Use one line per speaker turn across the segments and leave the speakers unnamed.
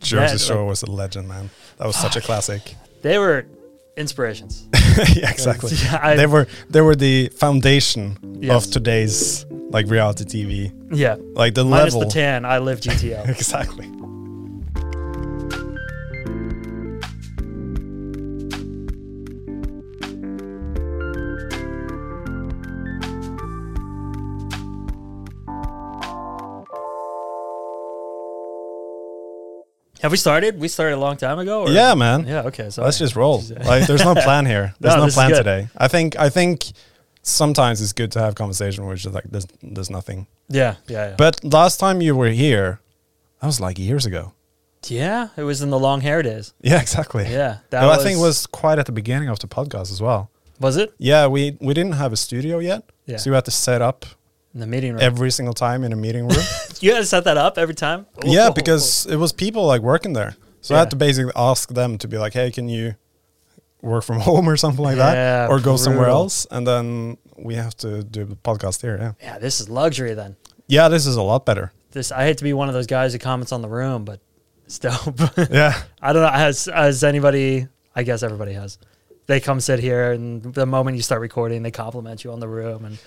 Jersey
That- Ah.
Shore was a legend, man. That was such a classic.
They were inspirations.
yeah, exactly.
Yeah, I-
they were they were the foundation
Yes.
of today's like reality TV.
yeah.
Like the
Minus
level.
the tan, I live GTO.
exactly.
Have we started? We started a long time ago. Or?
Yeah, man.
Yeah. Okay. So
Let's just roll. Like there's no plan here. There's
No,
no,
this is
plan
good.
today. I think I think sometimes it's good to have conversation where it's just like there's there's nothing.
Yeah. Yeah. Yeah.
But last time you were here, that was like years ago.
yeah. It was in the long hair days.
Yeah, exactly.
Yeah. That
That I think it was quite at the beginning of the podcast as well.
Was it
Yeah, we we didn't have a studio yet.
Yeah.
So you had to set up
in the meeting room?
every single time in a meeting room.
you had to set that up every time.
yeah, because it was people like working there. So I
Yeah.
had to basically ask them to be like, "Hey, can you work from home or something like
Yeah,
that or go somewhere
brutal.
else?" And then we have to do the podcast here, yeah.
yeah, this is luxury. Then
Yeah, this is a lot better.
this, I hate to be one of those guys who comments on the room, but it's dope.
Yeah.
I don't know. Has has anybody? I guess everybody has. They come sit here, and the moment you start recording, they compliment you on the room, and,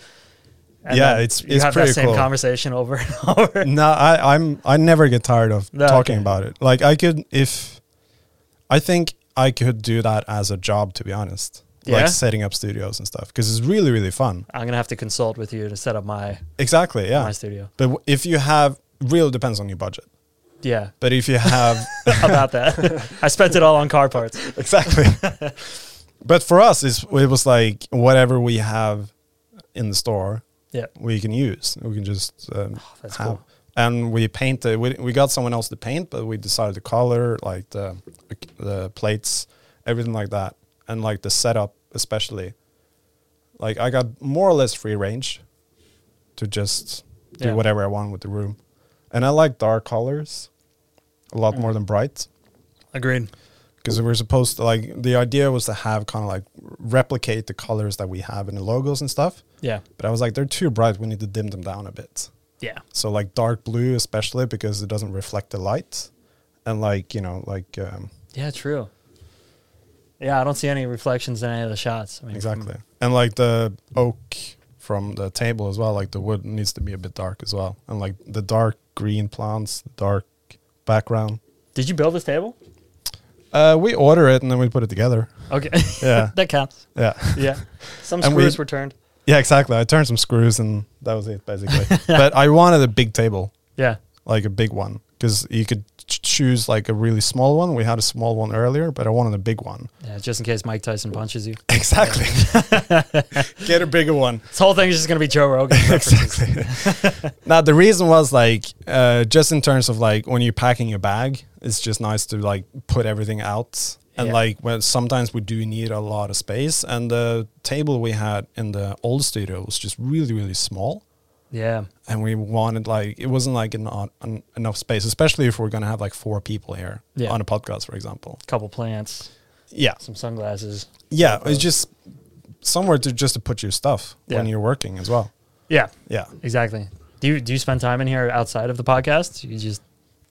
and
Yeah,
then
it's-
you
it's
have that
pretty
same
cool. Mm.
conversation over and over.
no, I, I'm I never get tired of
No,
talking
okay.
about it. Like I could if I think I could do that as a job to be honest.
Yeah?
Like setting up studios and stuff because it's really really fun.
I'm gonna have to consult with you to set up my
Exactly, yeah.
my studio.
But w- if you have really depends on your budget.
Yeah,
But if you have
about that. I spent it all on car parts.
exactly. but for us it's, it was like whatever we have in the store
Yeah,
we can use. We can just um,
Ah, that's
have.
cool.
And we painted. We, we got someone else to paint, but we decided to color like the the plates, everything like that, and like the setup especially. Like I got more or less free range to just do
Yeah.
whatever I want with the room, and I like dark colors a lot
Mm.
more than bright
agreed.
because we were supposed to like the idea was to have kind of like replicate the colors that we have in the logos and stuff.
Yeah,
But I was like, they're too bright. We need to dim them down a bit.
yeah,
So like dark blue, especially because it doesn't reflect the light, and like you know, like um,
yeah. True. Yeah, I don't see any reflections in any of the shots. I mean,
exactly, and like the oak from the table as well. Like the wood needs to be a bit dark as well, and like the dark green plants, the dark background.
Did you build this table?
Uh, we order it and then we put it together.
Okay,
Yeah,
that counts.
yeah,
Yeah, some
And we-
screws were turned.
yeah. Exactly. I turned some screws and that was it basically. but I wanted a big table.
Yeah,
like a big one because you could ch- choose like a really small one. We had a small one earlier, but I wanted a big one.
yeah. Just in case Mike Tyson punches you.
Exactly. Get a bigger one.
This whole thing is just going to be Joe Rogan. references.
Exactly. now the reason was like uh, just in terms of like when you're packing your bag, it's just nice to like put everything out. And
Yeah.
like when sometimes we do need a lot of space, and the table we had in the old studio was just really really small.
Yeah,
and we wanted like it wasn't like an, an, enough space, especially if we're gonna have like four people here
Yeah.
on a podcast, for example.
couple plants,
Yeah,
some sunglasses.
yeah, it's just somewhere to just to put your stuff when
Yeah.
you're working as well.
Yeah,
Yeah,
exactly. Do you do you spend time in here outside of the podcast? You just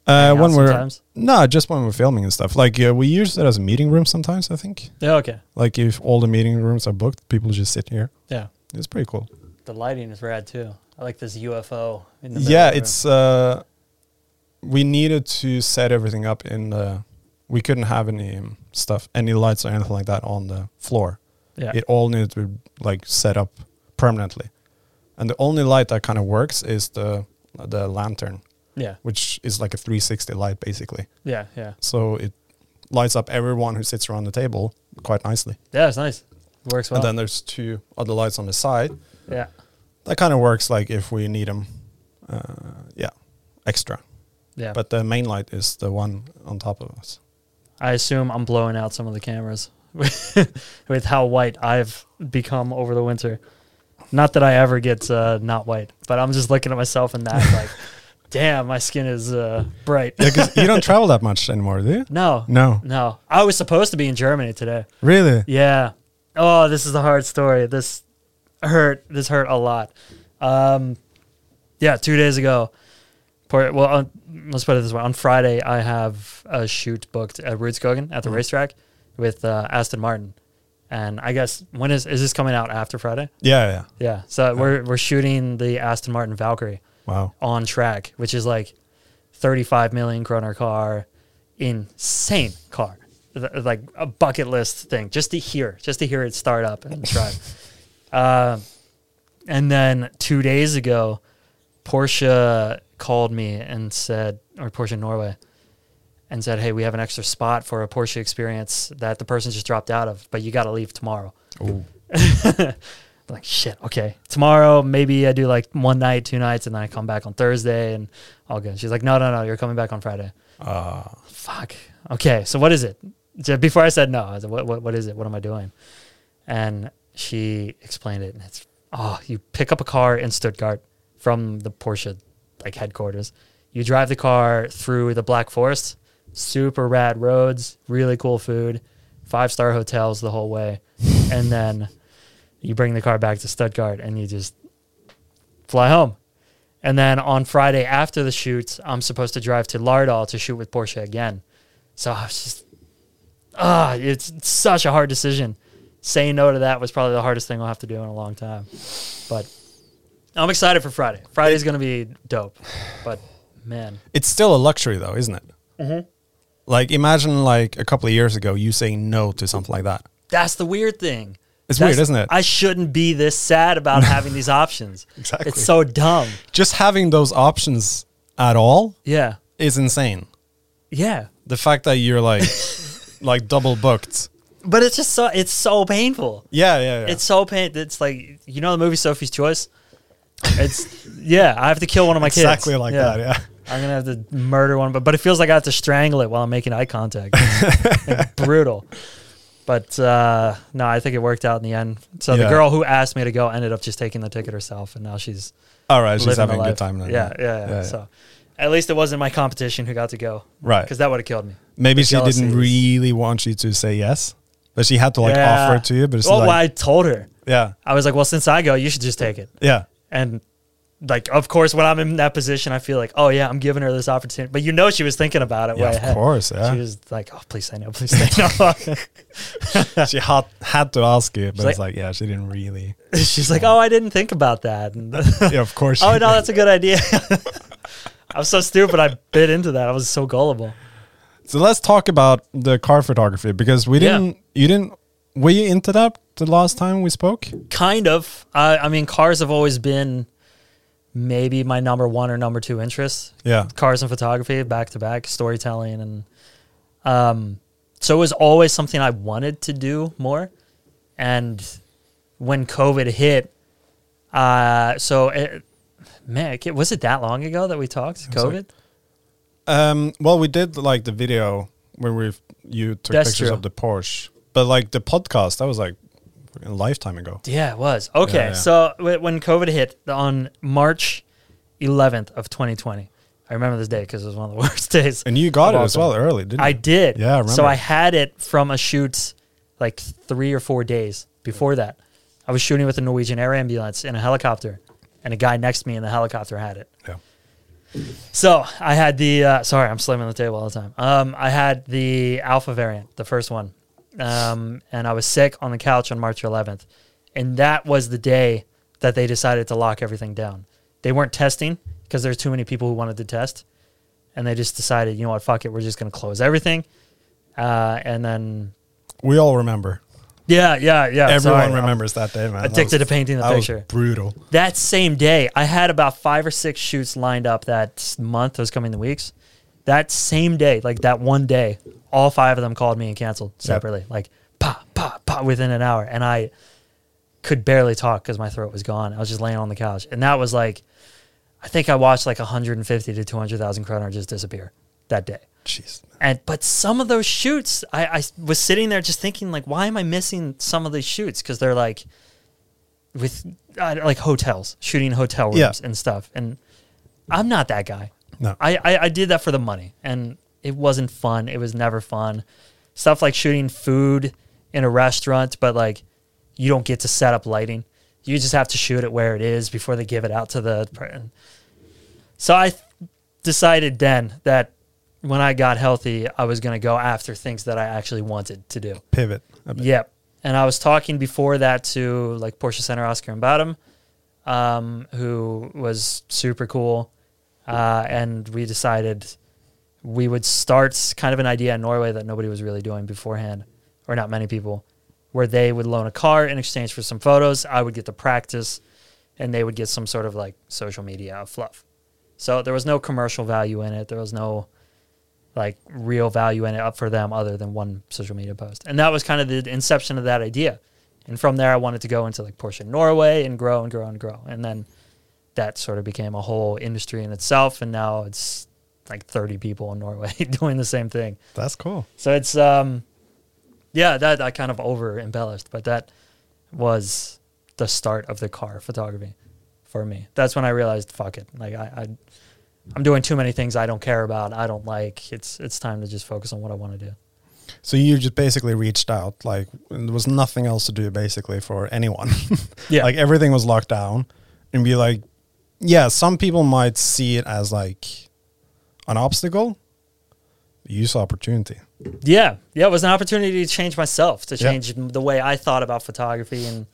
uh,
Hang out
when we're
sometimes?
no, just when we're filming and stuff. Like uh, we use it as a meeting room sometimes. I think
yeah, okay.
like if all the meeting rooms are booked, people just sit here.
Yeah,
It's pretty cool.
the lighting is rad too. I like this UFO. In the middle
Yeah,
of the room.
it's uh, we needed to set everything up in the. We couldn't have any um, stuff, any lights or anything like that on the floor.
yeah.
it all needed to be like set up permanently and the only light that kind of works is the the lantern
yeah,
which is like a 360 light basically
yeah, yeah,
so it lights up everyone who sits around the table quite nicely
yeah. It's nice. It works well.
and then there's two other lights on the side
yeah,
that kind of works like if we need them uh, yeah extra
yeah. But
but the main light is the one on top of us
I assume I'm blowing out some of the cameras with how white I've become over the winter. Not that I ever get uh, not white, but I'm just looking at myself in that like, damn, my skin is uh, bright.
yeah, 'cause you don't travel that much anymore do you
No,
no
No, I was supposed to be in Germany today.
really
Yeah. Oh, this is a hard story. This hurt. This hurt a lot. Um, yeah, two days ago, Part, well, on, let's put it this way: on Friday, I have a shoot booked at Rudskogen at the
Mhm.
racetrack with uh, Aston Martin, and I guess when is is this coming out after Friday?
Yeah, yeah.
Yeah, so we're we're shooting the Aston Martin Valkyrie
Wow.
on track, which is like thirty five million kroner car, insane car, Th- like a bucket list thing. Just to hear, just to hear it start up and drive. uh, and then two days ago, Porsche called me and said, or Porsche Norway, and said, "Hey, we have an extra spot for a Porsche experience that the person just dropped out of, but you got to leave tomorrow."
Ooh.
like shit okay tomorrow maybe i do like one night two nights and then i come back on thursday and all good she's like no no no you're coming back on friday
Uh,
fuck okay so what is it J- before i said no i said what, what, what is it what am i doing and she explained it and it's oh you pick up a car in stuttgart from the porsche like headquarters you drive the car through the black forest super rad roads really cool food five star hotels the whole way and then you bring the car back to Stuttgart and you just fly home. And then on Friday after the shoot, I'm supposed to drive to Lardal to shoot with Porsche again. So I was just, ah, it's such a hard decision. Saying no to that was probably the hardest thing I'll have to do in a long time. But I'm excited for Friday. Friday's going to be dope. But man,
it's still a luxury though, isn't it?
Mm-hmm.
Like imagine like a couple of years ago you saying no to something like that.
that's the weird thing.
It's
That's-
weird, isn't it?
I shouldn't be this sad about having these options.
Exactly.
It's so dumb.
Just having those options at all
Yeah.
is insane.
Yeah.
The fact that you're like like double booked.
But it's just so it's so painful.
Yeah, yeah, yeah.
It's so pain. It's like you know the movie Sophie's Choice. It's yeah. I have to kill one of my kids.
exactly like that. Yeah.
I'm gonna have to murder one, but but it feels like I have to strangle it while I'm making eye contact. It's, like, brutal. But uh, no, I think it worked out in the end. So the
Yeah.
girl who asked me to go ended up just taking the ticket herself, and now she's
All right, she's
living the
having a
life.
good time now.
Yeah, yeah, yeah, So at least it wasn't my competition who got to go,
Right.
Because that would have killed me.
Maybe
the
she
jealousy is-
didn't really want you to say yes, but she had to like
Yeah.
offer it to you. But it's
well,
like,
well, I told her.
yeah,
I was like, well, since I go, you should just take it.
yeah,
And like, of course, when I'm in that position, I feel like, oh yeah, I'm giving her this opportunity. But you know, she was thinking about it.
yeah.
way
Of
ahead.
course,
She
yeah.
was like, oh, please say no, please say no.
she had had to ask you, but
like-
it's like, yeah, she didn't really.
She's like, oh, I didn't think about that. And oh
Yeah, of course.
no,
she-
that's a good idea. I'm so stupid. I bit into that. I was so gullible.
So let's talk about the car photography because we
Yeah.
didn't. You didn't. Were you into that the last time we spoke?
Kind of. I, I mean, cars have always been maybe my number one or number two interest.
Yeah.
cars and photography back to back storytelling and um so it was always something i wanted to do more and when covid hit uh so it, man it- was it that long ago that we talked
was like-
covid
Um. Well, we did like the video where we you took
That's
pictures
true.
of the Porsche, but like the podcast that was like a lifetime ago.
yeah it was okay
Yeah, yeah.
so w- when covid hit on march 11th of 2020 i remember this day because it was one of the worst days
And you got
Of
it
all
as
time.
well early, didn't
I
you?
did.
Yeah, I remember.
So I had it from a shoot like three or four days before that. I was shooting with a Norwegian air ambulance in a helicopter, and a guy next to me in the helicopter had it.
Yeah.
So I had the uh, sorry, I'm slamming the table all the time. Um, I had the alpha variant, the first one, um, and I was sick on the couch on March 11th, and that was the day that they decided to lock everything down. They weren't testing because there's too many people who wanted to test, and they just decided, you know what, fuck it, we're just going to close everything, uh, and then
We all remember.
yeah, yeah, yeah.
Everyone
sorry.
remembers that day, man. That
addicted to
was-
painting the
that was
picture.
brutal.
that same day, I had about five or six shoots lined up that month, those coming the weeks. That same day, like that one day, all five of them called me and canceled separately, like pa, pa, pa within an hour. And I could barely talk because my throat was gone. I was just laying on the couch. And that was like, I think I watched like 150 to 200,000 kroner just disappear that day.
Jeez.
And but some of those shoots, I, I was sitting there just thinking like, why am I missing some of these shoots? Because they're like with uh, like hotels, shooting hotel rooms
Yeah.
and stuff. And I'm not that guy.
No.
I, I I did that for the money, and it wasn't fun. It was never fun. Stuff like shooting food in a restaurant, but like you don't get to set up lighting. You just have to shoot it where it is before they give it out to the. per- So I decided then that when I got healthy, I was going to go after things that I actually wanted to do.
Pivot. A bit.
Yep. And I was talking before that to like Portia Center Oscar and Bottom, um, who was super cool. Uh, and we decided we would start kind of an idea in Norway that nobody was really doing beforehand, or not many people, where they would loan a car in exchange for some photos. I would get to practice, and they would get some sort of like social media fluff. So there was no commercial value in it. There was no like real value in it up for them other than one social media post. And that was kind of the inception of that idea. And from there, I wanted to go into like Porsche Norway and grow and grow and grow. And then that sort of became a whole industry in itself. And now it's like 30 people in Norway doing the same thing.
That's cool.
So it's, um, yeah, that I kind of over embellished, but that was the start of the car photography for me. That's when I realized, fuck it. Like I, I I'm doing too many things I don't care about. I don't like. It's it's time to just focus on what I want to do.
So you just basically reached out, like and there was nothing else to do basically for anyone.
Yeah.
like everything was locked down, and be like, yeah, some people might see it as like an obstacle. You saw opportunity.
Yeah, yeah. It was an opportunity to change myself, to
Yeah.
change the way I thought about photography and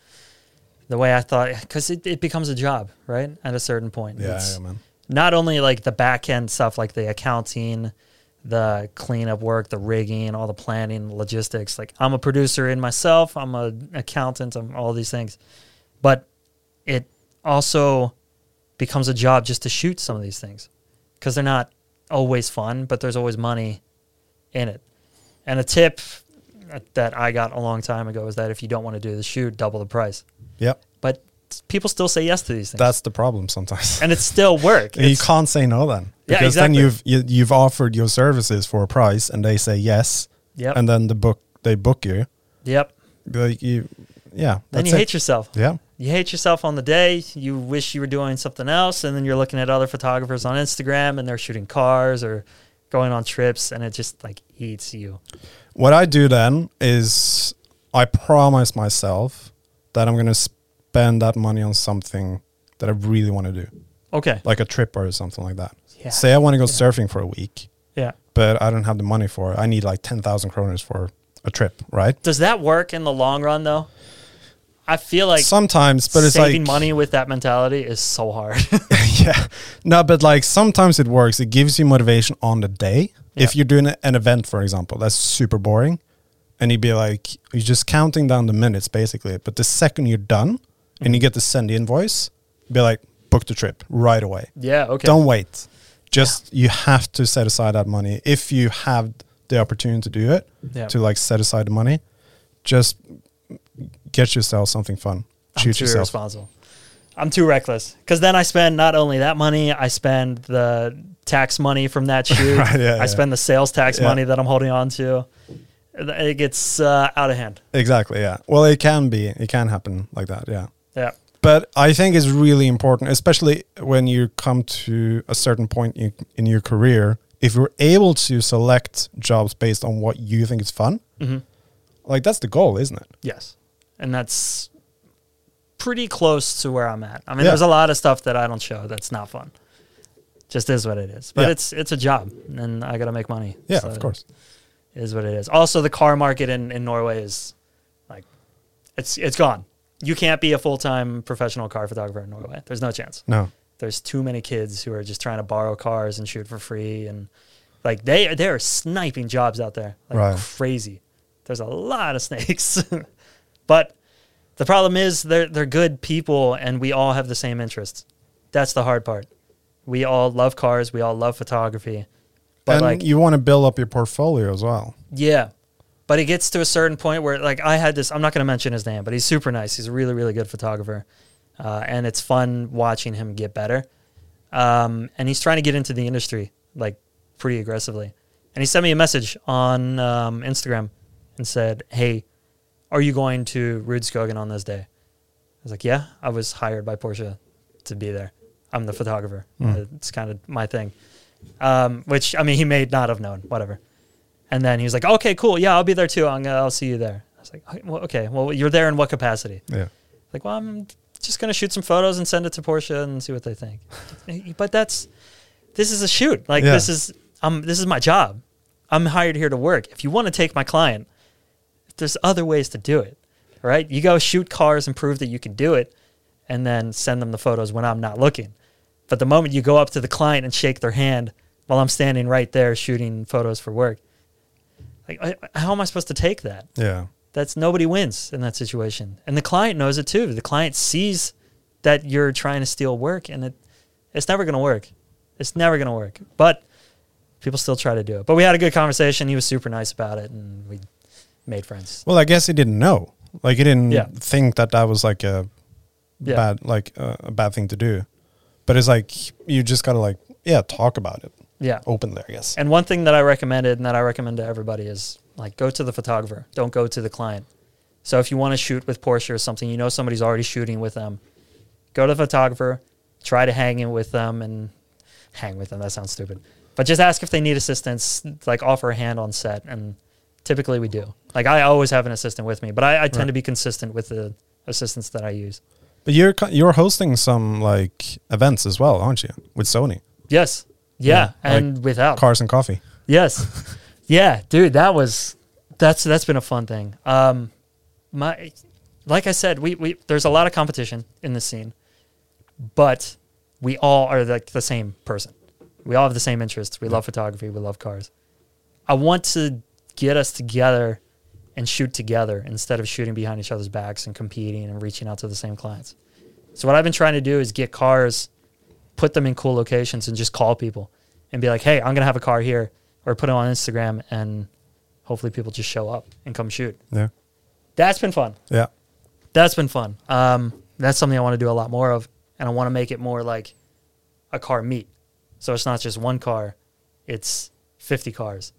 the way I thought, because it, it becomes a job, right? At a certain point,
Yeah,
It's-
yeah man.
not only like the back end stuff like the accounting the cleanup work the rigging all the planning logistics like i'm a producer in myself i'm an accountant i'm all these things but it also becomes a job just to shoot some of these things because they're not always fun but there's always money in it and a tip that i got a long time ago is that if you don't want to do the shoot double the price
Yep.
but people still say yes to these things
That's the problem sometimes.
and it's still work
you
It's-
can't say no then.
Yeah,
Because
exactly.
then you've you, you've offered your services for a price and they say yes.
Yep.
And then the book they book you.
Yep.
Like you yeah.
Then
that's
you
it.
hate yourself.
Yeah.
You hate yourself on the day. You wish you were doing something else, and then you're looking at other photographers on Instagram, and they're shooting cars or going on trips, and it just like eats you.
What I do then is I promise myself that I'm going to spend that money on something that I really want to do,
Okay.
like a trip or something like that.
Yeah.
Say I want to go surfing for a week,
Yeah.
but I don't have the money for it. I need like 10,000 kroners for a trip, right?
Does that work in the long run, though? I feel like
sometimes, but it's
saving
like
money with that mentality is so hard.
yeah. No, but like sometimes it works. It gives you motivation on the day. If
Yeah.
you're doing an event, for example, that's super boring. And you'd be like, you're just counting down the minutes basically. But the second you're done and
Mm-hmm.
you get to send the invoice, be like, book the trip right away.
yeah. Okay.
Don't wait. Just you have to set aside that money if you have the opportunity to do it,
Yeah.
to like set aside the money. Just get yourself something fun.
I'm
Shoot
too
yourself.
irresponsible. I'm too reckless because then I spend not only that money, I spend the tax money from that shoot.
Right, yeah,
I
yeah.
spend the sales tax
Yeah.
money that I'm holding on to. It gets uh, out of hand.
Exactly. Yeah. Well, it can be. It can happen like that. Yeah.
Yeah,
But I think it's really important, especially when you come to a certain point in, in your career. If you're able to select jobs based on what you think is fun,
Mm-hmm.
like that's the goal, isn't it?
yes, and that's pretty close to where I'm at. I mean,
Yeah.
there's a lot of stuff that I don't show that's not fun. Just is what it is, but
Yeah.
it's it's a job, and I got to make money.
Yeah,
So
of
it
course.
is what it is. Also, the car market in, in Norway is like it's it's gone. You can't be a full time professional car photographer in Norway. There's no chance.
No.
There's too many kids who are just trying to borrow cars and shoot for free, and like they they are sniping jobs out there like
Right.
crazy. There's a lot of snakes, but the problem is they're they're good people, and we all have the same interests. That's the hard part. We all love cars. We all love photography. But
and
like
you want to build up your portfolio as well.
yeah. But it gets to a certain point where, like, I had this. I'm not going to mention his name, but he's super nice. He's a really, really good photographer. Uh, and it's fun watching him get better. Um, and he's trying to get into the industry, like, pretty aggressively. And he sent me a message on um, Instagram and said, Hey, are you going to Rudskogen on this day? I was like, Yeah, I was hired by Porsche to be there. I'm the photographer. It's kind of my thing. Um, which, I mean, he may not have known, whatever. And then he was like, "Okay, cool. Yeah, I'll be there too. I'm gonna, I'll see you there." I was like, "Okay, well, "Okay, well, you're there in what capacity?"
Yeah.
Like, "Well, I'm just gonna shoot some photos and send it to Porsche and see what they think." but that's this is a shoot. Like
Yeah.
this is um this is my job. I'm hired here to work. If you want to take my client, there's other ways to do it. Right? You go shoot cars and prove that you can do it and then send them the photos when I'm not looking. But the moment you go up to the client and shake their hand while I'm standing right there shooting photos for work, like I, I- how am I supposed to take that?
Yeah.
That's nobody wins in that situation, and the client knows it too. The client sees that you're trying to steal work, and it it's never going to work. It's never going to work. But people still try to do it. But we had a good conversation. He was super nice about it, and we made friends.
Well, I guess he didn't know. Like he didn't
Yeah.
think that that was like a
Yeah.
bad like uh, a bad thing to do. But it's like you just gotta like yeah talk about it
Yeah.
openly. I guess.
And one thing that I recommended and that I recommend to everybody is like go to the photographer. Don't go to the client. So if you want to shoot with Porsche or something, you know somebody's already shooting with them. Go to the photographer, try to hang in with them and hang with them. That sounds stupid. But just ask if they need assistance, like offer a hand on set and typically we do. Like I always have an assistant with me, but I, I tend
Right.
to be consistent with the assistants that I use.
But you're co- you're hosting some like events as well, aren't you? With Sony,
Yes. Yeah.
Yeah, like
and without
cars and coffee.
Yes. yeah, dude, that was that's that's been a fun thing. Um my like I said, we, we there's a lot of competition in this scene, but we all are like the same person. We all have the same interests. We love photography, we love cars. I want to get us together and shoot together instead of shooting behind each other's backs and competing and reaching out to the same clients. So what I've been trying to do is get cars, put them in cool locations, and just call people and be like, "Hey, I'm gonna have a car here," or put it on Instagram, and hopefully people just show up and come shoot.
Yeah,
That's been fun.
yeah,
That's been fun. Um, that's something I want to do a lot more of, and I want to make it more like a car meet. So it's not just one car; it's 50 cars.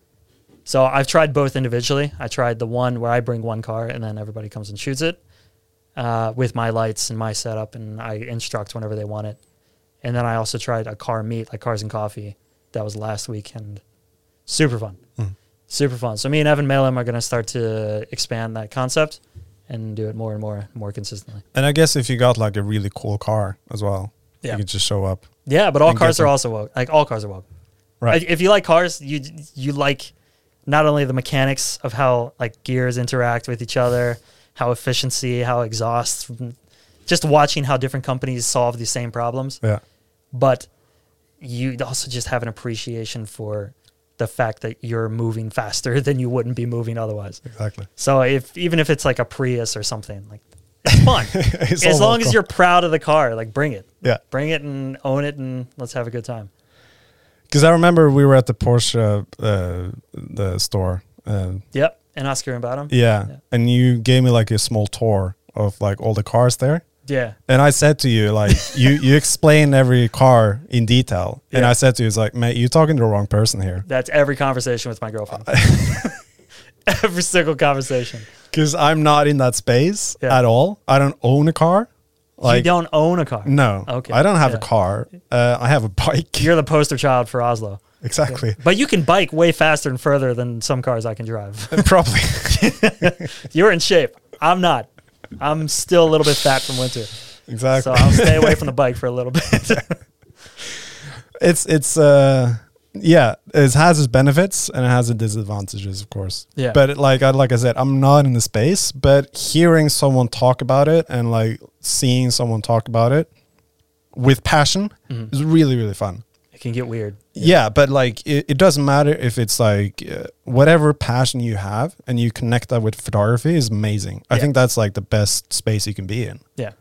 So I've tried both individually. I tried the one where I bring one car and then everybody comes and shoots it uh, with my lights and my setup, and I instruct whenever they want it. And then I also tried a car meet, like Cars and Coffee, that was last weekend. Super fun,
Mm.
super fun. So me and Evan Malem are going to start to expand that concept and do it more and more, more consistently.
and I guess if you got like a really cool car as well,
Yeah.
you could just show up.
Yeah, but all
And
cars
get
are
them.
also woke. Like all cars are woke.
Right.
Like, If you like cars, you you like not only the mechanics of how like gears interact with each other, how efficiency, how exhaust, just watching how different companies solve these same problems,
yeah.
but you also just have an appreciation for the fact that you're moving faster than you wouldn't be moving otherwise.
Exactly.
So if even if it's like a Prius or something, like it's fun.
It's
as
all
long as
local.
you're proud of the car, like bring it.
yeah.
Bring it and own it and let's have a good time.
Because I remember we were at the Porsche uh, the store. Uh,
Yep. And Oscar and Bottom.
yeah.
Yeah.
and you gave me like a small tour of like all the cars there.
Yeah.
And I said to you, like you you explain every car in detail. And
Yeah.
I said to you, it's like, mate, you're talking to the wrong person here.
That's every conversation with my girlfriend.
Uh,
every single conversation.
Because I'm not in that space
Yeah.
at all. I don't own a car.
you don't own a car.
No.
Okay.
I don't have
Yeah.
a car. Uh, I have a bike.
You're the poster child for Oslo.
exactly.
But you can bike way faster and further than some cars I can drive.
Probably.
You're in shape. I'm not. I'm still a little bit fat from winter. So
exactly.
I'll stay away from the bike for a little bit.
it's it's uh yeah, it has its benefits and it has its disadvantages, of course.
Yeah.
But it- like I like I said, I'm not in the space, but hearing someone talk about it and like seeing someone talk about it with passion
Mm-hmm.
is really really fun.
it can get weird.
Yeah, but like it, it doesn't matter if it's like uh, whatever passion you have and you connect that with photography is amazing. I
Yeah.
think that's like the best space you can be in.
Yeah.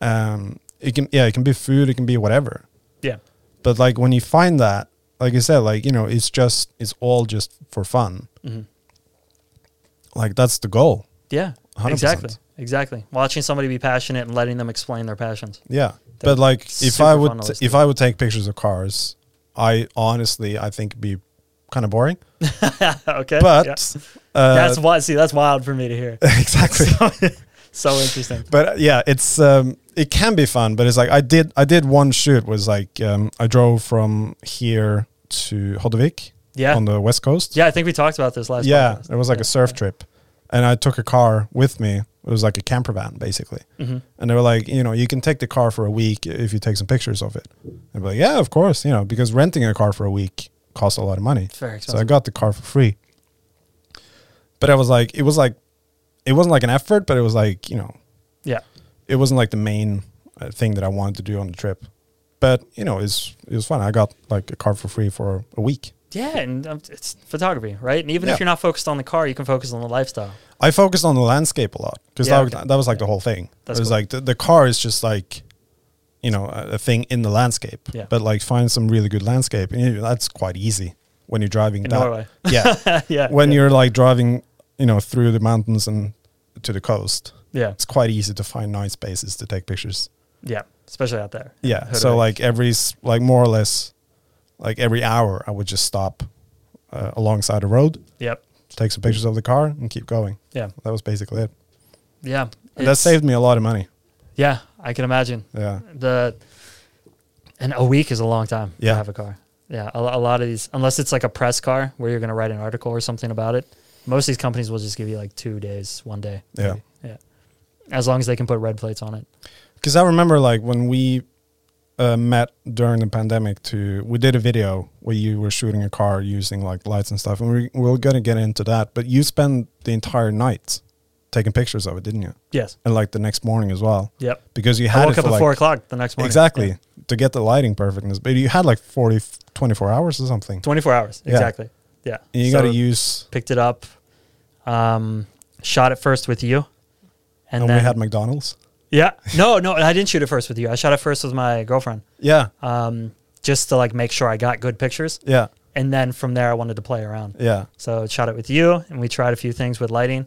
Um, it can yeah, it can be food, it can be whatever.
Yeah.
But like when you find that, like I said, like you know, it's just it's all just for fun.
Mhm.
Like that's the goal.
Yeah.
100%.
Exactly. Exactly. Watching somebody be passionate and letting them explain their passions.
Yeah.
That's
but like if
super
I
fun
would
to listen
if
to.
I would take pictures of cars, I honestly I think it'd be kind of boring.
okay.
But
Yeah.
uh,
that's why see, that's wild for me to hear.
exactly.
so interesting.
but uh, yeah, it's um, it can be fun. But it's like I did I did one shoot was like um, I drove from here to Hodvik
Yeah.
on the west coast.
Yeah, I think we talked about this last.
yeah,
podcast.
it was like
Yeah.
a surf trip, and I took a car with me It was like a camper van basically.
Mm-hmm.
And they were like, you know, you can take the car for a week if you take some pictures of it. And be like, yeah, of course, you know, because renting a car for a week costs a lot of money.
Very
So I
expensive.
got the car for free. But I was like, it was like, it wasn't like an effort, but it was like, you know,
yeah.
it wasn't like the main uh, thing that I wanted to do on the trip. But you know, it's it was fun. I got like a car for free for a week.
Yeah, and um, it's photography, right? And even
Yeah.
if you're not focused on the car, you can focus on the lifestyle.
I focused on the landscape a lot because
Yeah,
that,
okay.
that was like the whole thing.
That's
it was
cool.
like the, the car is just like, you know, a, a thing in the landscape.
Yeah.
But like find some really good landscape, and you- that's quite easy when you're driving
In
that.
Norway.
Yeah,
yeah.
when
yeah.
you're like driving, you know, through the mountains and to the coast,
yeah,
it's quite easy to find nice places to take pictures.
yeah, especially out there.
Yeah.
Heard
So
of it.
like every s- like more or less, like every hour, I would just stop uh, alongside a road,
Yep.
take some pictures of the car, and keep going.
Yeah.
That was basically it.
Yeah.
And that
it's-
saved me a lot of money.
Yeah, I can imagine.
Yeah.
the and a week is a long time
Yeah.
to have a car. Yeah, a, lo- a lot of these, unless it's like a press car where you're going to write an article or something about it, most of these companies will just give you like two days, one day.
Yeah.
maybe. yeah. As long as they can put red plates on it.
Because I remember like when we uh, met during the pandemic, to we did a video where you were shooting a car using like lights and stuff, and we we we're gonna get into that. But you spent the entire night taking pictures of it, didn't you?
Yes.
And like the next morning as well,
Yep.
because you
I
had
woke
it
up
for
at
like
four o'clock the next morning.
exactly
Yeah.
to get the lighting perfectness. But you had like 40, 24 hours or something.
Twenty-four hours.
Yeah.
Exactly. Yeah.
And you
So
got to use.
picked it up, um, shot it first with you, and,
And,
then
we had McDonald's.
yeah. No, no, I didn't shoot it first with you. I shot it first with my girlfriend,
Yeah,
um, just to like make sure I got good pictures.
yeah,
and then from there I wanted to play around.
yeah.
So I shot it with you, and we tried a few things with lighting,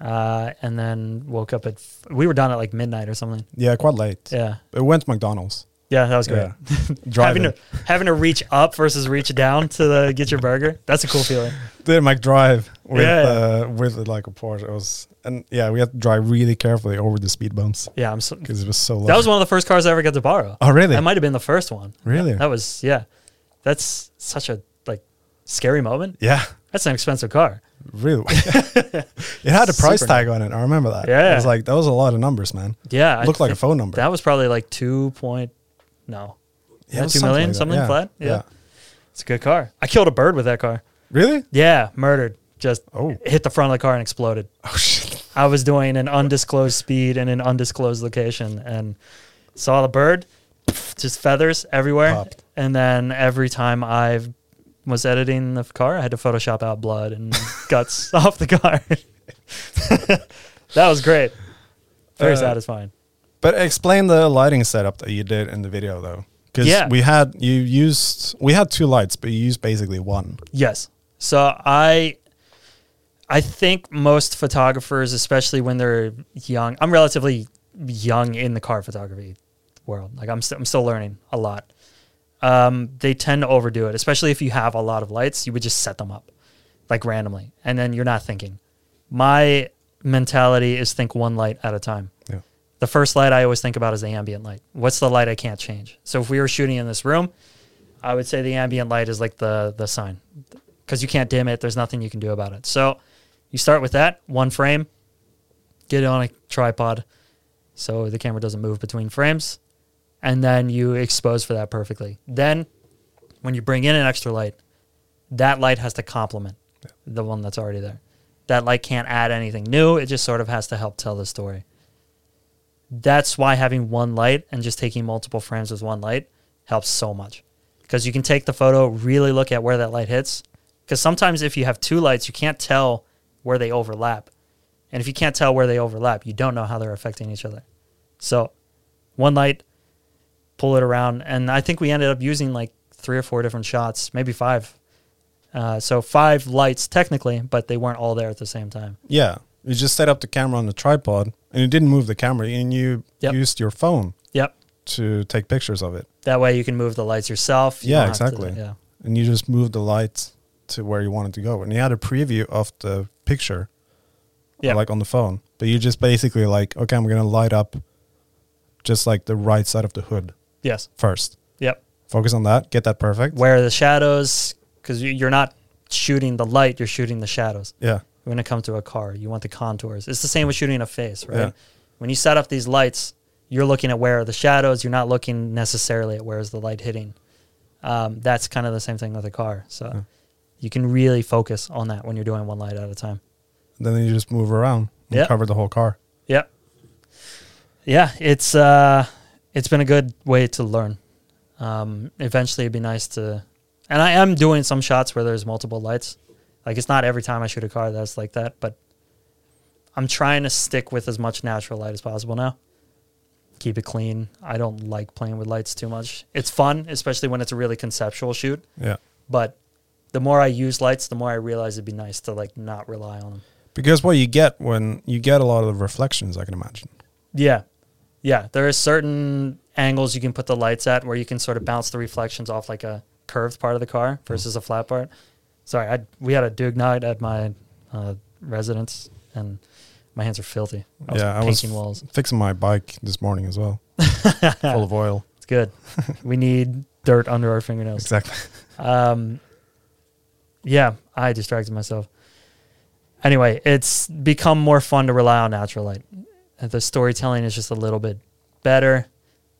uh, and then woke up at f- we were done at like midnight or something.
Yeah, quite late.
Yeah,
It went to McDonald's.
yeah, that was great.
Yeah.
having
Driving.
to having to reach up versus reach down to the, get your burger. That's a cool feeling.
did Mac drive with
Yeah.
uh, with like a Porsche. It was and yeah, we had to drive really carefully over the speed bumps
Yeah, I'm so,
because it was so low.
that was one of the first cars I ever got to borrow.
oh really?
That might have been the first one.
really?
That was yeah. That's such a like scary moment.
yeah,
That's an expensive car.
really. it had a price
Super
tag on it. I remember that.
Yeah.
it was like that was a lot of numbers, man.
Yeah, I
Looked like a
think
phone number.
That was probably like two point no.
Yeah, it
yeah,
was
two million,
like that.
something
Yeah,
flat. yeah. It's a good car. I killed a bird with that car.
Really?
Yeah, murdered. Just
Oh.
hit the front of the car and exploded.
Oh shit.
I was doing an undisclosed speed in an undisclosed location and saw the bird, just feathers everywhere.
Popped.
And then every time I was editing the car, I had to Photoshop out blood and guts off the car. that was great. Very
Uh,
satisfying.
But explain the lighting setup that you did in the video though. Because
Yeah.
we had you used we had two lights, but you used basically one.
Yes. So I I think most photographers, especially when they're young, I'm relatively young in the car photography world. Like I'm, st- I'm still learning a lot. Um, they tend to overdo it, especially if you have a lot of lights. You would just set them up like randomly, and then you're not thinking. My mentality is think one light at a time.
Yeah.
The first light I always think about is the ambient light. What's the light I can't change? So if we were shooting in this room, I would say the ambient light is like the the sign because you can't dim it. There's nothing you can do about it. So you start with that one frame, get it on a tripod so the camera doesn't move between frames, and then you expose for that perfectly. Then when you bring in an extra light, that light has to complement the one that's already there. That light can't add anything new. It just sort of has to help tell the story. That's why having one light and just taking multiple frames with one light helps so much. Because you can take the photo, really look at where that light hits. Because sometimes if you have two lights, you can't tell where they overlap. And if you can't tell where they overlap, you don't know how they're affecting each other. So one light, pull it around. And I think we ended up using like three or four different shots, maybe five. Uh, so five lights technically, but they weren't all there at the same time.
Yeah. You just set up the camera on the tripod and you didn't move the camera and you
Yep.
used your phone
Yep.
to take pictures of it.
That way you can move the lights yourself. You
Yeah,
don't have to-
exactly.
yeah.
And you just moved the light to where you wanted to go. And you had a preview of the picture
Yeah.
like on the phone. But you just basically like, okay, I'm gonna light up just like the right side of the hood
Yes.
first.
Yep.
Focus on that, get that perfect.
Where are the shadows? Because you're not shooting the light, you're shooting the shadows.
yeah.
We're gonna come to a car. You want the contours. It's the same with shooting a face, right?
Yeah.
When you set up these lights, you're looking at where are the shadows. You're not looking necessarily at where is the light hitting. Um, that's kind of the same thing with a car. So
Yeah.
you can really focus on that when you're doing one light at a time.
then you just move around and
Yeah.
cover the whole car.
Yeah. Yeah, it's uh it's been a good way to learn. Um eventually it'd be nice to and I am doing some shots where there's multiple lights. Like it's not every time I shoot a car that's like that, but I'm trying to stick with as much natural light as possible now. Keep it clean. I don't like playing with lights too much. It's fun, especially when it's a really conceptual shoot,
Yeah.
but the more I use lights, the more I realize it'd be nice to like not rely on them.
Because what you get when you get a lot of the reflections, I can imagine.
Yeah. Yeah. There are certain angles you can put the lights at where you can sort of bounce the reflections off like a curved part of the
Mm-hmm.
car versus a flat part. Sorry, I, we had a Duke night at my uh, residence and my hands are filthy. I was
Yeah, I was
painting walls.
Fixing my bike this morning as well, full of oil.
It's good. we need dirt under our fingernails.
Exactly.
Um, yeah, I distracted myself. Anyway, it's become more fun to rely on natural light. And The storytelling is just a little bit better.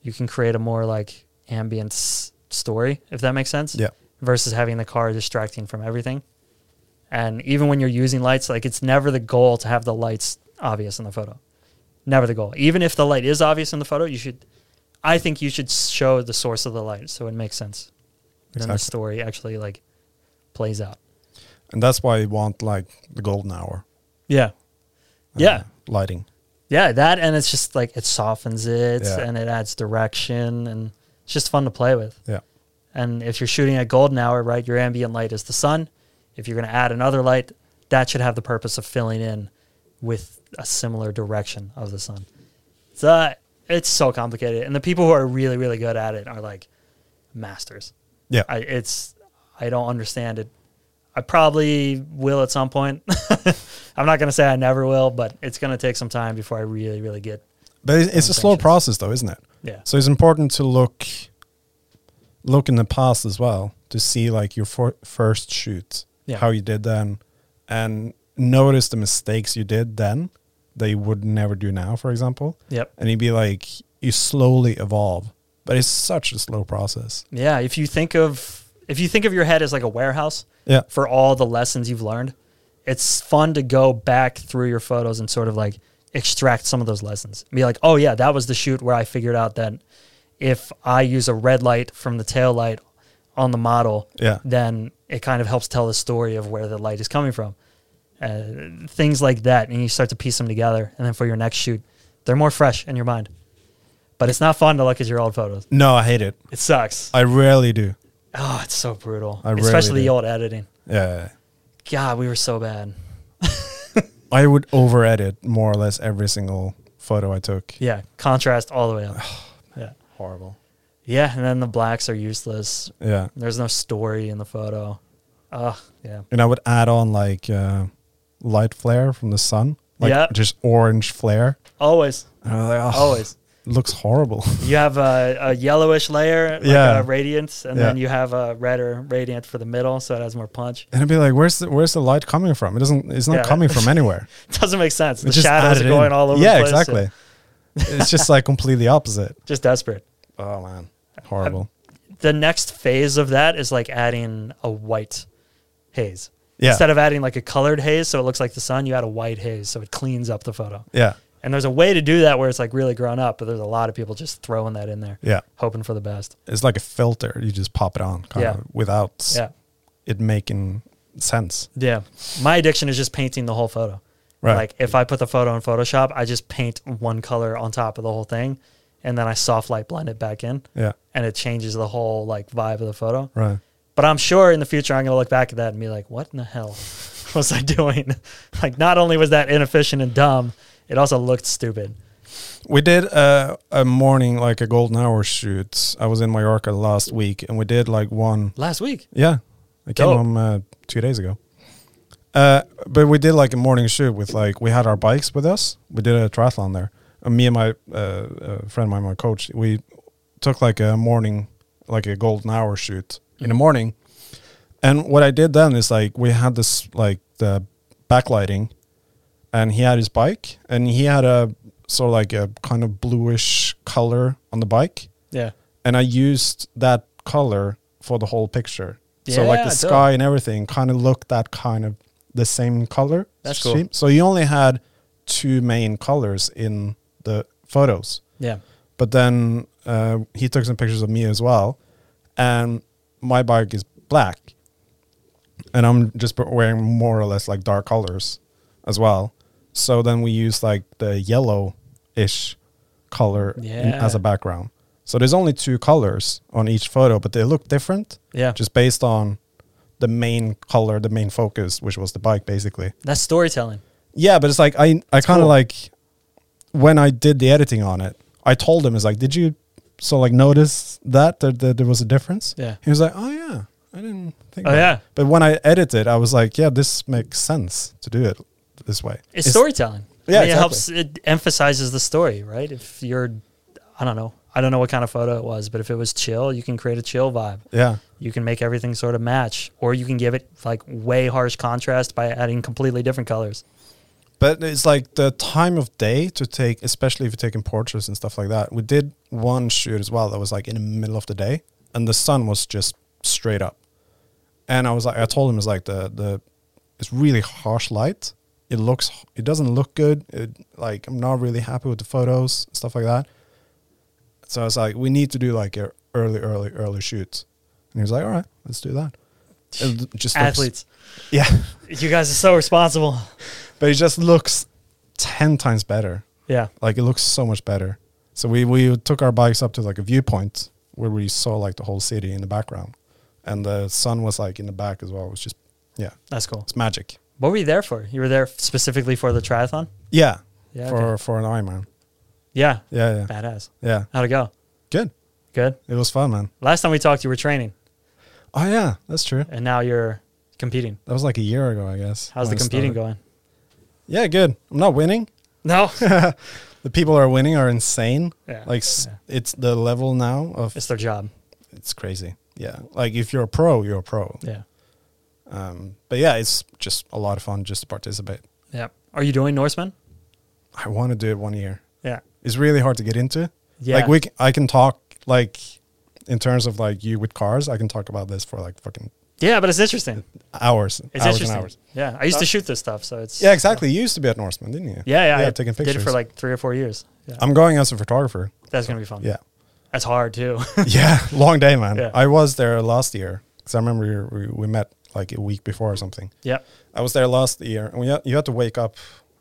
You can create a more like ambient s- story, if that makes sense.
Yeah.
Versus having the car distracting from everything. And even when you're using lights, like it's never the goal to have the lights obvious in the photo. Never the goal. Even if the light is obvious in the photo, you should, I think you should show the source of the light so it makes sense then the
Exactly.
story actually like plays out.
And that's why you want like the golden hour.
Yeah.
uh,
Yeah.
Lighting.
Yeah, that and it's just like it softens it
Yeah.
and it adds direction and it's just fun to play with.
Yeah.
And if you're shooting at golden hour, right, your ambient light is the sun. If you're going to add another light, that should have the purpose of filling in with a similar direction of the sun. So it's so complicated and the people who are really really good at it are like masters.
Yeah.
I it's I don't understand it. I probably will at some point. I'm not gonna say I never will, but it's gonna take some time before I really, really get.
But it's, it's a slow
Intentions.
process though, isn't it?
Yeah,
So it's important to look look in the past as well to see like your for, first shoot,
Yeah.
how you did then, and notice the mistakes you did then that you would never do now, for example.
yep,
And you'd be like, you slowly evolve, but it's such a slow process.
yeah. If you think of if you think of your head as like a warehouse
Yeah,
for all the lessons you've learned, it's fun to go back through your photos and sort of like extract some of those lessons. Be like, oh yeah, that was the shoot where I figured out that if I use a red light from the tail light on the model,
yeah,
then it kind of helps tell the story of where the light is coming from. Uh, things like that, and you start to piece them together. And then for your next shoot, they're more fresh in your mind. But it's not fun to look at your old photos.
no, I hate it.
It sucks.
I rarely do.
Oh, it's so brutal.
I really
Especially the
do.
old editing.
Yeah,
God, we were so bad.
I would over edit more or less every single photo I took.
Yeah, contrast all the way up.
Oh,
yeah,
Horrible.
yeah, and then the blacks are useless.
Yeah,
There's no story in the photo. Ugh, yeah,
and I would add on like uh, light flare from the sun, like
Yeah.
just orange flare.
always,
And I was like, oh,
always.
looks horrible.
You have a, a yellowish layer, like
Yeah.
a radiance, and
Yeah.
then you have a redder radiant for the middle, so it has more punch.
and I'd be like, where's the where's the light coming from? It doesn't. It's not
Yeah.
coming from anywhere.
doesn't make sense. The
It's just
shadows
added
are
in.
going all over
Yeah,
the place.
exactly. it's just like completely opposite.
Just desperate.
Oh man, horrible.
The next phase of that is like adding a white haze.
yeah,
Instead of adding like a colored haze so it looks like the sun, you add a white haze so it cleans up the photo.
yeah,
And there's a way to do that where it's like really grown up, but there's a lot of people just throwing that in there,
yeah.
hoping for the best.
It's like a filter. You just pop it on, kind
Yeah.
of, without
Yeah.
it making sense.
Yeah. My addiction is just painting the whole photo.
Right.
Like if I put the photo in Photoshop, I just paint one color on top of the whole thing and then I soft light blend it back in
yeah.
and it changes the whole like vibe of the photo.
Right.
But I'm sure in the future I'm going to look back at that and be like, what in the hell was I doing? like not only was that inefficient and dumb, it also looked stupid.
We did uh, a morning, like a golden hour shoot. I was in Mallorca last week and we did like one.
Last week.
Yeah. I came
Dope.
home uh, two days ago. Uh, but we did like a morning shoot with like, we had our bikes with us. We did a triathlon there. And me and my uh, uh, friend, of mine, my coach, we took like a morning, like a golden hour shoot in the morning. And what I did then is like, we had this, like the backlighting, and he had his bike, and he had a sort of like a kind of bluish color on the bike,
Yeah.
and I used that color for the whole picture. so like
Yeah,
the
dope.
sky and everything kind of looked that kind of the same color.
That's
scheme. So you only had two main colors in the photos
Yeah.
but then uh, he took some pictures of me as well and my bike is black and i'm just b- wearing more or less like dark colors as well so then we use like the yellow-ish color in-
Yeah.
as a background so there's only two colors on each photo but they look different
Yeah.
just based on the main color the main focus which was the bike basically
That's storytelling.
yeah, but it's like I I kind of
cool.
like when I did the editing on it, I told him it's like, did you so like notice that that, that there was a difference?
Yeah.
He was like, oh yeah, I didn't think.
Oh,
about it."
yeah.
But when I edited, I was like, yeah, this makes sense to do it this way.
It's, storytelling.
Yeah,
I
exactly.
mean, it helps. It emphasizes the story, right? If you're, I don't know, I don't know what kind of photo it was, but if it was chill, you can create a chill vibe.
Yeah.
You can make everything sort of match, or you can give it like way harsh contrast by adding completely different colors.
But it's like the time of day to take, especially if you're taking portraits and stuff like that. We did one shoot as well that was like in the middle of the day, and the sun was just straight up. And I was like, I told him it's like the the it's really harsh light. It looks, it doesn't look good. It like I'm not really happy with the photos and stuff like that. So I was like, we need to do like a early, early, early shoot. And he was like, all right, let's do that. It just looks-
Athletes,
yeah.
you guys are so responsible.
But it just looks ten times better.
Yeah,
Like it looks so much better. So we we took our bikes up to like a viewpoint where we saw like the whole city in the background, and the sun was like in the back as well. It was just yeah,
that's cool.
it's magic.
What were you there for? You were there specifically for the triathlon.
Yeah,
Yeah,
for
okay.
for an Ironman.
Yeah,
Yeah, yeah,
badass.
yeah.
How'd it go?
Good.
Good.
It was fun, man.
Last time we talked, you were training,
Oh yeah, that's true.
and now you're competing.
That was like a year ago, I guess.
How's the
when I
competing
started.
going?
Yeah, good. I'm not winning.
No,
The people who are winning are insane.
Yeah,
Like s
yeah.
it's the level now of
it's their job.
it's crazy. Yeah, like if you're a pro, you're a pro.
Yeah.
Um, but yeah, it's just a lot of fun just to participate.
Yeah. Are you doing Norseman?
I want to do it one year.
Yeah.
It's really hard to get into.
Yeah.
Like we, c- I can talk like in terms of like you with cars. I can talk about this for like fucking
Yeah, but it's interesting.
hours,
It's
hours
interesting.
and hours. Uh,
Yeah. I used to shoot this stuff, so it's
Yeah, exactly. You used to be at Norseman, didn't you?
Yeah, yeah.
yeah.
I
taking
did
pictures.
it for like three or four years. Yeah.
I'm going as a photographer.
That's gonna be fun.
Yeah,
That's hard too.
yeah. Long day, man.
Yeah.
I was there last year because I remember we, we, we met like a week before or something.
yep.
I was there last year, and we had, you had to wake up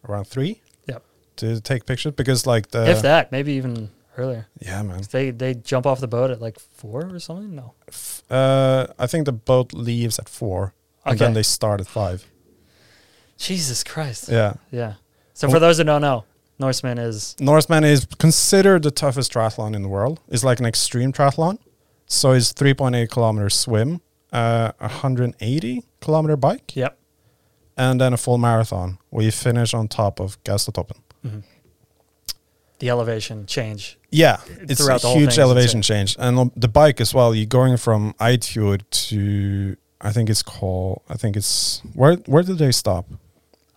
around three
Yep.
to take pictures because like the
if that, maybe even earlier.
yeah man
They they jump off the boat at like four or something? No.
F- Uh, I think the boat leaves at four, and then
Okay.
they start at five.
Jesus Christ.
Yeah,
Yeah. So for those who don't know, Norseman is
Norseman is considered the toughest triathlon in the world. It's like an extreme triathlon, so it's three point eight kilometer swim, uh, hundred and eighty kilometer bike,
Yep.
and then a full marathon. We finish on top of Gastotoppen.
The elevation change.
Yeah, it's
Throughout the
a
whole thing,
huge
isn't
elevation change, and on the bike as well. You're going from Eidfjord to I think it's called I think it's where where did they stop?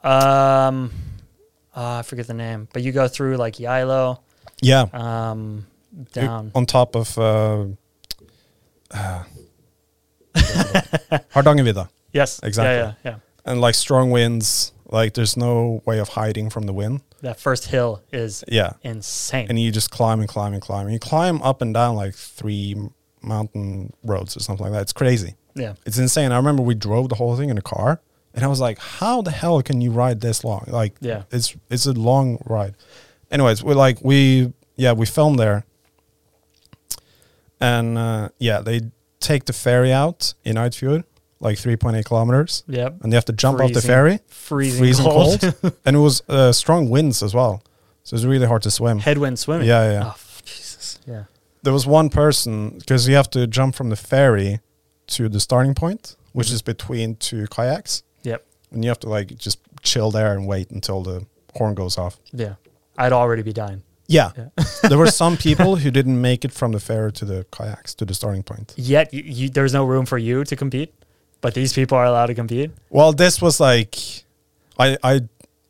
Um uh, I forget the name. But you go through like Yilo,
Yeah,
um
You-
down.
on top of uh, uh, Hardangervidda,
Yes.
Exactly.
Yeah, yeah, yeah.
and like strong winds, like there's no way of hiding from the wind.
That first hill is
Yeah,
insane.
and you just climb and climb and climb. You climb up and down like three m- mountain roads or something like that. It's crazy.
yeah.
It's insane. I remember we drove the whole thing in a car, and I was like, "How the hell can you ride this long?" Like,
Yeah.
it's it's a long ride. Anyways, we're like we yeah we filmed there, and uh, yeah they take the ferry out in Eidfjord, like three point eight kilometers,
Yep.
and they have to jump off the
Freezing-
ferry,
Freezing, cold.
and it was uh, strong winds as well, so it's really hard to swim.
Headwind swimming.
Yeah, yeah.
Oh, f- Jesus. Yeah.
there was one person because you have to jump from the ferry to the starting point, which is between two kayaks.
Yep.
and you have to like just chill there and wait until the horn goes off.
Yeah. I'd already be dying.
Yeah, there were some people who didn't make it from the ferry to the kayaks to the starting point.
Yet you, you, there's no room for you to compete, but these people are allowed to compete.
Well, this was like I I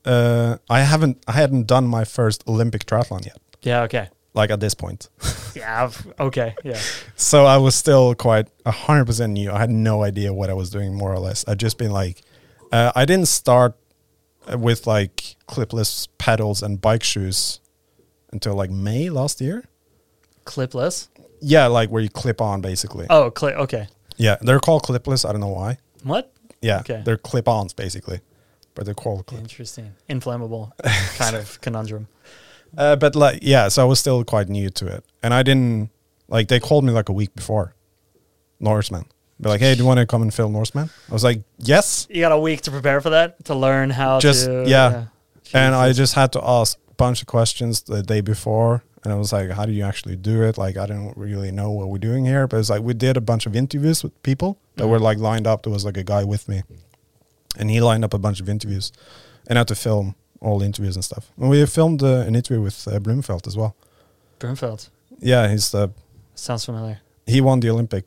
uh, I haven't I hadn't done my first Olympic triathlon yet.
Yeah. Okay.
Like at this point,
Yeah. I've- Okay. Yeah.
so I was still quite hundred percent new. I had no idea what I was doing, more or less. I'd just been like, uh, I didn't start uh, with like clipless pedals and bike shoes until like May last year.
Clipless.
Yeah, like where you clip on basically.
Oh, cli Okay.
Yeah, they're called clipless. I don't know why.
What?
Yeah,
Okay.
they're clip-ons basically, but they're called clip.
Interesting. Inflammable kind of conundrum.
Uh, but like, yeah, so I was still quite new to it, and I didn't like. They called me like a week before Norseman. They're like, "Hey, do you want to come and film Norseman?" I was like, "Yes,"
You got a week to prepare for that to learn how
Just-
to.
yeah. and I
Jesus.
just had to ask a bunch of questions the day before, and I was like, "How do you actually do it?" Like, I don't really know what we're doing here, but it's like we did a bunch of interviews with people that
Mm.
were like lined up. There was like a guy with me, and he lined up a bunch of interviews, and I had to film all the interviews and stuff. And we filmed uh, an interview with uh, Bloomfeld as well.
Broomfield
Yeah, he's the
sounds familiar.
he won the Olympic.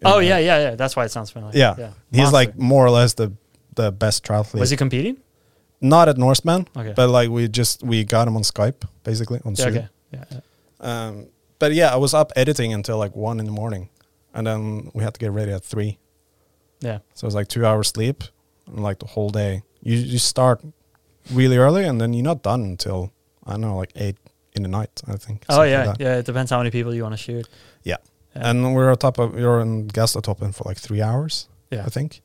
in, uh,
Oh yeah, yeah, yeah. That's why it sounds familiar.
yeah. He's
Monster.
like more or less the the best triathlete.
Was he competing?
not at Norseman?
Okay.
But like we just we got him on Skype basically on
Yeah,
Zoom.
okay. Yeah. yeah.
Um, but yeah, I was up editing until like one in the morning, and then we had to get ready at three.
Yeah.
So it was like two hours sleep, and like the whole day. You you start really early, and then you're not done until I don't know like eight in the night. I think.
Oh
something
yeah,
like that.
yeah. It depends how many people you want to shoot.
Yeah.
Yeah.
And we're on top of you're in Gastotoppen for like three hours.
Yeah.
I think.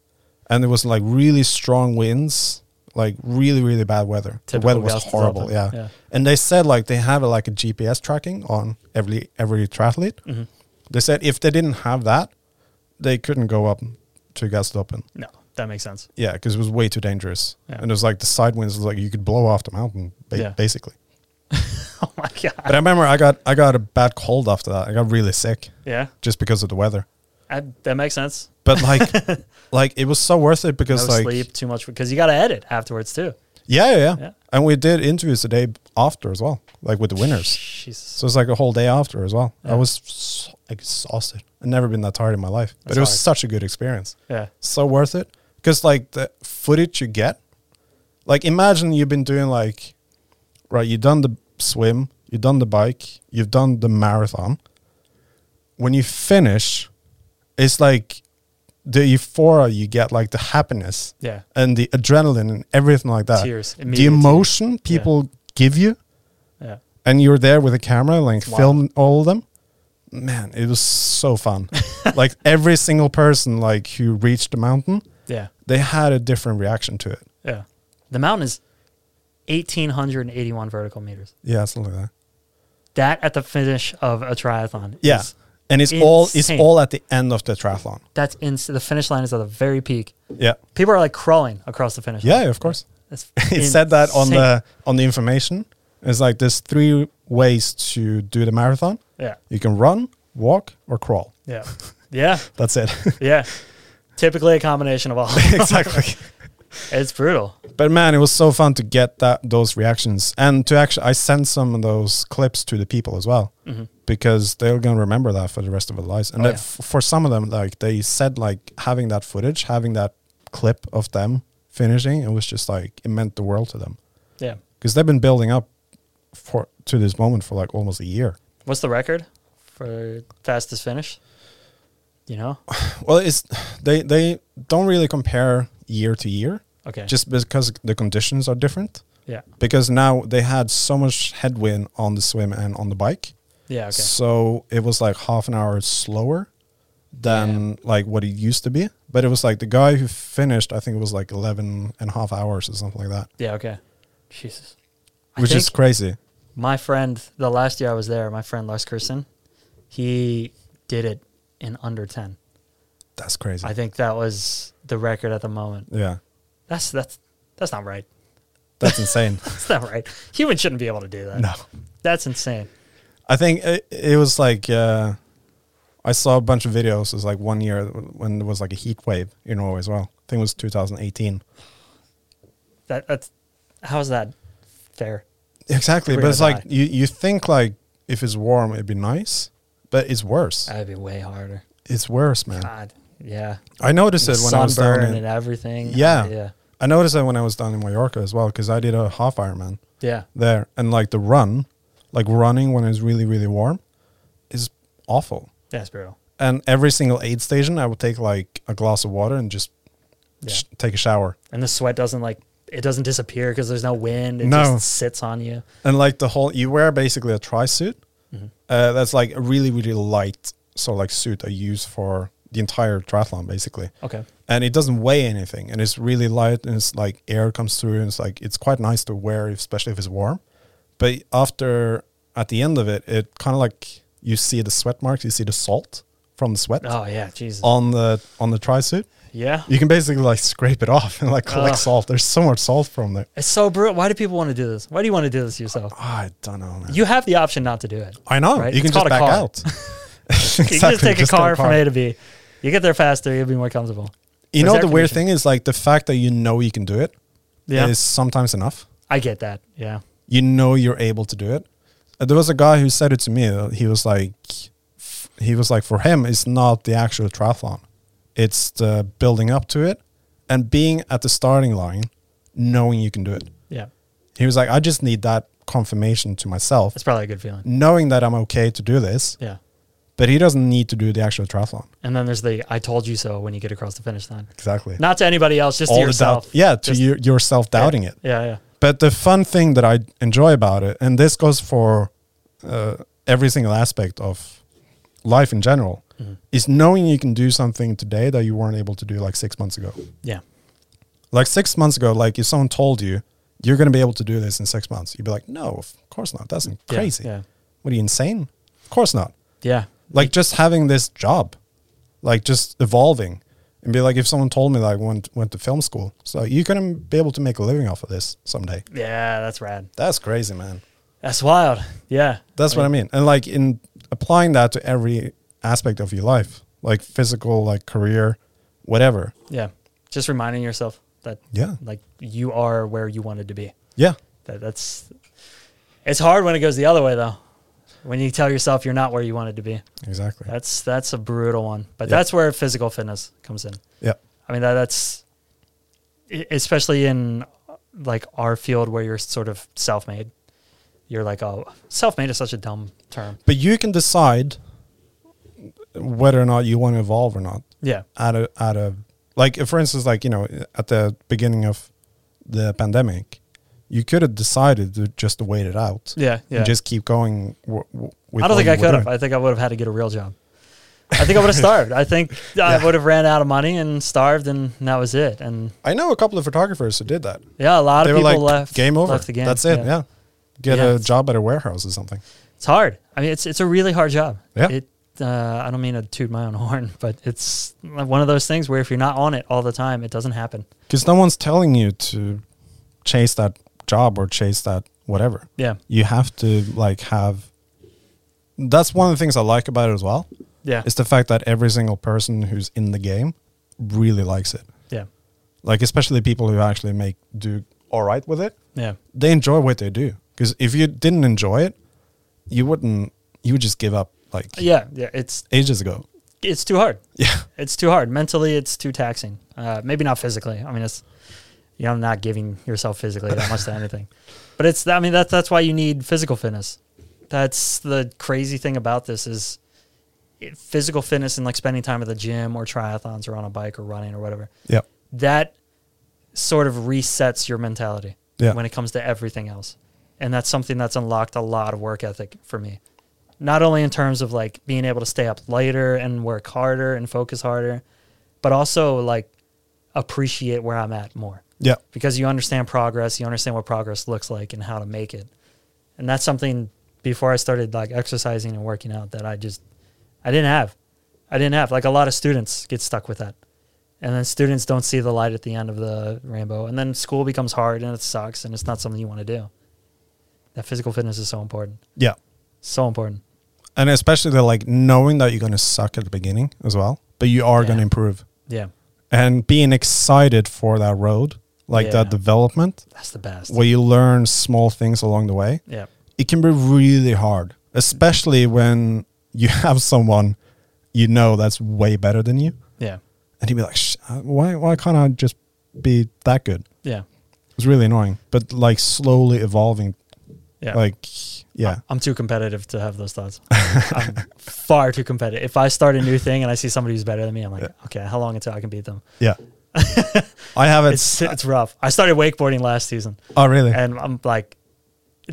And it was like really strong winds, like really, really bad weather.
Typical
the weather was
Gastotoppen,
horrible. Yeah.
yeah.
And they said like they have like a GPS tracking on every every triathlete.
Mhm.
They said if they didn't have that, they couldn't go up to Gastotoppen.
No, that makes sense.
Yeah, because it was way too dangerous.
Yeah.
And it was like the side winds was like you could blow off the mountain ba-
Yeah.
basically.
Oh my god.
But I remember I got I got a bad cold after that. I got really sick
Yeah,
just because of the weather.
that, that makes sense.
But like like it was so worth it
No
because like
sleep, too much because you got to edit afterwards too.
Yeah, yeah, yeah,
Yeah.
And we did interviews the day after as well, like with the winners.
Jesus.
So it's like a whole day after as well.
Yeah.
I was so exhausted. I've never been that tired in my life, but
That's
it was
hard.
such a good experience.
Yeah.
So worth it because like the footage you get, like imagine you've been doing like, right? You've done the swim, you've done the bike, you've done the marathon. When you finish, it's like the euphoria you get, like the happiness
Yeah.
and the adrenaline and everything like that.
Tears,
the
immediate
emotion
tears. Yeah.
people give you,
Yeah.
and you're there with a camera, like
wild.
film all of them. Man, it was so fun. like every single person, like who reached the mountain,
Yeah.
they had a different reaction to it.
Yeah. The mountain is 1,881 vertical meters.
Yeah, something like that.
That at the finish of a triathlon. is-
Yeah, and it's all it's
insane.
all at the end of the triathlon.
that's in the finish line is at the very peak.
Yeah,
People are like crawling across the finish.
yeah,
line.
of course.
That's
it said that on
insane.
the on the information. It's like there's three ways to do the marathon.
Yeah.
You can run, walk, or crawl.
Yeah. Yeah.
That's it.
Yeah. Typically a combination of all.
exactly.
it's brutal.
But man, it was so fun to get that those reactions and to actually I sent some of those clips to the people as well
Mm-hmm.
because they're gonna remember that for the rest of their lives. And
Oh,
that
yeah.
f- for some of them, like they said, like having that footage, having that clip of them finishing, it was just like it meant the world to them
Yeah.
because they've been building up for to this moment for like almost a year.
What's the record for fastest finish? You know?
Well, it's they they don't really compare year to year
Okay.
just because the conditions are different.
yeah.
because now they had so much headwind on the swim and on the bike.
Yeah. Okay.
So it was like half an hour slower than like what it used to be. But it was like the guy who finished, I think it was like 11 and a half hours or something like that,
Yeah. Okay. Jesus. I
which is
think-
crazy.
my friend the last year i was there my friend lars kirsten he did it in under 10
That's crazy.
i think that was the record at the moment
yeah.
that's that's that's not right
That's insane.
that's not right humans shouldn't be able to do that
no.
that's insane
I think it, it was like, uh, I saw a bunch of videos. It was like one year when there was like a heat wave in Norway as well. I think it was 2018.
that that's how's that fair
Exactly,
We're
but
gonna
it's like
die.
you, you think like if it's warm it'd be nice, but it's worse.
that'd be way harder
it's worse, man.
god yeah
I noticed it when I was down
sunburn and
in.
everything
Yeah.
yeah
I noticed that when I was down in Mallorca as well, because I did a half Ironman
Yeah.
there, and like the run, like running when it's really really warm, is awful.
Yeah, it's brutal.
And every single aid station, I would take like a glass of water and just
Yeah.
sh- take a shower.
And the sweat doesn't like it doesn't disappear because there's no wind. It
No.
just sits on you.
And like the whole, you wear basically a tri suit.
Mm-hmm.
Uh, that's like a really really light sort of like suit I use for the entire triathlon basically.
Okay.
and it doesn't weigh anything and it's really light and it's like air comes through and it's like it's quite nice to wear especially if it's warm but after at the end of it it kind of like you see the sweat marks you see the salt from the sweat
Oh yeah, Jesus.
on the on the tri suit
yeah.
you can basically like scrape it off and like collect
Ugh.
salt there's so much salt from there Ah,
It's so brutal. Why do people want to do this? Why do you want to do this to yourself?
i don't know man.
You have the option not to do it.
i know
Right,
you can
it's
just
called a
back
car.
out exactly.
You can just take
get
a car from A to B. You get there faster, you'll be more comfortable.
you
There's
know
air
the weird
conditioning.
thing is like the fact that you know you can do it is
Yeah.
sometimes enough
I get that. Yeah.
you know you're able to do it. Uh, There was a guy who said it to me. uh, He was like, f- he was like, for him, it's not the actual triathlon, it's the building up to it and being at the starting line, knowing you can do it.
Yeah.
He was like, I just need that confirmation to myself,
That's probably a good feeling.
knowing that I'm okay to do this,
Yeah.
but he doesn't need to do the actual triathlon.
And then there's the I told you so when you get across the finish line.
Exactly.
Not to anybody else, just to
the
yourself.
doubt, yeah, to
Just-
your, yourself doubting it.
Yeah, yeah.
But the fun thing that I enjoy about it, and this goes for uh, every single aspect of life in general,
Mm-hmm.
is knowing you can do something today that you weren't able to do like six months ago.
Yeah.
Like six months ago, like if someone told you you're going to be able to do this in six months, you'd be like, no, of course not. That's
Yeah,
crazy.
Yeah.
What are you insane? Of course not.
Yeah.
Like just having this job, like just evolving. And be like, if someone told me that I went, went to film school, so you're going to be able to make a living off of this someday.
Yeah, that's rad.
That's crazy, man.
That's wild. Yeah.
That's what I mean. And like in applying that to every aspect of your life, like physical, like career, whatever.
Yeah. Just reminding yourself that
Yeah.
like you are where you wanted to be.
Yeah.
That that's it's hard when it goes the other way though. When you tell yourself you're not where you wanted to be.
Exactly.
That's that's a brutal one. But
Yeah.
that's where physical fitness comes in.
yeah.
I mean that that's e- especially in like our field where you're sort of self-made. You're like, "Oh, self-made is such a dumb term."
But you can decide whether or not you want to evolve or not.
Yeah.
At a at a like for instance, like, you know, at the beginning of the pandemic, you could have decided to just wait it out.
Yeah, yeah.
And just keep going. W- w- with
I don't
what
think I
you were
could have.
doing.
I think I would have had to get a real job. I think I would have starved. I think I
Yeah.
would have ran out of money and starved, and that was it. And
I know a couple of photographers who did that.
yeah, a lot
they
of
were
people
like
left.
game over.
Left the game.
That's it. Yeah. Get
Yeah.
a job at a warehouse or something.
it's hard. I mean, it's it's a really hard job.
Yeah.
It. Uh, I don't mean to toot my own horn, but it's like one of those things where if you're not on it all the time, it doesn't happen.
Because no one's telling you to chase that job or chase that whatever.
Yeah.
You have to like have. That's one of the things I like about it as well.
Yeah.
Is the fact that every single person who's in the game really likes it.
yeah.
Like especially people who actually make do all right with it.
Yeah.
They enjoy what they do. Because if you didn't enjoy it, you wouldn't. You would just give up like
Yeah. Yeah. It's
ages ago.
it's too hard.
Yeah.
It's too hard. Mentally, it's too taxing. Uh, maybe not physically. I mean, it's you know, not giving yourself physically that much to anything. But it's I mean that's that's why you need physical fitness. That's the crazy thing about this is it, physical fitness and like spending time at the gym or triathlons or on a bike or running or whatever.
Yeah.
That sort of resets your mentality
Yeah.
when it comes to everything else. And that's something that's unlocked a lot of work ethic for me. Not only in terms of like being able to stay up later and work harder and focus harder, but also like appreciate where I'm at more
Yeah.
because you understand progress, you understand what progress looks like and how to make it. And that's something before I started like exercising and working out that I just I didn't have. I didn't have like a lot of students get stuck with that. And then students don't see the light at the end of the rainbow and then school becomes hard and it sucks and it's not something you want to do. That physical fitness is so important.
Yeah.
So important.
and especially the like knowing that you're going to suck at the beginning as well but you are
Yeah.
going to improve
Yeah.
and being excited for that road like
Yeah.
that development
That's the best.
where you learn small things along the way
Yeah.
it can be really hard especially when you have someone you know that's way better than you
Yeah.
and you'd be like Sh- uh, why, why can't i just be that good.
Yeah.
It was really annoying, but like slowly evolving.
Yeah. Uh,
Like, yeah,
I'm too competitive to have those thoughts. I'm far too competitive. If I start a new thing and I see somebody who's better than me, I'm like, okay, how long until I can beat them?
yeah. I have it.
It's it's rough. I started wakeboarding last season,
oh, really?
and I'm like,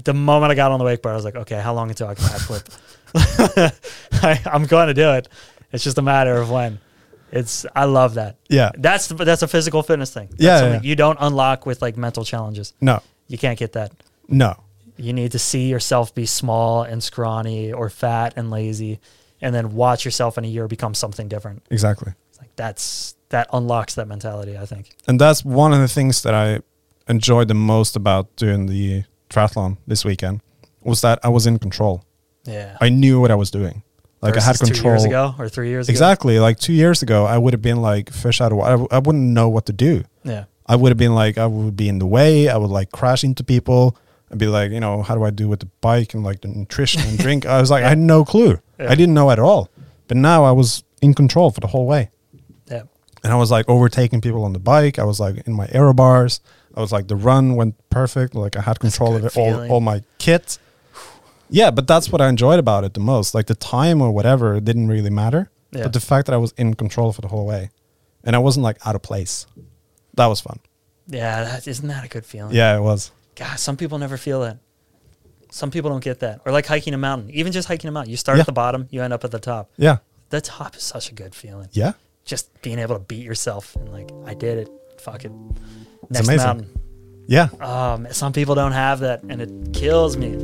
the moment I got on the wakeboard, I was like, okay, how long until I can backflip? I, I'm going to do it. It's just a matter of when. It's I love that.
yeah.
That's the, that's a physical fitness thing. That's
Yeah, yeah,
something
yeah.
You don't unlock with like mental challenges.
No,
You can't get that.
no.
You need to see yourself be small and scrawny or fat and lazy, and then watch yourself in a year become something different.
Exactly.
It's like that's that unlocks that mentality. I think.
And that's one of the things that I enjoyed the most about doing the triathlon this weekend was that I was in control.
Yeah.
I knew what I was doing. Like I had
Versus
control.
two years ago or three years
Exactly. Like two years ago, I would have been like fish out of water. I w- I wouldn't know what to do.
ago. Yeah.
I would have been like, I would be in the way. I would like crash into people. I'd be like, you know, how do I do with the bike and like the nutrition and drink? I was like, I had no clue.
Yeah.
I didn't know at all. But now I was in control for the whole way.
Yeah.
And I was like overtaking people on the bike. I was like in my aero bars. I was like, the run went perfect. Like I had control of
good
it, all,
feeling.
all my kit. Yeah, but that's what I enjoyed about it the most. Like the time or whatever it didn't really matter.
Yeah.
But the fact that I was in control for the whole way and I wasn't like out of place. That was fun.
Yeah. That, isn't that a good feeling?
Yeah, it was.
God, some people never feel that. Some people don't get that. Or like hiking a mountain, even just hiking a mountain. You start
Yeah.
at the bottom, you end up at the top.
Yeah.
The top is such a good feeling.
Yeah.
Just being able to beat yourself and like, I did it. Fuck it. Next
amazing.
mountain.
Yeah.
Um, some people don't have that, and it kills me.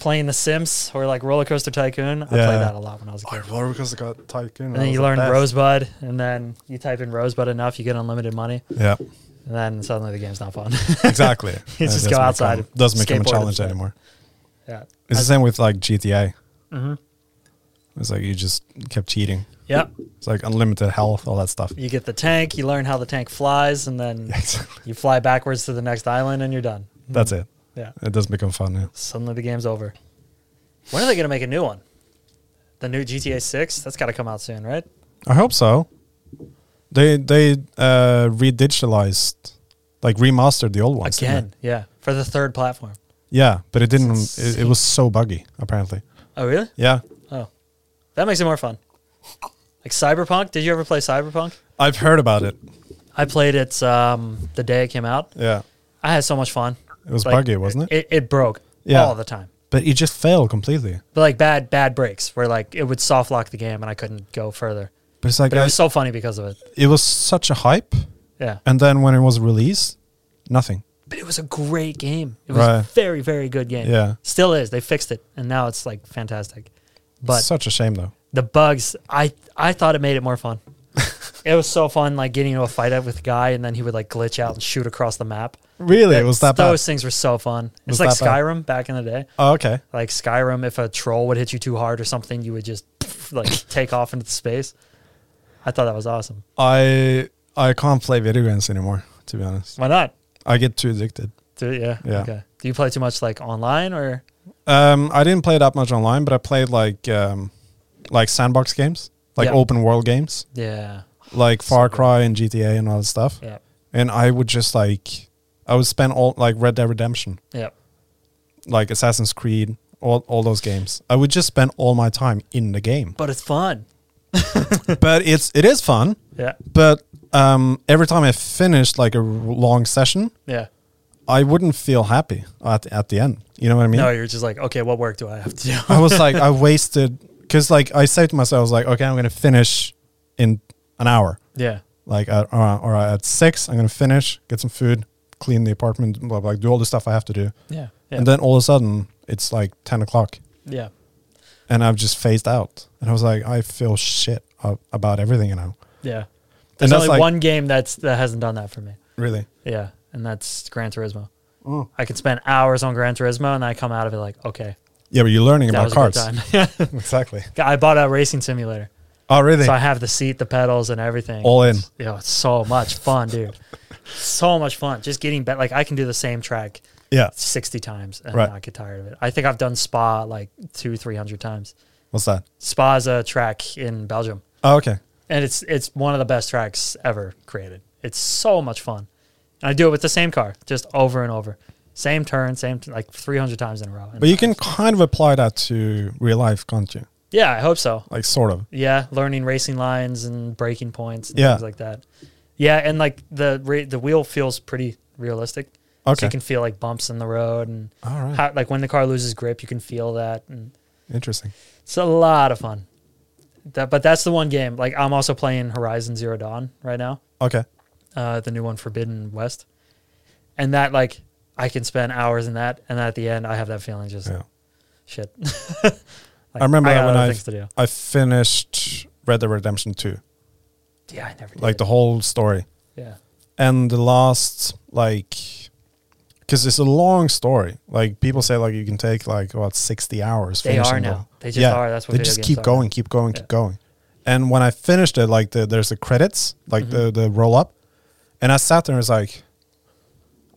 Playing The Sims or like Roller Coaster Tycoon, I
Yeah.
played that a lot when I was a kid.
roller coaster got taken.
And then you learn Rosebud, and then you type in Rosebud enough, you get unlimited money,
Yeah,
and then suddenly the game's not fun.
exactly. you
just go outside and
doesn't become a
skateboard
challenge
instead.
anymore.
yeah.
It's the same with like GTA.
Mhm.
It's like you just kept cheating.
Yep.
It's like unlimited health, all that stuff.
You get the tank, you learn how the tank flies, and then
Exactly.
you fly backwards to the next island and you're done.
That's it.
Yeah.
It doesn't become fun. Yeah.
Suddenly the game's over. When are they going to make a new one? The new GTA 6? That's got to come out soon, right?
I hope so. They they uh redigitalized, like remastered the old ones didn't
Again.
they?
Yeah. For the third platform.
Yeah, but it didn't. It, it
insane.
was so buggy apparently.
Oh, really?
Yeah,
Oh. That makes it more fun. Like Cyberpunk? Did you ever play Cyberpunk?
I've heard about it.
I played it um, the day it came out.
Yeah,
I had so much fun.
it was buggy, wasn't it?
It, it broke
Yeah.
all the time.
But it just failed completely.
But like bad, bad breaks where like it would soft lock the game and I couldn't go further.
But it's like
But it
I-
was so funny because of it.
it was such a hype,
Yeah.
and then when it was released, nothing.
but it was a great game. It was a
Right.
very, very good game.
Yeah.
Still is. They fixed it and now it's like fantastic. But
such a shame though.
the bugs, I I thought it made it more fun. it was so fun like getting into a fight with a guy and then he would like glitch out and shoot across the map.
Really, it was that bad.
Those things were so fun.
Was
It's like
that bad?
Skyrim back in the day.
Oh, okay.
Like Skyrim, if a troll would hit you too hard or something, you would just like take off into space. I thought that was awesome.
I I can't play video games anymore. To be honest,
Why not?
I get too addicted.
Do, yeah.
Yeah.
Okay. Do you play too much like online or?
Um, I didn't play that much online, but I played like um, like sandbox games, like
Yeah.
open world games,
Yeah.
like Far
good.
Cry and GTA and all that stuff.
Yeah.
And I would just like I would spend all like Red Dead Redemption,
Yeah.
like Assassin's Creed, all all those games. I would just spend all my time in the game.
But it's fun.
but it's it is fun.
Yeah.
But um, every time I finished like a r- long session,
Yeah.
I wouldn't feel happy at at the end. You know what I mean?
No, you're just like, okay, what work do I have to do?
I was like, I wasted because like I said to myself, I was like, okay, I'm gonna finish in an hour.
yeah.
Like, at, all, right, all right, at six, I'm gonna finish, get some food, clean the apartment, blah, blah, do all the stuff I have to do,
Yeah. Yeah.
and then all of a sudden it's like ten o'clock,
yeah.
and I've just phased out, and I was like, I feel shit a- about everything now.
Yeah.
And
There's
that's
only
like-
one game that's that hasn't done that for me.
Really?
Yeah. And that's Gran Turismo.
Mm.
I could spend hours on Gran Turismo and I come out of it like, okay,
Yeah, but you're learning
that
about
was a good
cars.
time. Yeah.
Exactly.
I bought a racing simulator.
Oh, really?
So I have the seat, the pedals, and everything.
All in.
Yeah, it's so much fun, dude. so much fun. Just getting better. Like I can do the same track
Yeah.
60 times and
Right.
not get tired of it. I think I've done spa like two, 300 times.
What's that?
Spa is a track in Belgium
Oh, okay.
and it's it's one of the best tracks ever created. It's so much fun, and I do it with the same car, just over and over, same turn, same t- like three hundred times in a row. And
But you can kind of apply that to real life, can't you?
yeah, I hope so.
Like sort of.
Yeah, learning racing lines and breaking points and
Yeah.
things like that. Yeah, and like the re- the wheel feels pretty realistic. So
Okay.
you can feel like bumps in the road and
All right.
how, like when the car loses grip, you can feel that. And
Interesting.
It's a lot of fun. That, but that's the one game. Like I'm also playing Horizon Zero Dawn right now.
Okay.
uh, the new one Forbidden West, and that like I can spend hours in that, and at the end I have that feeling just
Yeah.
shit. Like,
I remember
got
that when
other
I-
things to do.
I finished Red Dead Redemption 2,
Yeah, I never did.
like the whole story.
yeah,
And the last, like, because it's a long story. Like, people say, like, you can take, like, about 60 hours.
they are
finishing the-
now. They just
Yeah,
are. That's what
They
video
just
games
keep
are.
going, keep going,
Yeah.
keep going. And when I finished it, like, the, there's the credits, like, the,
Mm-hmm.
the roll up. And I sat there and was like,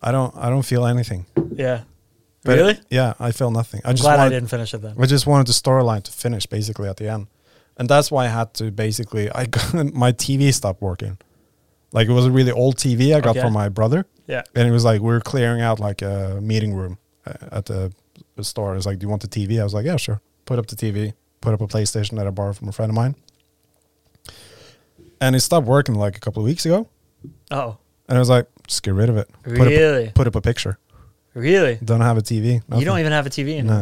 I don't, I don't feel anything.
Yeah,
But-
really. I'm
Yeah, I feel nothing. I just
glad I
wanted-
didn't finish it then.
I just wanted the storyline to finish basically at the end, and that's why I had to basically. I got, my TV stopped working. Like it was a really old TV I got
Okay.
from my brother,
Yeah,
and it was like we were clearing out like a meeting room uh, at the store. It's like, "Do you want the TV?" I was like, "Yeah, sure." Put up the TV. Put up a PlayStation that I borrowed from a friend of mine, and it stopped working like a couple of weeks ago.
Oh,
And I was like, "Just get rid of it." Put up,
really,
put up a picture.
really.
Don't have a TV.
You don't
nothing.
even have a TV anymore.
No.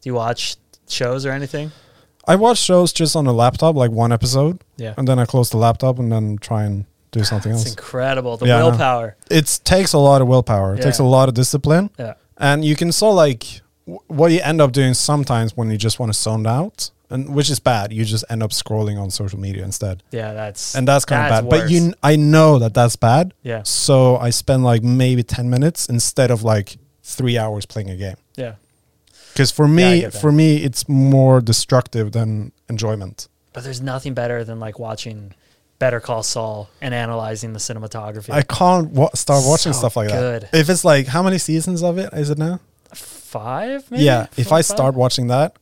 Do you watch shows or anything?
I watch shows just on the laptop, like one episode.
Yeah,
and then I close the laptop and then try and do something
it's
else.
incredible. The
Yeah, I know.
willpower.
It takes a lot of willpower. It takes a
Yeah.
lot of discipline,
Yeah,
and you can so like w- what you end up doing sometimes when you just want to zone out, and which is bad. You just end up scrolling on social media instead,
yeah. That's
and that's kind of bad. But you, kn-
worse.
I know that that's bad.
yeah,
So I spend like maybe ten minutes instead of like three hours playing a game.
yeah.
Because for
Yeah, I
me,
get that.
for me, it's more destructive than enjoyment.
But there's nothing better than like watching Better Call Saul and analyzing the cinematography.
I can't wa- start watching
So
stuff like
good.
that. If it's like how many seasons of it is it now?
five, maybe.
yeah, if I
Four, five?
start watching that,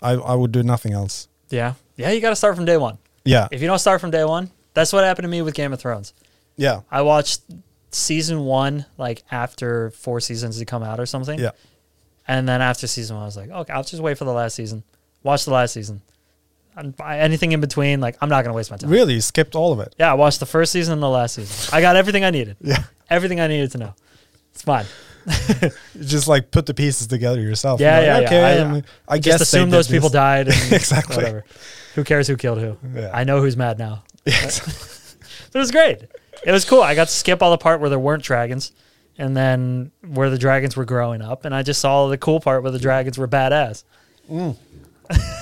I I would do nothing else.
yeah, yeah, you got to start from day one.
Yeah,
If you don't start from day one, that's what happened to me with Game of Thrones.
yeah,
I watched season one like after four seasons had come out or something.
yeah.
And then after season one, I was like, okay, I'll just wait for the last season. Watch the last season. And I- anything in between, like I'm not gonna waste my time.
Really, you skipped all of it.
Yeah, I watched the first season and the last season. I got everything I needed.
Yeah,
Everything I needed to know. It's fine.
You just like put the pieces together yourself.
Yeah,
You're like,
yeah,
okay,
yeah. I-
I, mean, I
just
guess
assume those people
died.
died. And
Exactly.
Whatever. Who cares who killed who?
Yeah.
I know who's mad now. But it was great. It was cool. I got to skip all the part where there weren't dragons, and then where the dragons were growing up, and I just saw the cool part where the dragons were badass.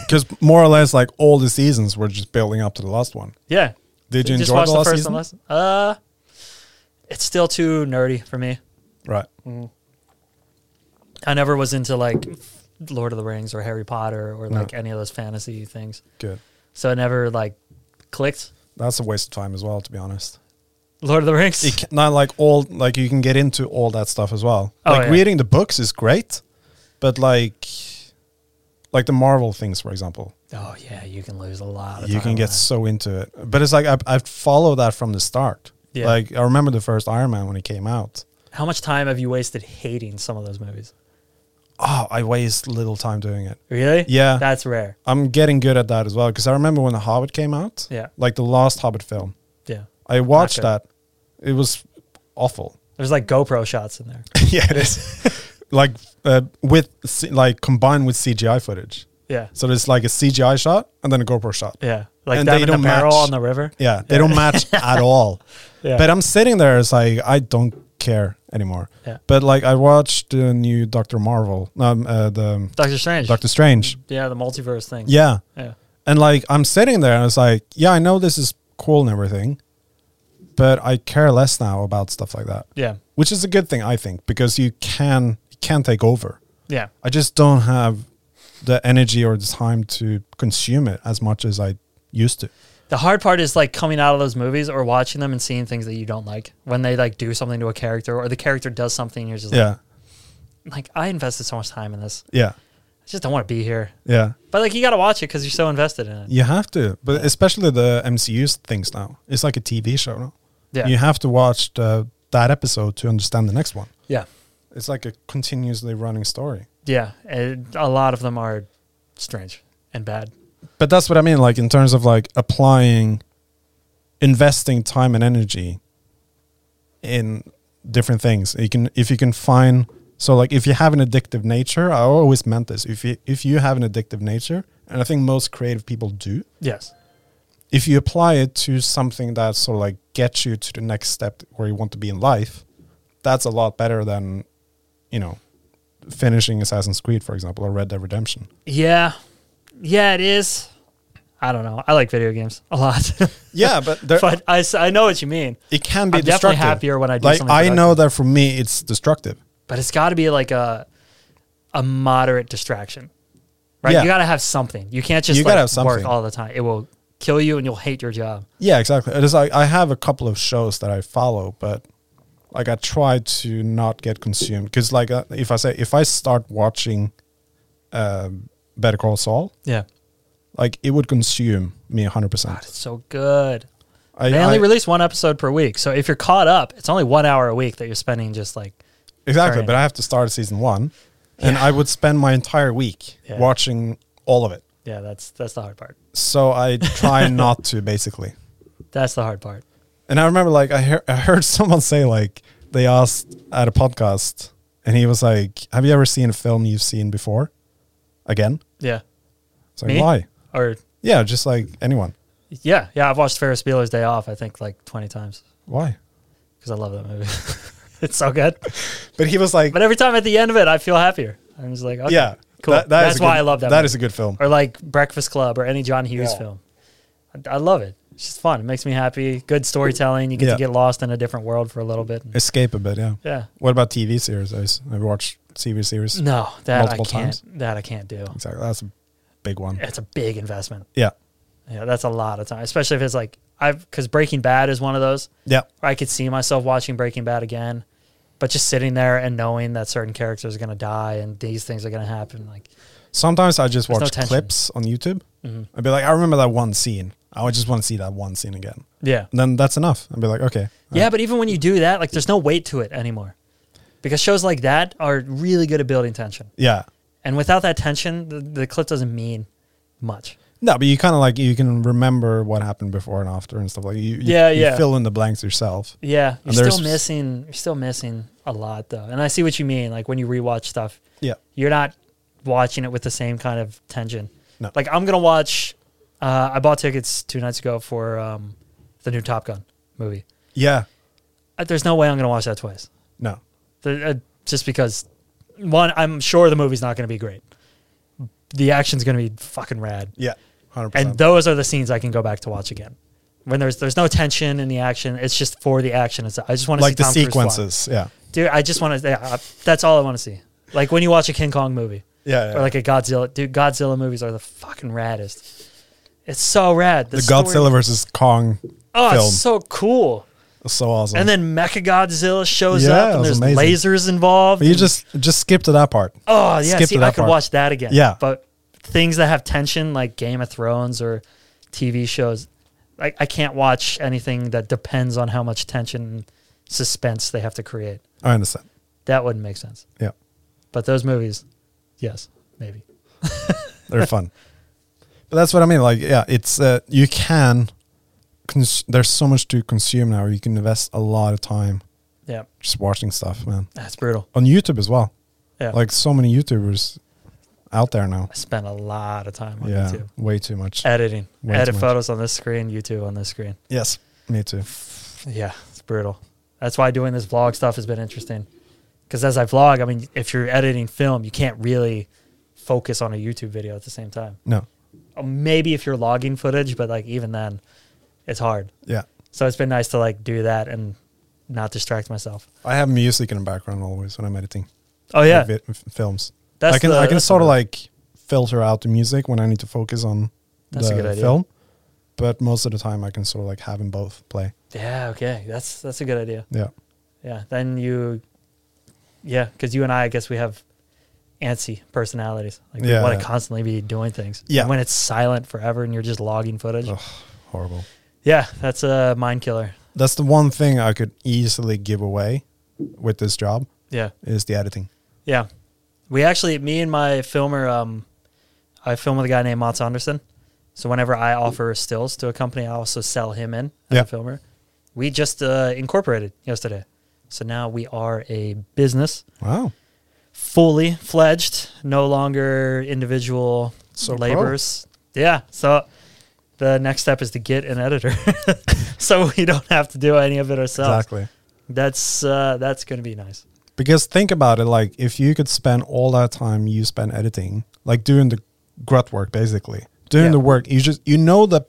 Because more or less, like all the seasons were just building up to the last one.
Yeah.
Did you
just
enjoy
watched
the last
first
season?
and last- Uh, it's still too nerdy for me.
Right.
I never was into like Lord of the Rings or Harry Potter or like any of those fantasy things,
Good.
so it never like clicked.
That's a waste of time as well, to be honest.
Lord of the Rings.
It can, not like all like you can get into all that stuff as well.
Oh,
like
yeah.
reading the books is great, but like like the Marvel things, for example.
Oh yeah, you can lose a lot. Of
you
time
can
on
get
that.
so into it. But it's like I, I follow that from the start.
Yeah.
Like I remember the first Iron Man when he came out.
How much time have you wasted hating some of those movies?
Oh, I waste little time doing it.
Really?
Yeah.
That's rare.
I'm getting good at that as well because I remember when The Hobbit came out.
Yeah.
Like the last Hobbit film.
Yeah.
I watched
good.
that. It was awful.
There's like GoPro shots in there.
yeah, it is. like uh, with C- like combined with CGI footage.
Yeah.
So there's like a CGI shot and then a GoPro shot.
Yeah. Like
And
them
they
in the
don't
barrel
match.
on the river.
Yeah, they don't match at all.
Yeah.
But I'm sitting there, it's like I don't care anymore.
Yeah.
But like I watched the new Doctor Marvel, um, uh, the
Doctor Strange.
Doctor Strange.
yeah, the multiverse thing.
Yeah,
Yeah.
and like I'm sitting there, and it's like, yeah, I know this is cool and everything, but I care less now about stuff like that,
Yeah.
which is a good thing, I think, because you can you can take over.
Yeah.
I just don't have the energy or the time to consume it as much as I used to.
The hard part is like coming out of those movies or watching them and seeing things that you don't like when they like do something to a character or the character does something. You're just like,
Yeah.
like I invested so much time in this.
Yeah.
I just don't want to be here.
Yeah.
But like you got to watch it because you're so invested in it.
You have to, but especially the MCU's things now. It's like a TV show now.
Yeah.
You have to watch the, that episode to understand the next one.
Yeah.
It's like a continuously running story.
Yeah. And a lot of them are strange and bad.
But that's what I mean, like in terms of like applying, investing time and energy in different things. You can if you can find so like if you have an addictive nature, I always meant this. If you if you have an addictive nature, and I think most creative people do,
Yes.
if you apply it to something that sort of like gets you to the next step where you want to be in life, that's a lot better than, you know, finishing Assassin's Creed, for example, or Red Dead Redemption.
Yeah. Yeah, it is. I don't know. I like video games a lot.
Yeah, but, there,
but I, s- I know what you mean.
it can be
I'm definitely
destructive.
happier when I do
like
something
I know
productive.
that for me, it's destructive.
But it's got to be like a a moderate distraction. Right?
Yeah.
You got to have something. You can't just
You
like,
gotta have
work
something.
all the time. It will kill you and you'll hate your job.
Yeah, exactly. It is like I have a couple of shows that I follow, but like I try to not get consumed because like uh, if I say if I start watching, um, Better Call Saul,
Yeah.
like it would consume me hundred percent.
It's so good.
I
They only
I-
release one episode per week. So if you're caught up, it's only one hour a week that you're spending just like,
Exactly,
Sorry.
but I have to start season one, and I would spend my entire week
Yeah.
watching all of it.
yeah, that's that's the hard part.
So I try not to, basically.
That's the hard part.
And I remember, like, I, hear I heard someone say, like, they asked at a podcast, and he was like, "Have you ever seen a film you've seen before, again?"
Yeah.
It's like,
Me?
why?
Or
Yeah, just like anyone.
yeah, yeah, I've watched Ferris Bueller's Day Off I think like 20 times
Why?
because I love that movie. it's so good.
But he was like,
But every time at the end of it, I feel happier. I'm just like, okay,
"Yeah,
cool.
that- that is
that's
a
why
good-
I love that.
That
movie.
is a good film.
or like Breakfast Club or any John Hughes
Yeah.
film. I, I love it. It's just fun. It makes me happy. Good storytelling. You get
Yeah.
to get lost in a different world for a little bit.
Escape a bit, yeah.
yeah.
What about TV series? I s- I've watched TV series.
No, that
Multiple
I can't.
times?
That I can't do.
Exactly, that's a big one.
It's a big investment.
Yeah,
Yeah, that's a lot of time, especially if it's like I've because Breaking Bad is one of those.
yeah,
where I could see myself watching Breaking Bad again, but just sitting there and knowing that certain characters are going to die and these things are going to happen, like
Sometimes I just
There's no
watch
tension.
clips on YouTube. I'd be like, I remember that one scene. I would just want to see that one scene again.
yeah,
And then that's enough. I'd be like, okay. Uh,
yeah. But even when you do that, like there's no weight to it anymore, because shows like that are really good at building tension,
Yeah.
and without that tension, the, the clip doesn't mean much.
No, but you kind of like, you can remember what happened before and after and stuff like you, you,
Yeah,
you
yeah.
fill in the blanks yourself.
Yeah,
And
you're
there's-
still missing. You're still missing a lot though, and I see what you mean. Like when you rewatch stuff,
Yeah.
you're not watching it with the same kind of tension.
No.
Like I'm gonna watch. Uh, I bought tickets two nights ago for um, the new Top Gun movie.
Yeah.
Uh, There's no way I'm gonna watch that twice.
No.
The- uh, just because, one, I'm sure the movie's not gonna be great. The action's gonna be fucking rad,
Yeah. 100%.
and those are the scenes I can go back to watch again. When there's there's no tension in the action, it's just for the action. It's I just want to
like
see
the
Tom Cruise fly.
sequences. Yeah.
dude. I just want to. Yeah, I- that's all I want to see. Like when you watch a King Kong movie
Yeah. yeah.
or like a Godzilla. Dude, Godzilla movies are the fucking raddest. It's so rad.
the
story-
Godzilla versus Kong.
Oh,
film.
it's so cool.
was so awesome.
And then Mecha Godzilla shows
Yeah,
up
it
and
was
there's
amazing.
lasers involved.
but you
and-
just, just skip to that part.
oh yeah.
skip
See,
to
I
that
could
part.
watch that again.
Yeah.
but things that have tension like Game of Thrones or TV shows, like I can't watch anything that depends on how much tension and suspense they have to create.
I understand.
That wouldn't make sense.
Yeah.
But those movies, yes, maybe.
they're fun but that's what i mean like yeah it's uh, you can cons- there's so much to consume now you can invest a lot of time
Yeah,
just watching stuff man
that's brutal.
on youtube as well
Yeah,
like so many youtubers out there now
I spent a lot of time on
yeah
YouTube
way too much
editing,
Way
edit
too much.
photos on this screen, YouTube on this screen.
yes me too
Yeah, it's brutal. That's why doing this vlog stuff has been interesting. Because as I vlog, I mean, if you're editing film, you can't really focus on a YouTube video at the same time.
no
Uh, Maybe if you're logging footage, but like even then, it's hard.
yeah
So it's been nice to like do that and not distract myself.
i have music in the background always when i'm editing
Oh yeah,
like vi- f- films
That's
i can
the-
i can
that's the
sort of
move.
like filter out the music when i need to focus on
That's a
the
good idea.
film but most of the time i can sort of like have them both play
yeah. Okay, that's that's a good idea.
yeah
Yeah, then you yeah, because you and I, I guess we have antsy personalities. Like
Yeah.
we want to constantly be doing things.
Yeah.
And when it's silent forever and you're just logging footage.
Ugh, horrible.
Yeah, that's a mind killer.
That's the one thing I could easily give away with this job
Yeah.
is the editing.
Yeah. We actually, me and my filmer, um, I film with a guy named Mats Anderson. So whenever I offer stills to a company, I also sell him in as
Yeah.
a filmer. We just uh, incorporated yesterday. So now we are a business,
Wow.
fully fledged, no longer individual
So pro.
laborers. Yeah. So the next step is to get an editor. so we don't have to do any of it ourselves.
Exactly.
That's uh, that's going to be nice.
Because think about it, like if you could spend all that time you spend editing, like doing the grunt work basically, doing
Yeah.
the work, you just you know the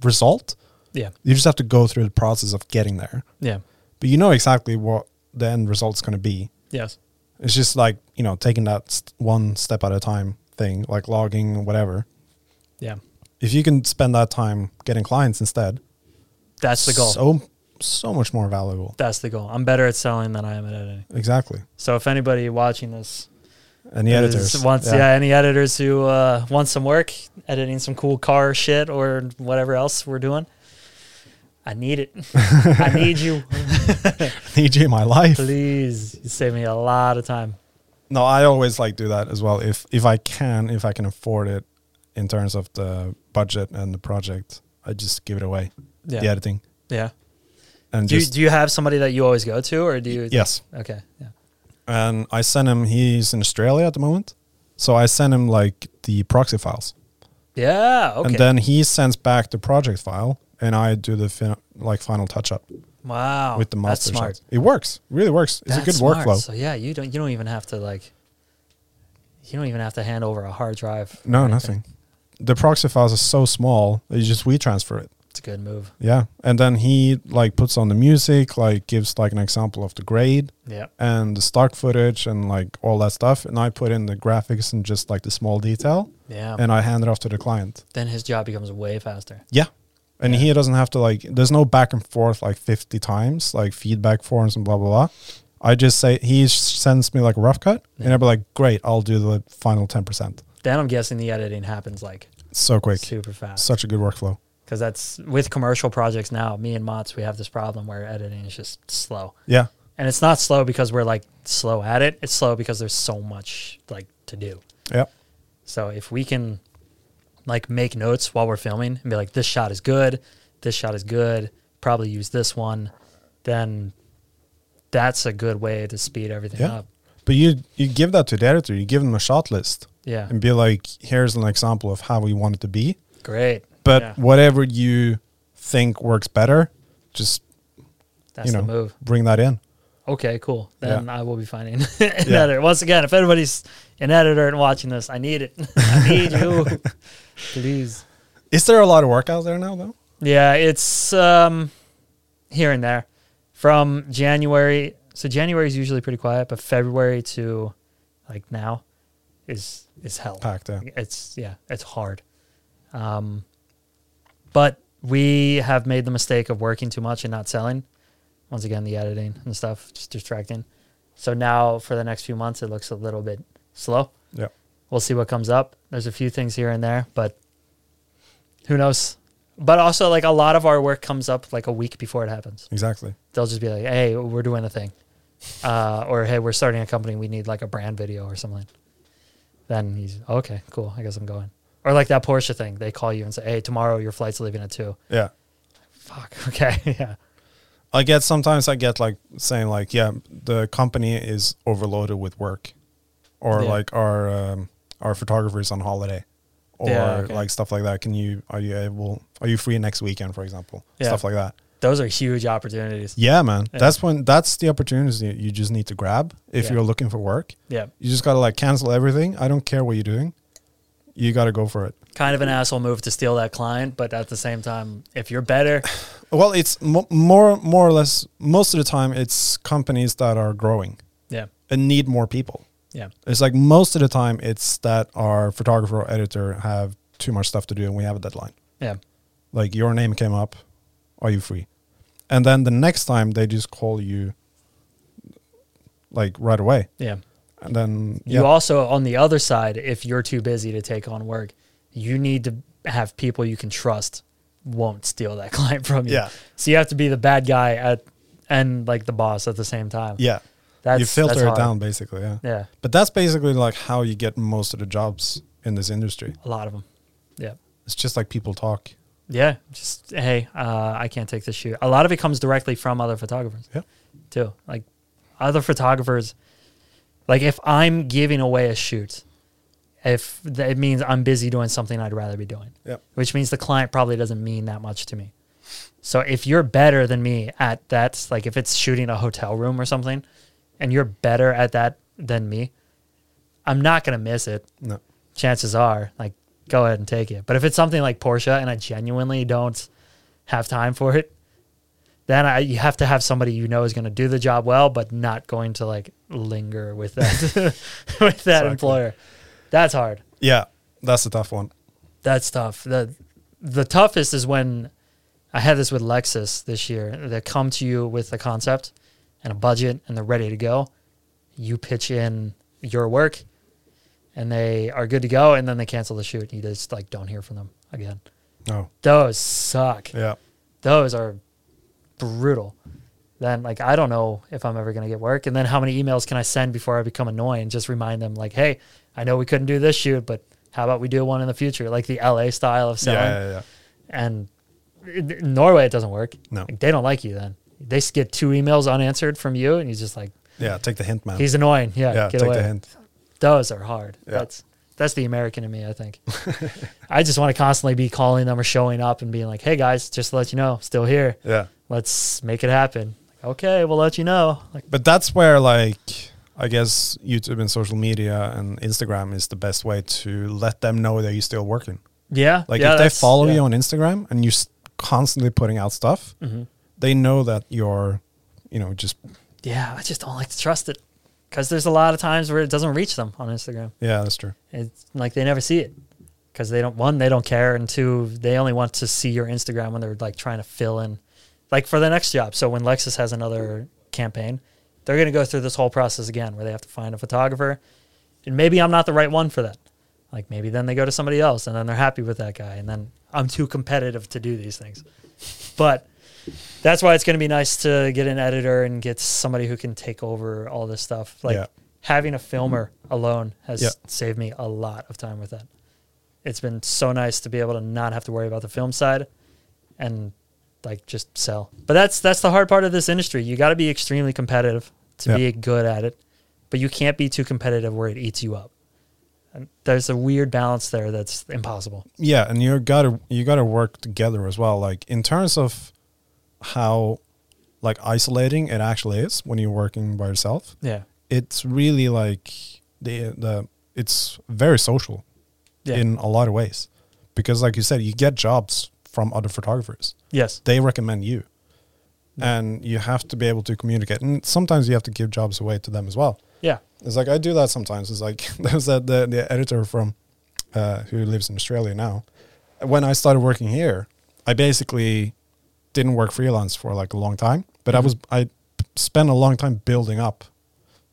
result.
Yeah.
You just have to go through the process of getting there.
Yeah.
But you know exactly what the end result's going to be.
Yes.
It's just like, you know, taking that st- one step at a time thing, like logging or whatever.
Yeah.
If you can spend that time getting clients instead,
That's the goal.
So so much more valuable.
That's the goal. I'm better at selling than I am at editing.
Exactly.
So if anybody watching this
And the
is-
editors
wants, yeah. any editors who uh, want some work editing some cool car shit or whatever else we're doing, I need it. I need you.
need you in E my life.
Please, you save me a lot of time.
No, I always like do that as well. If if I can, if I can afford it, in terms of the budget and the project, I just give it away.
Yeah,
The editing
yeah.
and
Do you,
just
do you have somebody that you always go to, or do you?
yes.
Okay. Yeah.
And I send him. He's in Australia at the moment, so I send him like the proxy files,
Yeah. Okay.
and then he sends back the project file, and I do the fin- like final touch up
wow.
with the
Oh, That's
master.
smart.
shots. It works. Really works. It's a good
That's smart.
workflow.
So yeah, you don't you don't even have to like. You don't even have to hand over a hard drive.
No,
or
nothing. The proxy files are so small. that You just we transfer it.
It's a good move.
Yeah, and then he like puts on the music, like gives like an example of the grade
Yeah.
and the stock footage and like all that stuff, and I put in the graphics and just like the small detail,
Yeah.
and I hand it off to the client.
then his job becomes way faster.
Yeah, and
Yeah.
he doesn't have to like. There's no back and forth like 50 times like feedback forms and blah blah blah. I just say he s- sends me like a rough cut, and
Yeah.
I'd be like, great, I'll do the final 10 percent.
Then I'm guessing the editing happens like
So quick,
super fast
such a good workflow.
because that's with commercial projects now. Me and Mots, we have this problem where editing is just slow,
Yeah,
and it's not slow because we're like slow at it. It's slow because there's so much like to do.
yeah,
So if we can like make notes while we're filming and be like, this shot is good, this shot is good, probably use this one, then that's a good way to speed everything
Yeah.
up.
but you you give that to the editor. You give them a shot list.
Yeah,
and be like, here's an example of how we want it to be.
great.
But
Yeah.
whatever you think works better, just
That's
you know,
the move.
bring that in.
Okay, cool. Then
Yeah.
I will be finding an editor. Once again, if anybody's an editor and watching this, I need it. I need you. Please.
Is there a lot of work out there now though?
Yeah, it's um here and there. From January so January is usually pretty quiet, but February to like now is is hell.
Packed, yeah.
It's yeah, it's hard. Um but we have made the mistake of working too much and not selling. Once again, the editing and stuff just distracting. So now for the next few months it looks a little bit slow.
Yeah.
We'll see what comes up. There's a few things here and there, but who knows? But also, like a lot of our work comes up like a week before it happens.
Exactly.
They'll just be like, "Hey, we're doing a thing," uh, or "Hey, we're starting a company. We need like a brand video or something." Then he's okay, cool. I guess I'm going. Or like that Porsche thing. They call you and say, "Hey, tomorrow your flight's leaving at 2.
Yeah.
Fuck. Okay. yeah.
I get sometimes I get like saying like, yeah, the company is overloaded with work. Or
Yeah.
like our um, our photographer is on holiday. Or
Yeah, okay.
like stuff like that. Can you are you able are you free next weekend, for example?
Yeah.
Stuff like that.
Those are huge opportunities.
Yeah, man.
Yeah.
That's when that's the opportunity you just need to grab if
Yeah.
you're looking for work.
Yeah.
You just gotta like cancel everything. I don't care what you're doing. You gotta go for it.
Kind of an asshole move to steal that client, but at the same time, if you're better,
Well, it's mo- more more or less most of the time it's companies that are growing
yeah,
and need more people.
yeah,
It's like most of the time it's that our photographer or editor have too much stuff to do and we have a deadline.
yeah,
Like your name came up, are you free? And then the next time they just call you like right away.
Yeah.
And then yeah,
You also, on the other side, if you're too busy to take on work, you need to have people you can trust won't steal that client from you.
Yeah.
So you have to be the bad guy at and like the boss at the same time.
yeah,
That's
you filter
that's
it
hard.
down basically. Yeah.
Yeah.
But that's basically like how you get most of the jobs in this industry.
A lot of them. Yeah.
It's just like people talk.
Yeah. Just hey, uh, I can't take this shoot. A lot of it comes directly from other photographers.
Yeah.
Too. Like other photographers like if I'm giving away a shoot, if th- it means I'm busy doing something I'd rather be doing.
Yep.
Which means the client probably doesn't mean that much to me. So if you're better than me at that, like if it's shooting a hotel room or something, and you're better at that than me, I'm not gonna miss it
No.
chances are like go ahead and take it. But if it's something like Porsche and I genuinely don't have time for it, then I you have to have somebody you know is going to do the job well, but not going to like linger with that with that
Exactly.
employer. That's hard.
Yeah, that's a tough one.
That's tough. the The toughest is when I had this with Lexus this year. They come to you with a concept and a budget, and they're ready to go. You pitch in your work, and they are good to go, and then they cancel the shoot. You just like don't hear from them again.
No.
Those suck.
Yeah.
Those are brutal. Then like I don't know if I'm ever gonna get work, and then how many emails can I send before I become annoying? Just remind them like, hey, I know we couldn't do this shoot, but how about we do one in the future, like the LA style of selling.
Yeah, yeah, yeah.
And in in Norway, it doesn't work.
No.
Like, they don't like you. Then they s- get two emails unanswered from you, and he's just like,
Yeah, take the hint, man.
he's annoying. Yeah,
yeah,
get
take
away.
the hint.
Those are hard.
Yeah.
That's that's the American in me, I think. I just want to constantly be calling them or showing up and being like, "Hey guys, just to let you know, still here.
Yeah.
Let's make it happen." Like, okay, we'll let you know. Like,
But that's where like I guess YouTube and social media and Instagram is the best way to let them know that you're still working.
yeah,
Like
yeah,
if they
that's-
follow
yeah.
you on Instagram and you're s- constantly putting out stuff,
Mhm.
they know that you're, you know, just
yeah, I just don't like to trust it because there's a lot of times where it doesn't reach them on Instagram.
yeah, that's true.
It's like they never see it because they don't one they don't care and two they only want to see your Instagram when they're like trying to fill in like for the next job. So when Lexus has another campaign, they're going to go through this whole process again where they have to find a photographer and maybe I'm not the right one for that. Like maybe then they go to somebody else and then they're happy with that guy and then I'm too competitive to do these things. But that's why it's going to be nice to get an editor and get somebody who can take over all this stuff. Like
Yeah.
having a filmer alone has
Yeah.
saved me a lot of time with that. It's been so nice to be able to not have to worry about the film side and like just sell. But that's that's the hard part of this industry. You got to be extremely competitive to
Yeah.
be good at it, but you can't be too competitive where it eats you up. And there's a weird balance there that's impossible.
Yeah, and you gotta you gotta work together as well. Like in terms of how like isolating it actually is when you're working by yourself,
Yeah.
it's really like the the it's very social
Yeah.
in a lot of ways because like you said you get jobs from other photographers
yes.
they recommend you and you have to be able to communicate and sometimes you have to give jobs away to them as well
Yeah.
it's like i do that sometimes it's like there's that the, the editor from uh, who lives in australia now when i started working here i basically didn't work freelance for like a long time but i was i spent a long time building up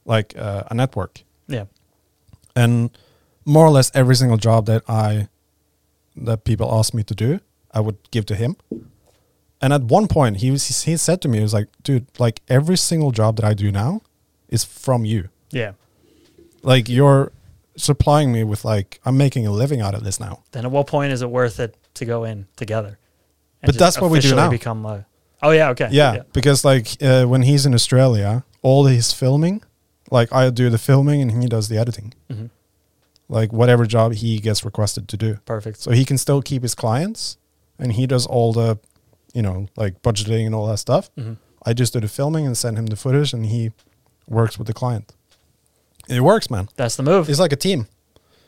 like uh, a network
Yeah.
and more or less every single job that I that people asked me to do, I would give to him. And at one point, he was he said to me, he was like, "Dude, like every single job that I do now is from you.
Yeah.
Like you're supplying me with like I'm making a living out of this now."
Then at what point is it worth it to go in together? And
But
just
that's what we do now.
officially Become a, oh yeah. Okay.
Yeah, because like uh, when he's in Australia, all his filming, like I do the filming and he does the editing.
Mhm.
Like whatever job he gets requested to do.
Perfect.
so he can still keep his clients and he does all the you know like budgeting and all that stuff
Mhm.
i just do the filming and send him the footage and he works with the client it works man
That's the move.
it's like a team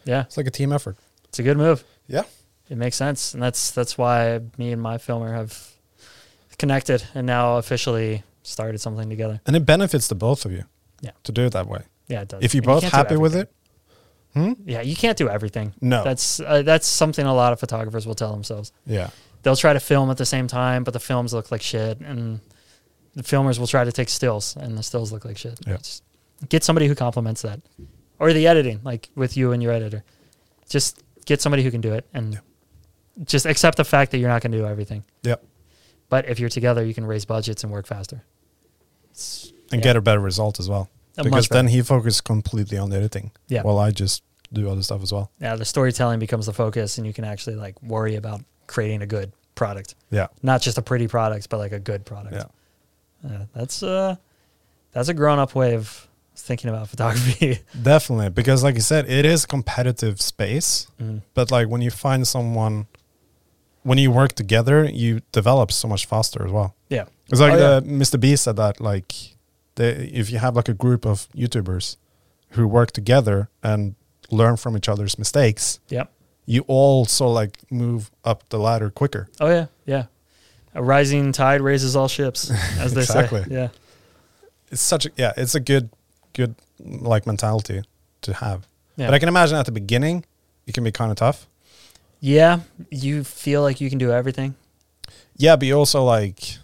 yeah.
it's like a team effort
It's a good move.
yeah
It makes sense, and that's that's why me and my filmer have connected and now officially started something together.
and it benefits the both of you
Yeah.
to do it that way
Yeah, it does.
if you're
And
both
can't do
happy with it Hmm?
everything. yeah, you can't do everything.
No.
that's uh, that's something a lot of photographers will tell themselves.
yeah
They'll try to film at the same time, but the films look like shit, and the filmers will try to take stills, and the stills look like shit.
Yeah.
It's- Get somebody who complements that, or the editing, like with you and your editor. Just get somebody who can do it, and
Yeah.
just accept the fact that you're not going to do everything.
Yep.
But if you're together, you can raise budgets and work faster. It's
and
Yeah.
get a better result as well.
a
because
much
then
better-
he focuses completely on the editing.
Yeah.
While I just do other stuff as well.
yeah, the storytelling becomes the focus, and you can actually like worry about creating a good product,
Yeah.
not just a pretty product, but like a good product.
Yeah.
Yeah, that's uh that's a grown up way of thinking about photography.
Definitely. Because like you said, it is competitive space.
Mm.
But like when you find someone when you work together, you develop so much faster as well.
Yeah.
It's like
Oh, yeah.
the, Mr. B said that like the, if you have like a group of YouTubers who work together and learn from each other's mistakes,
Yep.
you also like move up the ladder quicker.
Oh yeah, yeah. A rising tide raises all ships, as they
Exactly.
say. Yeah.
It's such a yeah, it's a good good like mentality to have.
Yeah.
But I can imagine at the beginning it can be kind of tough.
yeah, you feel like you can do everything.
Yeah, but you also like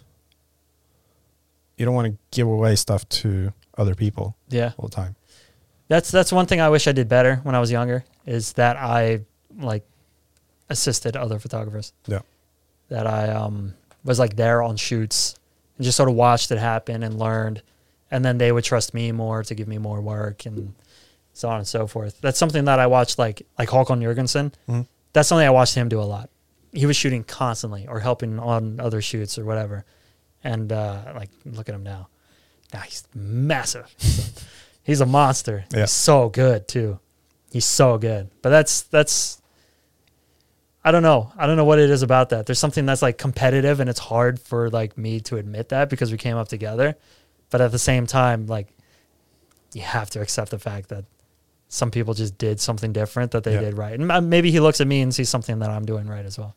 you don't want to give away stuff to other people
Yeah.
all the time.
That's that's one thing I wish I did better when I was younger is that I like assisted other photographers.
Yeah.
That I um was like there on shoots and just sort of watched it happen and learned and then they would trust me more to give me more work and so on and so forth. That's something that I watched like like Håkon Jurgensen.
Mhm.
That's something I watched him do a lot. He was shooting constantly or helping on other shoots or whatever. And uh like look at him now. Now he's massive. He's a monster.
Yeah.
He's so good too. He's so good. But that's that's I don't know. I don't know what it is about that. There's something that's like competitive and it's hard for like me to admit that because we came up together. But at the same time, like you have to accept the fact that some people just did something different that they
Yeah.
did right. And m- maybe he looks at me and sees something that I'm doing right as well.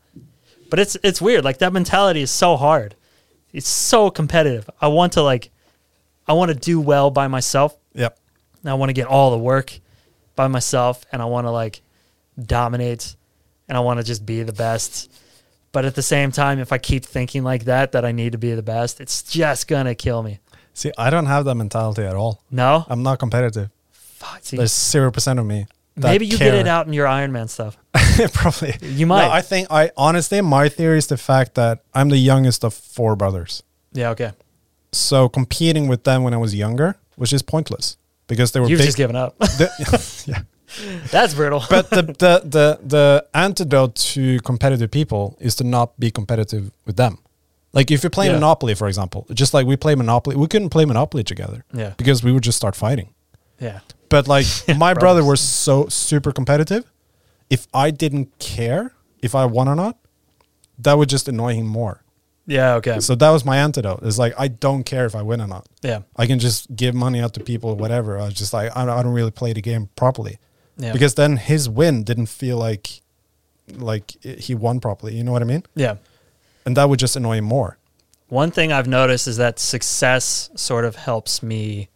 But it's it's weird. Like that mentality is so hard. It's so competitive. I want to like I want to do well by myself
Yep.
and I want to get all the work by myself and I want to like dominate and I want to just be the best. But at the same time, if I keep thinking like that, that I need to be the best, it's just gonna kill me.
See, I don't have that mentality at all.
No,
I'm not competitive.
Fuck, see,
There's zero percent of me. that
maybe you
care.
get it out in your Iron Man stuff.
Probably.
You might.
No, I think I honestly my theory is the fact that I'm the youngest of four brothers.
yeah, okay.
So competing with them when I was younger was just pointless because they were
You've
big.
just given up.
the- yeah.
That's brutal.
But the, the the the antidote to competitive people is to not be competitive with them. Like if you play
Yeah.
Monopoly, for example, just like we play Monopoly, we couldn't play Monopoly together
yeah,
because we would just start fighting.
yeah,
But like my brother
brothers.
was so super competitive. If I didn't care if I won or not, that would just annoy him more.
yeah, okay,
So that was my antidote. It's like I don't care if I win or not.
yeah,
I can just give money out to people, whatever. I was just like I don't, I don't really play the game properly
yeah,
because then his win didn't feel like like i- he won properly. You know what I mean?
yeah.
And that would just annoy him more.
One thing I've noticed is that success sort of helps me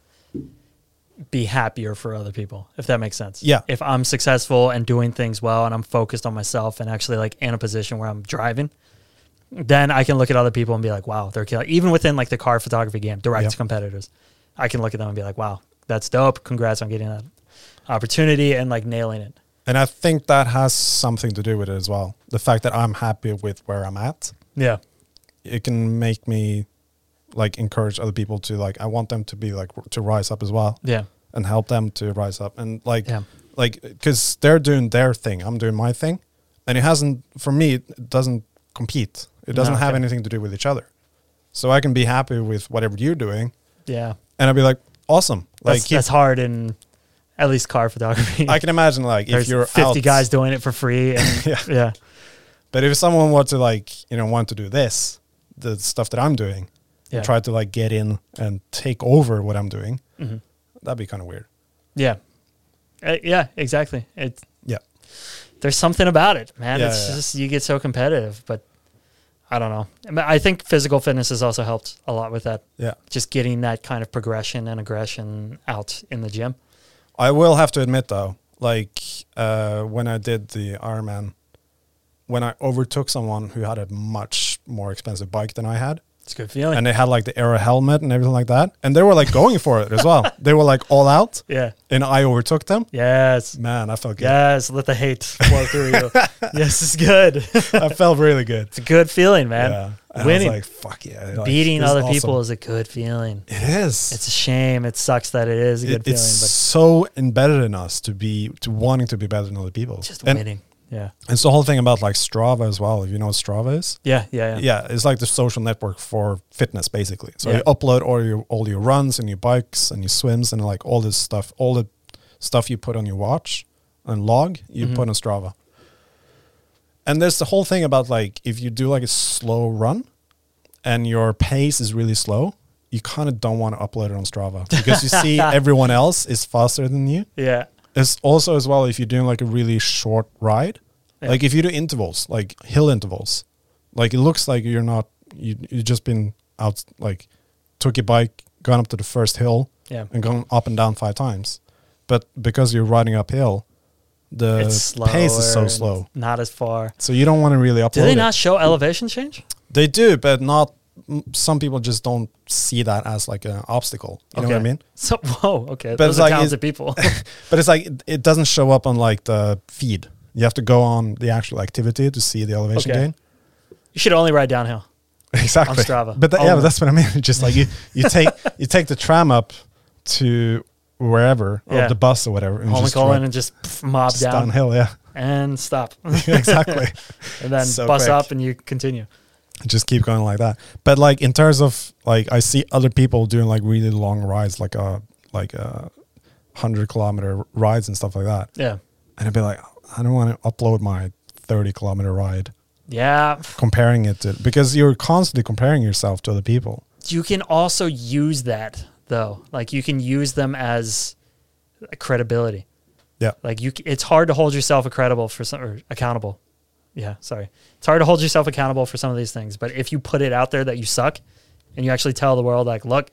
be happier for other people, if that makes sense.
Yeah.
If I'm successful and doing things well and I'm focused on myself and actually like in a position where I'm driving, then I can look at other people and be like, wow, they're killing. Even within like the car photography game, direct
Yeah.
competitors, I can look at them and be like, wow, that's dope. Congrats on getting that opportunity and like nailing it.
And I think that has something to do with it as well. The fact that I'm happy with where I'm at,
Yeah.
it can make me like encourage other people to like I want them to be like r- to rise up as well
Yeah.
and help them to rise up and like
Yeah.
like because they're doing their thing i'm doing my thing and it hasn't for me it doesn't compete it doesn't
No,
have
okay.
anything to do with each other so i can be happy with whatever you're doing
Yeah.
and i'll be like awesome like
That's,
keep-
that's hard in at least car photography.
i can imagine like
There's
if you're
50
out,
guys doing it for free. And
Yeah.
yeah.
but if someone were to like you know want to do this the stuff that i'm doing
Yeah.
try to like get in and take over what i'm doing
Mhm.
that'd be kind of weird
Yeah. Uh, yeah, exactly. It's
yeah
there's something about it, man.
Yeah,
it's
yeah.
just you get so competitive, but I don't know. I, mean, I think physical fitness has also helped a lot with that.
yeah
Just getting that kind of progression and aggression out in the gym.
I will have to admit though, like uh, when I did the Ironman, when I overtook someone who had a much more expensive bike than I had,
It's a good feeling.
and they had like the era helmet and everything like that. And they were like going for it as well. They were like all out,
yeah.
and I overtook them.
Yes.
Man, I felt good.
Yes. Let the hate flow through you. yes, it's good. it's
I felt really good.
a good feeling, man.
Yeah. And
Winning.
I was like, fuck yeah. like,
Beating
this is
other
awesome.
people is a good feeling.
It is.
It's a shame. It sucks that it is a good
It-
feeling,
it's so embedded in us to be to wanting to be better than other people.
but just
and
winning. Yeah.
it's the whole thing about like Strava as well. If you know what Strava is,
Yeah. Yeah. Yeah.
yeah, it's like the social network for fitness basically. So
Yeah.
you upload all your all your runs and your bikes and your swims and like all this stuff, all the stuff you put on your watch and log, you
Mhm.
put on Strava. And there's the whole thing about like if you do like a slow run and your pace is really slow, you kind of don't want to upload it on Strava because you see everyone else is faster than you.
Yeah.
It's also as well if you're doing like a really short ride,
Yeah.
like if you do intervals, like hill intervals, like it looks like you're not you you just been out like took your bike, gone up to the first hill,
Yeah.
and gone up and down five times, but because you're riding uphill, the
it's slow.
pace is so slow,
Not as far.
so you don't want to really upload.
Do they
it.
not show elevation change?
They do, but not. m- Some people just don't see that as like an obstacle. You know what I
Okay.
mean?
So whoa, okay.
But
Those
it's
are
like-
talented people.
But it's like it- it doesn't show up on like the feed. You have to go on the actual activity to see the elevation
Okay.
gain.
you should only ride downhill.
Exactly.
Strava. Oh.
But that, yeah,
Only.
but that's what I mean. Just like you, you take you take the tram up to wherever or
Yeah.
the bus or whatever,
Home and
just
colon
ride
and just pff, mob
just
down
downhill. Yeah,
and stop,
exactly.
and then
So
bus
quick.
up and you continue.
just keep going like that. But like in terms of like, I see other people doing like really long rides, like a like a hundred kilometer rides and stuff like that.
Yeah,
and I'd be like, I don't want to upload my 30 kilometer ride,
yeah.
comparing it to because you're constantly comparing yourself to other people.
You can also use that though. Like you can use them as credibility.
Yeah.
Like you, c- it's hard to hold yourself accountable for some or accountable. Yeah, sorry. It's hard to hold yourself accountable for some of these things, but if you put it out there that you suck, and you actually tell the world like, look,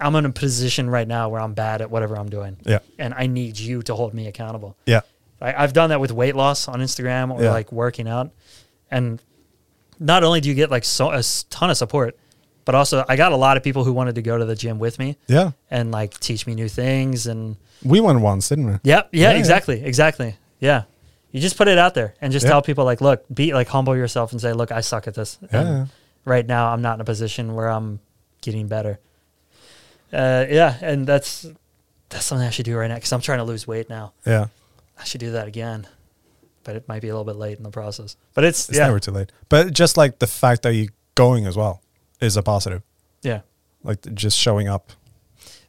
I'm in a position right now where I'm bad at whatever I'm doing,
Yeah.
and I need you to hold me accountable.
Yeah.
I, I've done that with weight loss on Instagram or
Yeah.
like working out, and not only do you get like so a s- ton of support, but also I got a lot of people who wanted to go to the gym with me
Yeah.
and like teach me new things and
We won once, didn't we?
Yep. Yeah,
Yeah, yeah.
Exactly. Exactly. Yeah. You just put it out there and just
Yeah.
tell people like, look, be like humble yourself and say, look, I suck at this.
Yeah.
And Right now, I'm not in a position where I'm getting better. Uh, yeah, and that's that's something I should do right now because I'm trying to lose weight now.
Yeah.
I should do that again, but it might be a little bit late in the process. But it's,
It's
yeah,
never too late. But just like the fact that you're going as well is a positive,
yeah,
like th- just showing up.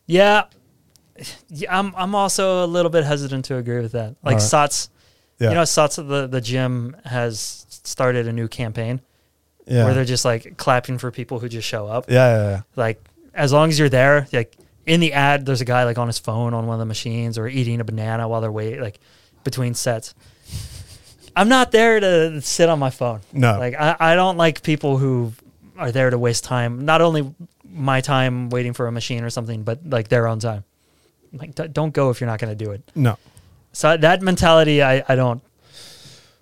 yeah. Yeah, I'm I'm also a little bit hesitant to agree with that. Like
Alright.
Sots,
Yeah.
you know, Sots at the the gym has started a new campaign.
yeah.
where they're just like clapping for people who just show up.
yeah. Yeah. Yeah.
Like as long as you're there, like in the ad, there's a guy like on his phone on one of the machines or eating a banana while they're waiting, like between sets. I'm not there to sit on my phone.
No.
Like I, I don't like people who are there to waste time. Not only my time waiting for a machine or something, but like their own time. Like d- don't go if you're not going to do it.
no.
So that mentality, I, I don't,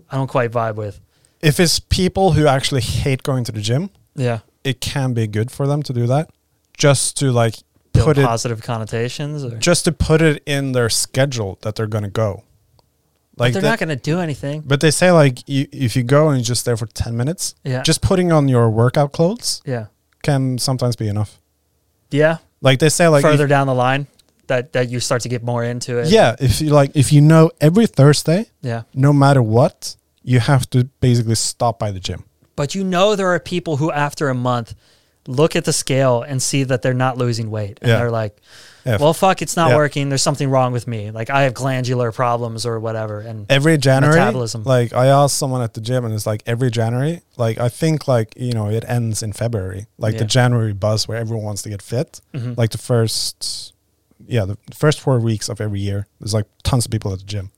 I don't quite vibe with.
If it's people who actually hate going to the gym,
Yeah.
it can be good for them to do that just to like
Build
put it
positive connotations or
just to put it in their schedule that they're going to go. Like
they're
that-
not going to do anything.
But they say like you, if you go and you're just there for ten minutes,
Yeah.
just putting on your workout clothes
yeah.
can sometimes be enough.
Yeah.
Like they say, like
Further down the line, that that you start to get more into it.
if, yeah, if you like, if you know every Thursday,
Yeah.
no matter what, you have to basically stop by the gym.
But you know there are people who after a month look at the scale and see that they're not losing weight and
Yeah.
they're like,
Yeah.
"Well, fuck, it's not
Yeah.
working. There's something wrong with me. Like I have glandular problems or whatever." And
Every January,
Metabolism.
like I asked someone at the gym, and it's like every January, like I think like you know it ends in February, like
Yeah.
the January buzz where everyone wants to get fit.
Mhm.
Like the first, yeah, the first four weeks of every year, there's like tons of people at the gym,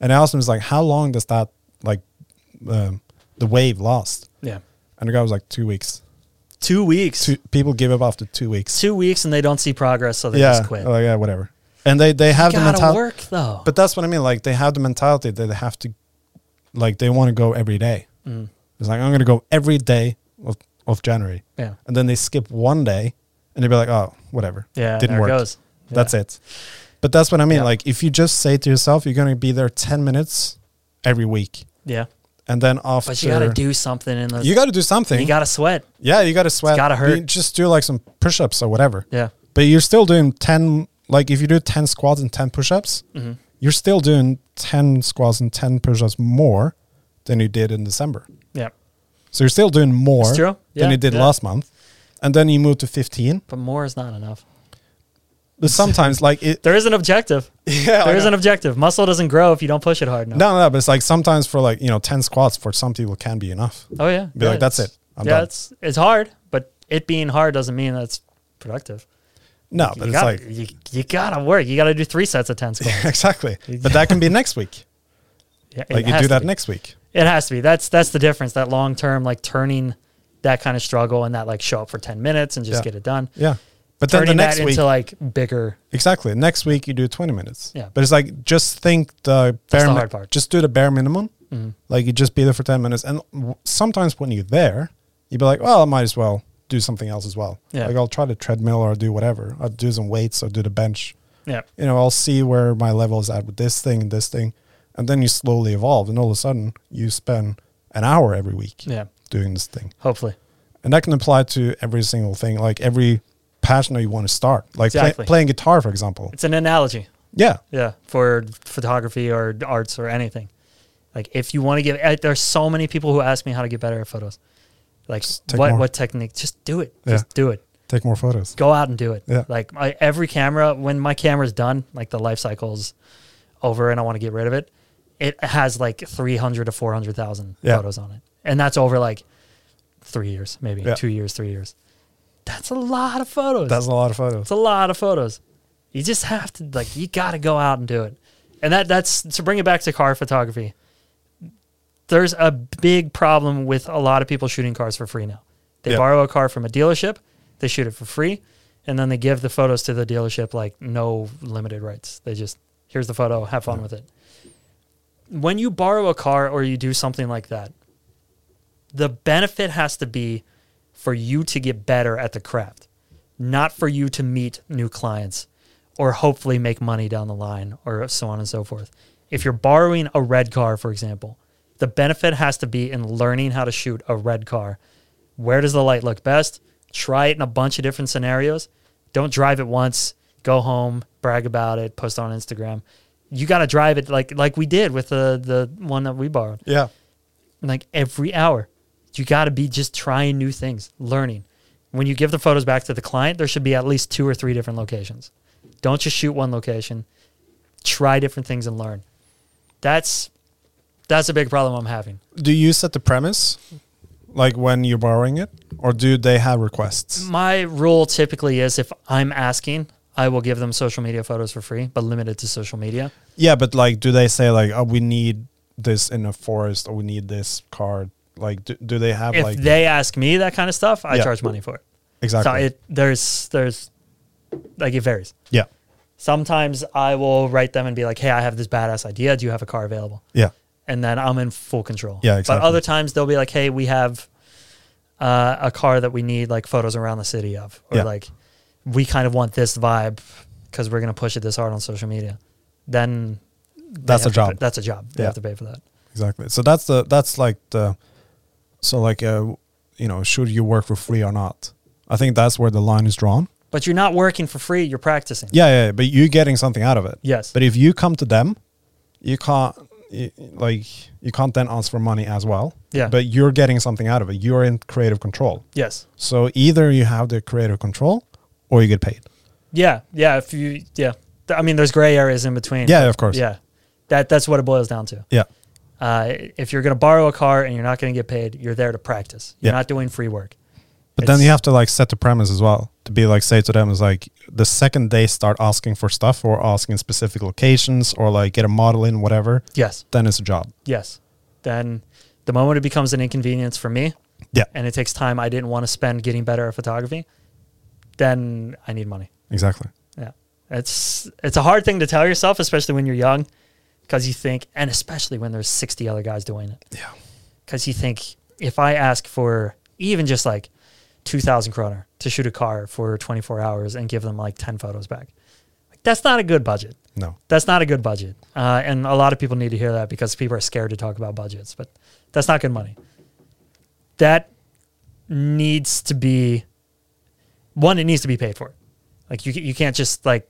and I asked him, "Is like how long does that like um, the wave last?"
yeah.
And the guy was like, two weeks.
2 weeks.
Two,
Two,
people give up after two weeks.
weeks and they don't see progress so they
yeah,
just quit.
oh, yeah, whatever. And they they have the
Gotta
mentality,
work though.
but that's what I mean. Like they have the mentality that they have to, like they want to go every day.
Mm.
It's like I'm gonna go every day of of January,
Yeah.
and then they skip one day, and they'd be like, "Oh, whatever,
Yeah.
Didn't
there
work.
it goes. Yeah.
that's it." But that's what I mean.
Yeah.
Like, if you just say to yourself, "You're gonna be there ten minutes every week,"
Yeah.
and then after
But you got to do something in those.
you gotta do something.
You got to sweat.
yeah, you got to sweat.
gotta
You
hurt.
just do like some push-ups or whatever.
Yeah.
But you're still doing ten. Like, if you do ten squats and ten push-ups,
hmm
you're still doing 10 squats and 10 push-ups more than you did in December.
Yeah.
So you're still doing more
It's true.
than
Yeah,
you did
yeah.
last month. And then you move to 15.
But more is not enough.
But sometimes like it
There is an objective.
yeah,
There
Oh, I
is
know.
an objective. Muscle doesn't grow if you don't push it hard enough.
No, no, but it's like sometimes for like, you know, 10 squats for some people can be enough.
Oh yeah.
Be
yeah,
like, that's
it's-
it. I'm
yeah,
done.
it's it's hard, but it being hard doesn't mean that's productive.
No, but it's
you gotta,
like
you, you gotta work. You gotta do three sets of ten squats.
exactly. But that can be next week.
Yeah, it
Like you
has
do
to
that
be.
next week.
It has to be. That's that's the difference. That long term, like turning that kind of struggle and that like show up for ten minutes and just
Yeah.
get it done.
Yeah. But then
turning
the next
that
week
into like bigger.
Exactly. Next week you do 20 minutes.
Yeah.
But it's like just think the bare
the
mi-
hard part.
Just do the bare minimum.
Mhm.
Like you just be there for 10 minutes. And w- sometimes when you're there, you'd be like, well, I might as well do something else as well.
Yeah.
Like I'll try the treadmill or do whatever. I'll do some weights or do the bench.
Yeah.
You know, I'll see where my level is at with this thing and this thing. And then you slowly evolve. And all of a sudden you spend an hour every week
Yeah.
doing this thing.
Hopefully.
And that can apply to every single thing, like every passion that you want to start. Like play-
Exactly.
playing guitar, for example.
It's an analogy.
Yeah.
Yeah. For photography or arts or anything. Like if you want to get there's so many people who ask me how to get better at photos. Like
Just take
what
more.
what technique? Just do it.
Yeah.
Just do it.
Take more photos.
go out and do it.
Yeah.
Like my, every camera, when my camera's done, like the life cycle's over and I want to get rid of it, it has like 300 to 400,000
Yeah.
photos on it. And that's over like three years, maybe
Yeah.
two years, three years. That's a lot of photos.
That's
That's
a lot of photos.
a lot of photos. You just have to like, you got to go out and do it. And that that's to bring it back to car photography. There's a big problem with a lot of people shooting cars for free now. They
Yeah.
borrow a car from a dealership, they shoot it for free, and then they give the photos to the dealership like no limited rights. They just here's the photo, have fun
Yeah.
with it. When you borrow a car or you do something like that, the benefit has to be for you to get better at the craft, not for you to meet new clients or hopefully make money down the line or so on and so forth. If you're borrowing a red car, for example, the benefit has to be in learning how to shoot a red car. Where does the light look best? Try it in a bunch of different scenarios. Don't drive it once, go home, brag about it, post on Instagram. You got to drive it like like we did with the the one that we borrowed
Yeah.
like every hour. You got to be just trying new things, learning. When you give the photos back to the client, there should be at least two or three different locations. Don't just shoot one location. Try different things and learn. That's that's a big problem I'm having.
Do you set the premise, like when you're borrowing it, or do they have requests?
My rule typically is if I'm asking, I will give them social media photos for free, but limited to social media.
Yeah, but like, do they say like, oh, we need this in a forest, or we need this card? Like, do, do they have
If
like
they ask me that kind of stuff, I
Yeah.
charge money for it.
exactly?
So it there's there's like it varies.
yeah,
sometimes I will write them and be like, hey, I have this badass idea. Do you have a car available?
yeah,
And then I'm in full control.
Yeah,
But
exactly.
other times they'll be like, hey, we have uh, a car that we need like photos around the city of, or
Yeah.
like we kind of want this vibe because we're going to push it this hard on social media. Then they
That's a
have to
job.
pay- that's a job. They
Yeah.
have to pay for that.
exactly. So that's the that's like the so like uh, you know, should you work for free or not? I think that's where the line is drawn.
But you're not working for free. You're practicing.
Yeah, yeah, but you're getting something out of it.
Yes.
But if you come to them, you can't you, like you can't then ask for money as well.
Yeah.
But you're getting something out of it. You're in creative control.
Yes.
So either you have the creative control or you get paid.
Yeah. Yeah. If you, yeah. Th- I mean, there's gray areas in between.
Yeah, of course.
Yeah. That, that's what it boils down to.
Yeah.
uh, if you're going to borrow a car and you're not going to get paid, you're there to practice. You're
Yeah.
not doing free work.
But then
It's-
you have to like set the premise as well to be like say to them is like the second they start asking for stuff or asking specific locations or like get a model in whatever,
Yes,
then it's a job.
yes. Then the moment it becomes an inconvenience for me
Yeah,
and it takes time I didn't want to spend getting better at photography, then I need money.
exactly.
Yeah. It's it's a hard thing to tell yourself, especially when you're young, because you think, and especially when there's 60 other guys doing it.
Yeah.
Because you think, if I ask for even just like 2000 kroner to shoot a car for 24 hours and give them like 10 photos back. Like, that's not a good budget.
No.
That's not a good budget. Uh, and a lot of people need to hear that because people are scared to talk about budgets, but that's not good money. That needs to be one, it needs to be paid for. Like you, you can't just like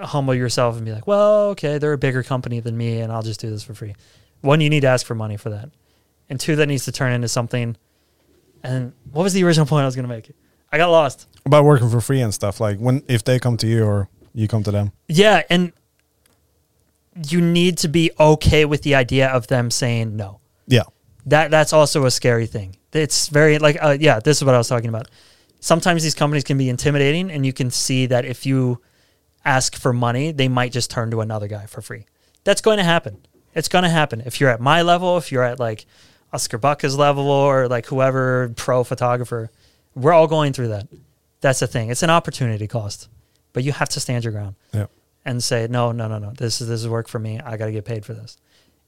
humble yourself and be like, well, okay, they're a bigger company than me and I'll just do this for free. One, you need to ask for money for that. And two, that needs to turn into something. And what was the original point I was going to make? I got lost.
About working for free and stuff. Like when if they come to you or you come to them.
Yeah, and you need to be okay with the idea of them saying no.
Yeah.
That that's also a scary thing. It's very like uh, yeah, this is what I was talking about. Sometimes these companies can be intimidating, and you can see that if you ask for money, they might just turn to another guy for free. That's going to happen. It's going to happen. If you're at my level, if you're at like Oscar Bucka's level, or like whoever pro photographer, we're all going through that. That's the thing. It's an opportunity cost, but you have to stand your ground
Yeah.
and say, no, no, no, no, this is this is work for me. I got to get paid for this.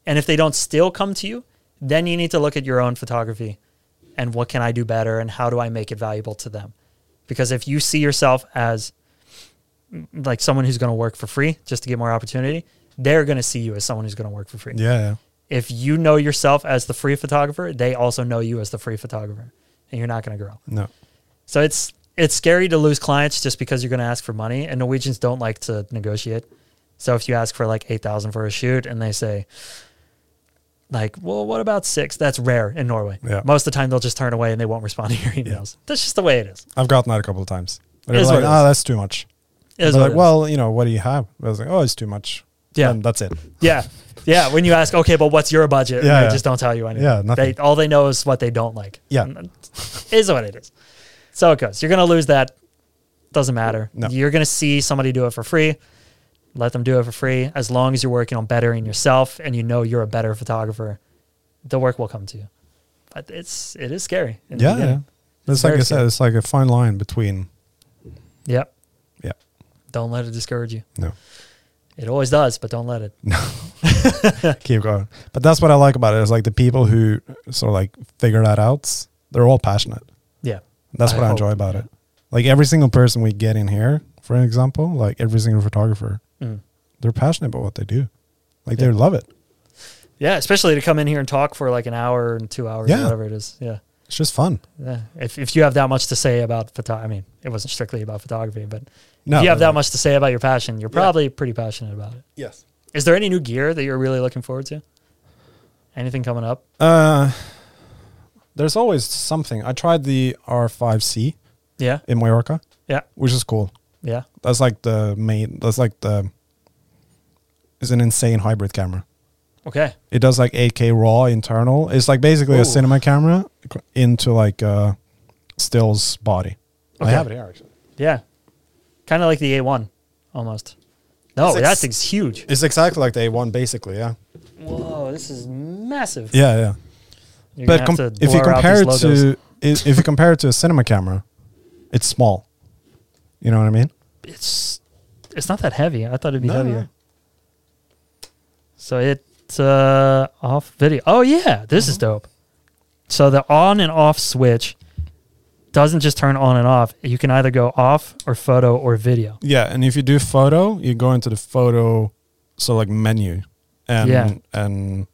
And if they don't still come to you, then you need to look at your own photography and what can I do better and how do I make it valuable to them? Because if you see yourself as mm, like someone who's going to work for free just to get more opportunity, they're going to see you as someone who's going to work for free.
Yeah. yeah.
If you know yourself as the free photographer, they also know you as the free photographer and you're not going to grow.
No.
So it's it's scary to lose clients just because you're going to ask for money, and Norwegians don't like to negotiate. So if you ask for like eight thousand for a shoot, and they say, like, well, what about six? That's rare in Norway.
Yeah.
Most of the time, they'll just turn away and they won't respond to your emails. That's just the way it is.
I've gotten that a couple of times. They're
Is what
like,
it
oh,
is.
that's too much.
It is
They're
what
like,
it is.
well, you know, what do you have? I was like, oh, it's too much.
Yeah.
And that's it.
yeah, yeah. When you ask, okay, but what's your budget?
Yeah,
they
yeah.
just don't tell you anything.
Yeah, nothing.
They all they know is what they don't like.
Yeah.
And that is what it is. So it goes. You're gonna lose that. Doesn't matter.
No.
You're gonna see somebody do it for free. Let them do it for free. As long as you're working on bettering yourself and you know you're a better photographer, the work will come to you. But it's it is scary. in the
Yeah. yeah.
beginning.
It's like
very
I said,
scary.
it's like a fine line between.
Yep.
Yeah.
Don't let it discourage you.
No.
It always does, but don't let it.
keep going. But that's what I like about it. Is like the people who sort of like figure that out. They're all passionate.
Yeah.
That's
I
what I
hope,
enjoy about
yeah.
it. Like every single person we get in here, for an example, like every single photographer,
Mm.
they're passionate about what they do. Like
Yeah.
they love it.
Yeah, especially to come in here and talk for like an hour and two hours, or
Yeah.
whatever it is. Yeah.
It's just fun.
Yeah. Eh, If, if you have that much to say about photo, I mean, it wasn't strictly about photography, but
No,
if you have
no,
that
no.
much to say about your passion, you're
Yeah.
probably pretty passionate about it.
Yes.
Is there any new gear that you're really looking forward to? Anything coming up?
Uh, there's always something. I tried the R5C
Yeah.
in Mallorca.
Yeah.
Which is cool.
Yeah.
That's like the main. That's like the. It's an insane hybrid camera.
Okay.
It does like 8K raw internal. It's like basically
Ooh.
a cinema camera c- into like a stills body.
Okay.
I have it here actually.
Yeah. Kind of like the A1 almost. No,
It's ex-
that thing's huge.
It's exactly like the A1 basically, yeah.
Whoa, this is massive.
Yeah, yeah.
You're
but
gonna have
com-
to
if you
blur out
compare it
these logos.
to i- if you compare it to a cinema camera, it's small. You know what I mean?
it's it's not that heavy. I thought it'd be
No, no.
heavier. So it's uh, off video. Oh yeah, this is
Mm-hmm.
dope. So the on and off switch doesn't just turn on and off. You can either go off or photo or video.
Yeah, and if you do photo, you go into the photo so like menu and
Yeah.
and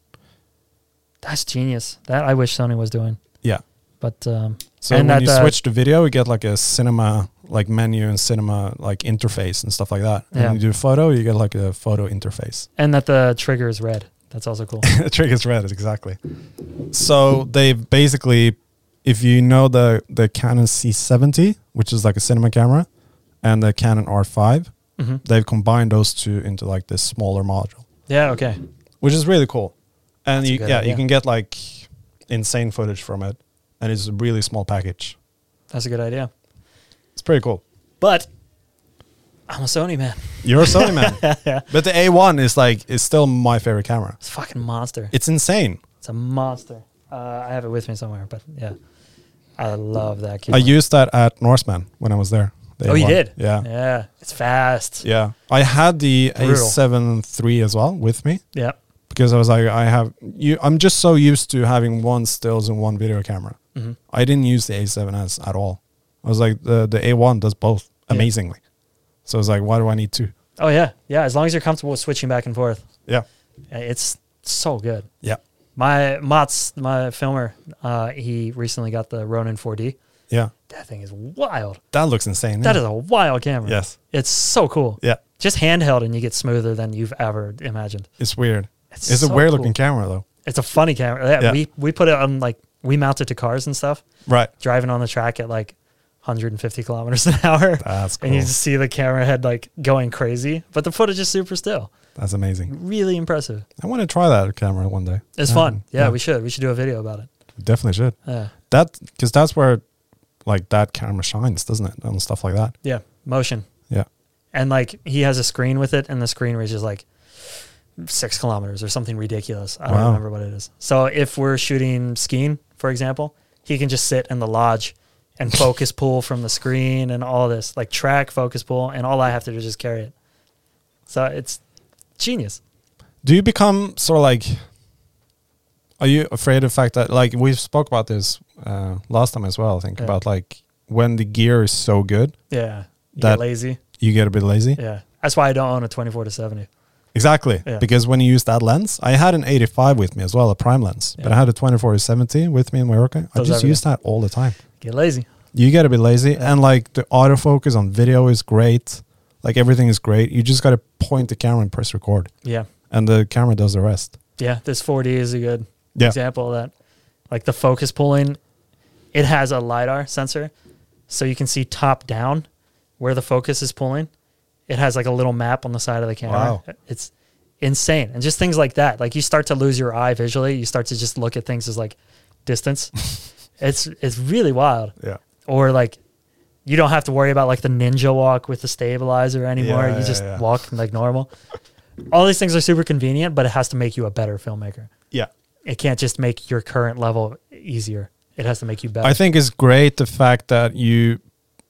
That's genius. That I wish Sony was doing.
yeah.
But um,
So
And
when
that,
you
uh,
switch to video, you get like a cinema like menu and cinema like interface and stuff like that. And
Yeah.
when you do photo, you get like a photo interface.
and that the trigger is red. That's also cool.
Trick is red, exactly. So they basically, if you know the the Canon C70, which is like a cinema camera, and the Canon R5,
hmm
they've combined those two into like this smaller module,
Yeah. Okay.
which is really cool. And
That's a
you,
good
yeah,
idea.
you can get like insane footage from it, and it's a really small package.
That's a good idea.
It's pretty cool.
But I'm a Sony man.
You're a Sony man. But the A1 is like is still my favorite camera.
It's a fucking monster.
It's insane.
It's a monster. Uh, I have it with me somewhere, but yeah, I love that
I
camera.
used that at Norseman when I was there. the
oh, you
A1.
did?
Yeah.
Yeah. It's fast.
Yeah. I had the
Brutal.
A7 III as well with me
Yep.
because I was like, I have you. I'm just so used to having one stills and one video camera.
Mhm.
I didn't use the A7S at all. I was like, the the A1 does both
Yeah.
amazingly. So I was like, why do I need two?
Oh yeah, yeah. As long as you're comfortable with switching back and forth,
Yeah,
Uh, it's so good.
yeah,
My Mott's my filmer, uh, he recently got the Ronin 4D.
yeah.
That thing is wild.
That looks insane.
That
yeah.
is a wild camera.
Yes.
it's so cool.
Yeah,
Just handheld, and you get smoother than you've ever imagined.
it's weird.
It's
It's, a
so
weird looking
cool.
camera though.
It's a funny camera. Yeah,
Yeah.
We we put it on like we mount it to cars and stuff,
Right.
driving on the track at like 150 kilometers an hour,
That's cool.
and you just see the camera head like going crazy. But the footage is super still,
That's amazing.
really impressive.
I want to try that camera one day.
It's
I
fun.
haven't-
Oh, Yeah, we should we should do a video about it.
we definitely should.
Yeah,
That because that's where, like, that camera shines, doesn't it? And stuff like that.
yeah, motion.
Yeah.
and like he has a screen with it, and the screen reaches like six kilometers or something ridiculous. I don't
Wow.
remember what it is. So if we're shooting skiing, for example, he can just sit in the lodge and focus pull from the screen and all this, like track focus pull, and all I have to do is just carry it. So it's genius.
Do you become sort of like? Are you afraid of the fact that like we spoke about this uh, last time as well? I think
Yeah.
about like when the gear is so good,
Yeah, you get
That-
lazy.
you get a bit lazy.
Yeah, that's why I don't own a twenty-four to seventy.
Exactly,
Yeah.
because when you use that lens, I had an 85 with me as well, a prime lens, but
Yeah.
I had a 24 to 70 with me in Mallorca. I
Does
just
everything.
use that all the time.
Get lazy.
You get a bit lazy, and like the autofocus on video is great, like everything is great. You just got to point the camera and press record,
Yeah,
and the camera does the rest.
yeah. This four D is a good
Yeah,
example of that. Like the focus pulling, it has a LiDAR sensor. So you can see top down where the focus is pulling. It has like a little map on the side of the camera.
Wow.
It's insane. And just things like that. Like you start to lose your eye visually. You start to just look at things as like distance. it's it's really wild.
yeah,
Or like you don't have to worry about like the ninja walk with the stabilizer anymore.
Yeah,
you
yeah,
just
yeah.
walk like normal. All these things are super convenient, but it has to make you a better filmmaker
yeah.
it can't just make your current level easier. It has to make you better.
I think it's great the fact that you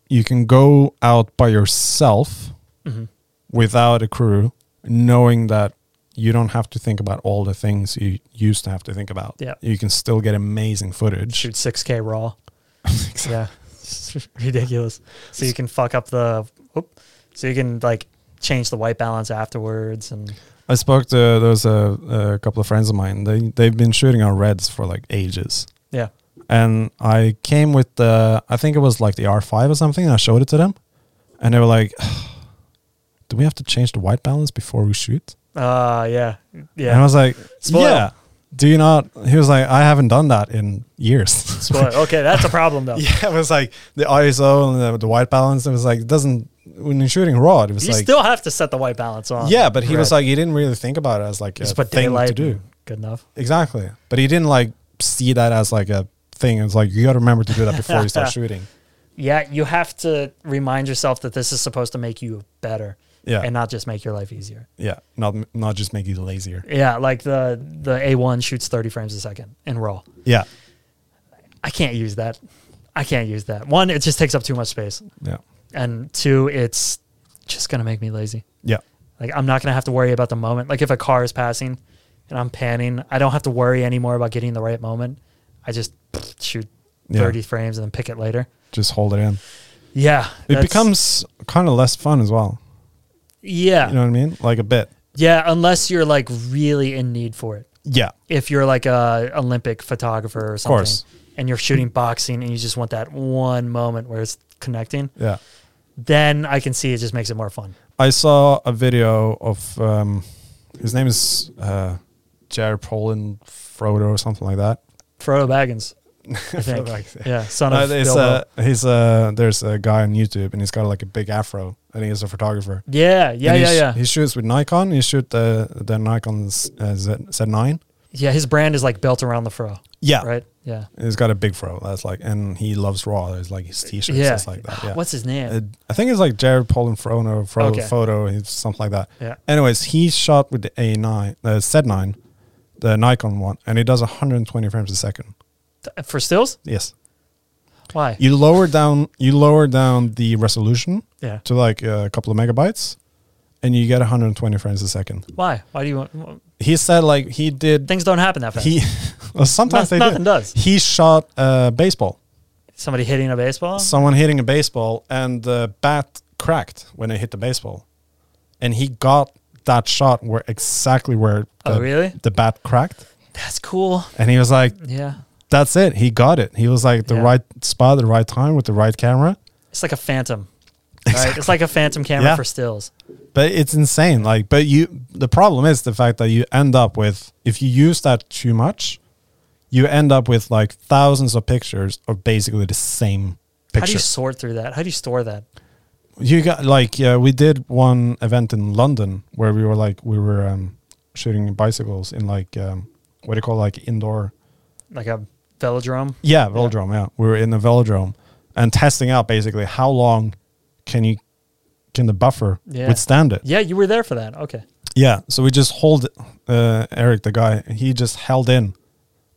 you can go out by yourself
Mhm.
without a crew, knowing that you don't have to think about all the things you used to have to think about.
Yeah.
You can still get amazing footage.
shoot 6K raw. yeah, It's ridiculous. So you can fuck up the. Whoop, so you can like change the white balance afterwards, and
I spoke to there's a, a couple of friends of mine. They they've been shooting on reds for like ages.
yeah,
and I came with the I think it was like the R5 or something. And I showed it to them, and they were like, "Do we have to change the white balance before we shoot?"
uh, yeah,
And I
yeah.
was like,
Spoil.
"Yeah." Do you not? He was like, "I haven't done that in years."
Spoil- okay, that's a problem though.
yeah, it was like the ISO and the, the white balance. It was like it doesn't when you're shooting raw. It was
you
like
still have to set the white balance on.
yeah, but he was
Right.
like he didn't really think about it as like a
just put
thing
daylight.
to do.
and Good enough.
Exactly, but he didn't like see that as like a thing. It was like you got to remember to do that before you start shooting.
Yeah, you have to remind yourself that this is supposed to make you better,
Yeah.
and not just make your life easier.
Yeah, not not just make you lazier.
Yeah, like the the A1 shoots 30 frames a second in raw.
Yeah,
I can't use that. I can't use that. One, it just takes up too much space.
yeah,
And two, it's just going to make me lazy.
yeah,
Like, I'm not going to have to worry about the moment. Like, if a car is passing and I'm panning, I don't have to worry anymore about getting the right moment. I just shoot
Yeah.
30 frames and then pick it later.
just hold it in.
Yeah.
It
that's-
becomes kind of less fun as well.
Yeah.
You know what I mean? Like a bit.
yeah. Unless you're like really in need for it.
Yeah,
If you're like a Olympic photographer or something
course.
and you're shooting boxing and you just want that one moment where it's connecting,
yeah.
then I can see it just makes it more fun.
I saw a video of um, his name is uh, Jared Polin Frodo or something like that.
Frodo Baggins. I think.
Baggins,
yeah, son
No,
of
it's,
Bilbo.
uh, he's uh, there's a guy on YouTube and he's got like a big afro and he is a photographer.
yeah, yeah,
And he
yeah,
sh-
yeah.
He shoots with Nikon. He shoot the the Nikon Z, uh, Z Z9.
yeah, his brand is like built around the fro,
Yeah,
right? Yeah.
He's got a big fro. That's like, and he loves raw. There's like his t-shirts.
yeah.
It's like that. Yeah.
What's his name?
Uh, I think it's like Jared Polin Frono Fro
Okay.
photo, it's something like that.
yeah.
Anyways, he shot with the A9, the Z9, the Nikon one, and it does 120 frames a second.
Th- For stills?
Yes.
Why?
You lower down, you lower down the resolution uh,
yeah.
to like a couple of megabytes, and you get 120 frames a second.
Why? Why do you want?
he said like he did
Things don't happen that fast.
he well, sometimes
Noth-
they
nothing
do.
does.
He shot a baseball.
Somebody hitting a baseball.
Someone hitting a baseball and the bat cracked when it hit the baseball. And he got that shot where exactly where the,
oh, really?
the bat cracked.
That's cool.
And he was like,
Yeah.
That's it. He got it. He was like the
Yeah.
right spot, the right time with the right camera.
It's like a phantom. Right? It's like a phantom camera
Yeah.
for stills.
But it's insane. Like, but you, the problem is the fact that you end up with, if you use that too much, you end up with like thousands of pictures of basically the same
How do
picture.
you sort through that? How do you store that?
You, got like, yeah, we did one event in London where we were like, we were um, shooting bicycles in like, um, what do you call like indoor?
Like a velodrome?
Yeah, velodrome. Yeah. we were in the velodrome and testing out basically how long can you, can the buffer
Yeah.
withstand it?
Yeah, you were there for that. Okay.
Yeah, so we just hold uh, Eric, the guy. He just held in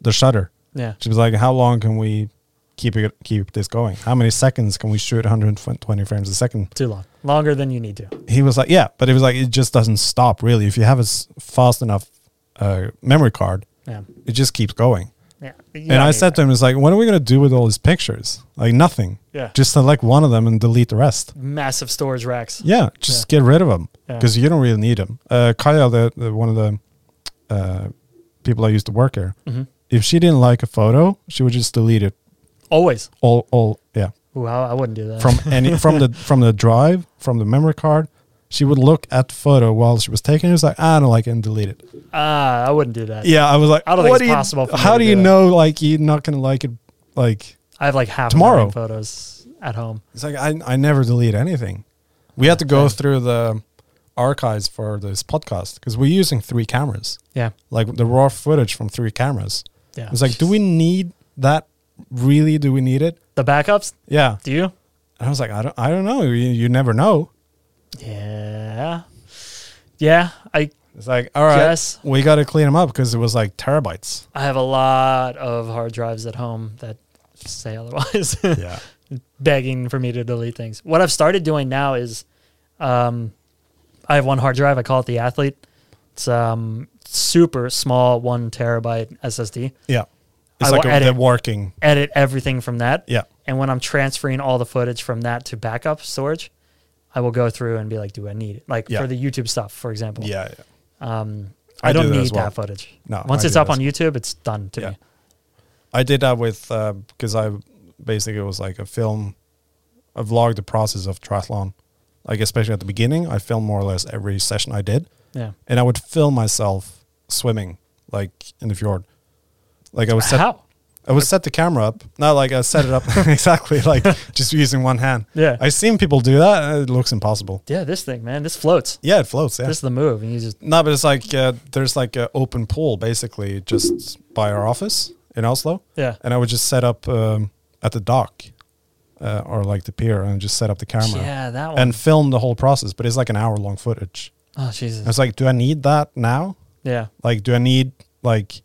the shutter.
Yeah.
She was like, "How long can we keep it, keep this going? How many seconds can we shoot 120 frames a second?
Too long. Longer than you need to.
He was like, "Yeah," but it was like it just doesn't stop really. If you have a s- fast enough uh, memory card,
Yeah.
it just keeps going.
Yeah.
and I said to him, "It's like, what are we gonna do with all these pictures? Like nothing.
Yeah.
Just select one of them and delete the rest."
massive storage racks.
Yeah, just get rid of them
Yeah.
because you don't really need them. Uh, Kyle, the, the one of the uh, people I used to work here,
Mhm.
if she didn't like a photo, she would just delete it
Always.
all, all yeah,
Ooh, I, I wouldn't do that.
from any from the from the drive, from the memory card. She would look at the photo while she was taking. It was like "Ah, I don't like it and delete it.
ah, I wouldn't do that.
Yeah, I was like,
I don't think
"What
it's
do you-
possible for me
how
to
do
do
you
that."
know? Like you're not gonna like it. Like
I have like half
Tomorrow.
tomorrow photos at home.
it's like I I never delete anything. We had to go through the archives for this podcast because we're using three cameras.
Yeah.
like the raw footage from three cameras.
Yeah.
It's like, do we need that? Really? Do we need it?
the backups?
Yeah.
Do you?
And I was like, I don't, I don't know. You, you never know.
Yeah. Yeah. I
It's like, all right,
Yes.
we got to clean them up because it was like terabytes.
I have a lot of hard drives at home that say otherwise.
yeah.
begging for me to delete things. What I've started doing now is um, I have one hard drive. I call it the Athlete. It's um, super small, one terabyte SSD.
Yeah. It's
I
like
will
a, the
edit.
working.
Edit everything from that.
Yeah.
And when I'm transferring all the footage from that to backup storage, I will go through and be like, do I need it? Like
Yeah.
for the YouTube stuff, for example.
Yeah. yeah.
Um,
I
I,
do
don't
that as
need
well.
that footage.
No,
Once
I
it's
do
up
that
on
as
YouTube, it's done to
Yeah.
me.
I did that with, because I basically it was like a film, I vlogged the process of triathlon. Like, especially at the beginning, I filmed more or less every session I did.
Yeah.
And I would film myself swimming, like in the fjord. Like I would set
How?
I would set the camera up. Not like I set it up exactly, like just using one hand.
Yeah.
I've seen people do that, and it looks impossible.
yeah, this thing, man, this floats.
Yeah, it floats. Yeah.
This is the move. And you just,
no, but it's like uh, there's like an open pool basically just by our office in Oslo,
yeah.
and I would just set up um, at the dock uh, or like the pier and just set up the camera
Yeah, that one.
and film the whole process. But it's like an hour long footage.
oh,
I
Jesus.
was like, do I need that now?
Yeah.
Like, do I need like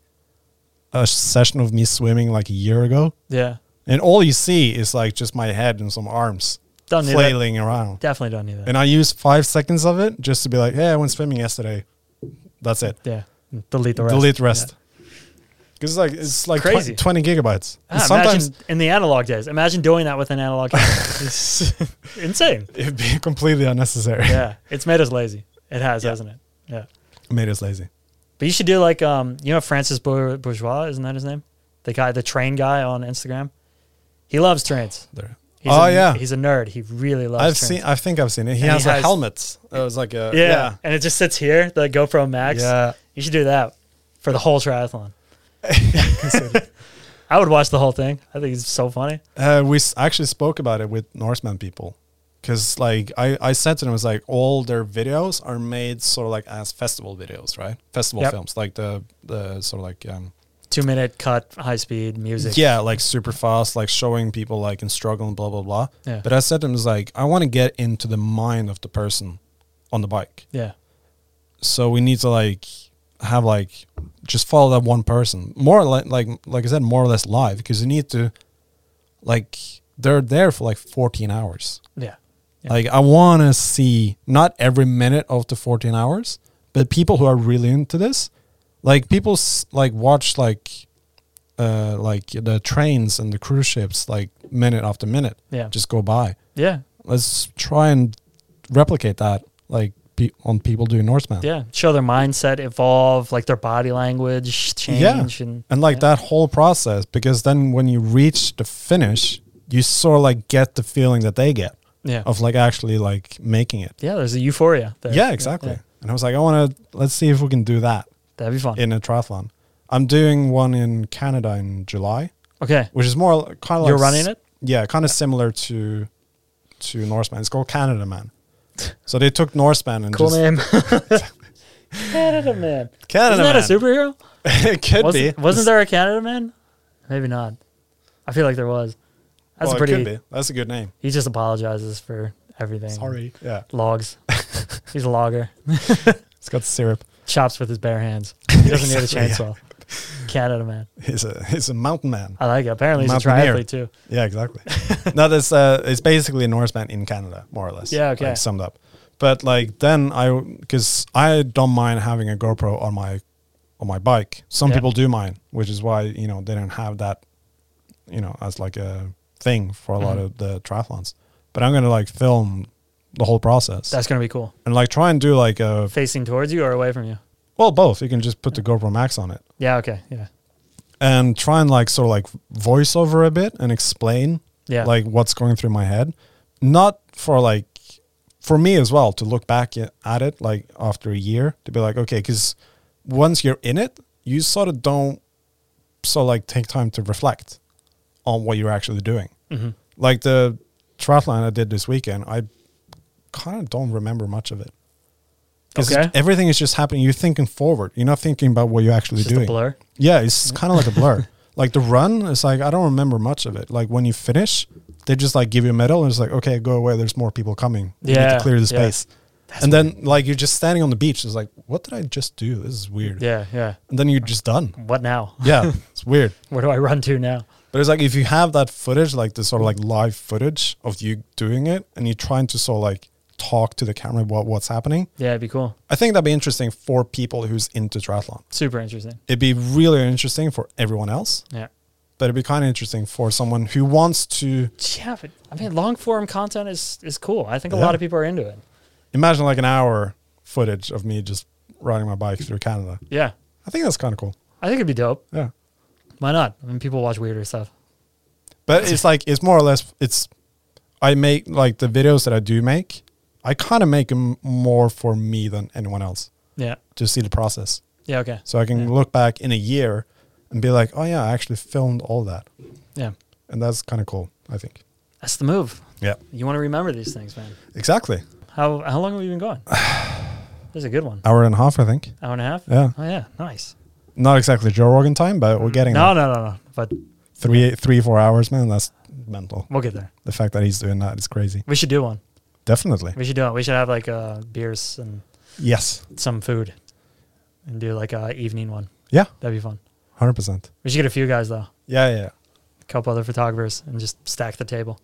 a session of me swimming like a year ago?
Yeah.
And all you see is like just my head and some arms
Don't need that.
flailing around.
Definitely don't need that.
And I use five seconds of it just to be like, hey, I went swimming yesterday. That's it.
yeah. Delete the rest.
Delete rest. Because like it's like twen-
Crazy.
20 gigabytes.
Yeah.
And
Ah,
sometimes
imagine in the analog days. Imagine doing that with an analog camera. it's insane.
it'd be completely unnecessary.
Yeah. It's made us lazy. It has,
Yeah.
hasn't it? Yeah.
Made us lazy.
But you should do like um you know Francis Bour- Bourgeois, isn't that his name? The guy the train guy on Instagram. He loves trains.
There.
He's
oh
a,
yeah.
He's a nerd. He really loves
I've seen
trains.
I think I've seen it. He
And he
has a
has-
helmet. It was like a
yeah. And it just sits here, the GoPro Max.
Yeah.
You should do that for the whole triathlon. I would watch the whole thing. I think it's so funny.
Uh, we s- actually spoke about it with Norseman people because, like, I, I said to them, it's like all their videos are made sort of like as festival videos, right? Festival
Yep.
films, like the, the sort of like, um,
Two minute cut, high speed music.
yeah, like super fast, like showing people like in struggle and blah, blah, blah.
Yeah.
But I said to them, it's like, I want to get into the mind of the person on the bike.
Yeah.
So we need to like have like just follow that one person more or like, like, like I said, more or less live because you need to like, they're there for like 14 hours.
Yeah. Yeah.
Like I want to see not every minute of the 14 hours, but people who are really into this like people s- like watch like uh like the trains and the cruise ships like minute after minute
Yeah.
just go by
Yeah.
let's try and replicate that like pe- on people doing norseman
Yeah. Show their mindset evolve, like their body language change. And,
and like
yeah.
that whole process because then when you reach the finish you sort of like get the feeling that they get
Yeah.
of like actually like making it
Yeah. There's a euphoria there.
yeah exactly
yeah.
and i was like i want to let's see if we can do that
That'd be fun.
in a triathlon i'm doing one in canada in july
okay.
which is more kind of like
You're running it?
yeah kind of similar to to norseman it's called canada man so they took norseman and
Cool
just
name. Canada Man.
canada
Isn't that
man
a superhero?
it could
wasn't,
be
wasn't there a Canada Man? Maybe not. I feel like there was. That's
Well,
a pretty.
it could be. that's a good name
He just apologizes for everything.
sorry yeah
Logs. He's a logger.
it's got syrup
Chops with his bare hands. He doesn't need a chainsaw. Canada man.
he's a he's a mountain man
I like it. Apparently he's a
Mountaineer.
triathlete too.
Yeah, exactly. no, that's uh, it's basically a Norseman in Canada, more or less.
Yeah, okay.
Like, summed up, but like then I because I don't mind having a GoPro on my on my bike. Some
Yeah.
people do mind, which is why you know they don't have that, you know, as like a thing for a lot
Mhm.
of the triathlons. But I'm gonna like film the whole process
That's gonna be cool.
and like try and do like a
Facing towards you or away from you?
well both. You can just put the GoPro Max on it
Yeah, okay. Yeah.
and try and like sort of like voice over a bit and explain
Yeah.
like what's going through my head not for like for me as well to look back i- at it like after a year to be like okay because once you're in it you sort of don't so like take time to reflect on what you're actually doing
hmm
like the triathlon i did this weekend i kind of don't remember much of it because
Okay.
everything is just happening you're thinking forward you're not thinking about what you're actually
Just
doing
a blur.
yeah, it's kind of like a blur. like the run, it's like I don't remember much of it. Like when you finish, they just like give you a medal and it's like, okay, go away. There's more people coming. We need
Yeah,
to clear the
yeah.
space. and then like you're just standing on the beach. It's like, what did I just do? This is weird.
Yeah, yeah.
And then you're just done.
What now?
Yeah, it's weird.
Where do I run to now?
But it's like if you have that footage, like the sort of like live footage of you doing it, and you're trying to sort of like talk to the camera about what's happening.
Yeah, it'd be cool.
I think that'd be interesting for people who's into triathlon.
Super interesting.
It'd be really interesting for everyone else.
Yeah.
but it'd be kind of interesting for someone who wants to
Yeah, but I mean long form content is is cool. I think a
Yeah.
lot of people are into it.
imagine like an hour footage of me just riding my bike through Canada.
Yeah.
I think that's kind of cool.
I think it'd be dope.
Yeah.
Why not? I mean people watch weirder stuff.
But it's like, it's more or less, it's, I make like the videos that I do make, I kind of make them more for me than anyone else
Yeah.
to see the process.
Yeah, okay.
So I can
Yeah.
look back in a year and be like, oh yeah, I actually filmed all that.
Yeah.
And that's kind of cool, I think.
That's the move.
Yeah.
You want to remember these things, man.
Exactly.
How how long have you been going? There's a good one.
Hour and a half, I think.
Hour and a half?
Yeah.
Oh yeah, nice.
Not exactly Joe Rogan time, but we're getting
Mm. No,
there.
no, no, no. But
three, three, four hours, man. That's mental.
we'll get there.
The fact that he's doing that is crazy.
We should do one.
Definitely.
We should do it. We should have like uh beers and
Yes.
some food and do like a evening one.
Yeah.
That'd be fun.
100%.
We should get a few guys though.
Yeah, yeah. yeah.
A couple other photographers and just stack the table.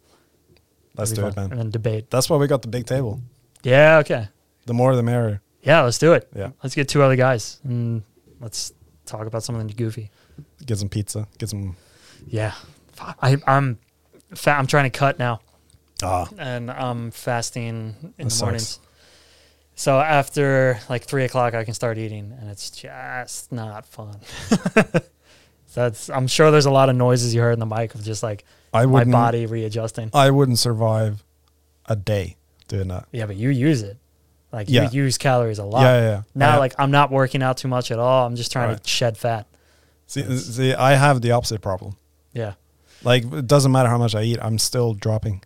Let's do
That'd be
it,
fun.
man.
And then debate.
That's why we got the big table.
Yeah, okay.
The more the merrier.
Yeah, let's do it.
Yeah.
Let's get two other guys and let's talk about something goofy.
Get some pizza. Get some.
Yeah. Fuck. I, I'm fat. I'm trying to cut now.
Ah.
and I'm fasting in
That
the
sucks.
mornings. So after like three o'clock, I can start eating, and it's just not fun. so that's I'm sure there's a lot of noises you heard in the mic of just like
I
my
wouldn't.
body readjusting.
I wouldn't survive a day doing that.
yeah, but you use it, like
Yeah.
you use calories a lot.
Yeah, yeah, yeah.
Now,
I-
like I'm not working out too much at all. I'm just trying
Right.
to shed fat.
See, see, I have the opposite problem.
Yeah,
Like, it doesn't matter how much I eat, I'm still dropping.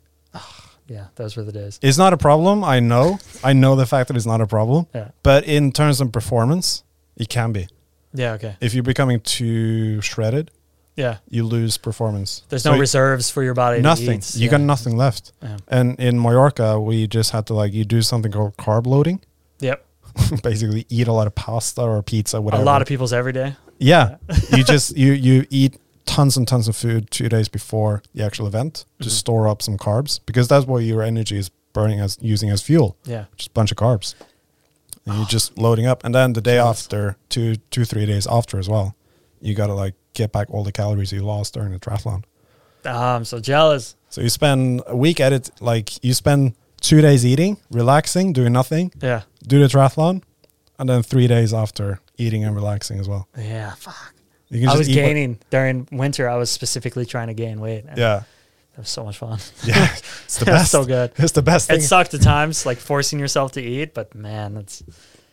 yeah, those were the days.
It's not a problem. I know. I know the fact that it's not a problem.
Yeah,
But in terms of performance, it can be.
yeah, okay,
If you're becoming too shredded,
yeah.
you lose performance.
There's
So
no
you-
reserves for your body. to
nothing.
eat.
You
yeah.
got nothing left.
Yeah.
And in Mallorca, we just had to like you do something called carb loading.
Yep.
Basically, eat a lot of pasta or pizza, whatever.
A lot of people's every day.
yeah. you just you you eat tons and tons of food two days before the actual event to
Mhm.
store up some carbs because that's what your energy is burning as using as fuel,
Yeah.
just a bunch of carbs. and you're just loading up. And then the day
Jeez.
after, two two three days after as well, you gotta like get back all the calories you lost during the triathlon.
Ah, I'm so jealous.
So you spend a week at it, like you spend two days eating, relaxing, doing nothing,
Yeah.
do the triathlon, and then three days after eating and relaxing as well.
Yeah. Fuck.
You can
I was
eat what-
gaining during winter. I was specifically trying to gain weight. and
yeah,
It was so much fun.
yeah, it's the
It was
best.
so good.
It's the best thing.
It sucked at times, like forcing yourself to eat, but man, that's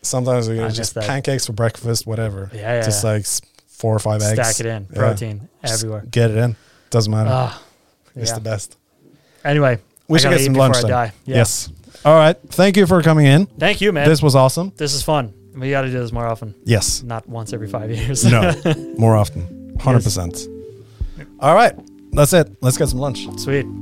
Sometimes we
I
get
miss
just
that.
pancakes for breakfast, whatever.
Yeah, yeah,
just
yeah.
like s- four or five eggs.
stack it in.
Yeah.
Protein
Just
everywhere.
Get it in. Doesn't matter.
Ah,
it's
yeah.
the best.
Anyway,
We
I
should
gotta
get
eat
some
before
lunch
I
then.
die. Yeah.
Yes. All right. Thank you for coming in.
Thank you, man. This,
This was awesome.
is fun. We got to do this more often,
Yes.
not once every five years.
No. More often. Hundred percent. All right. That's it. Let's get some lunch.
Sweet.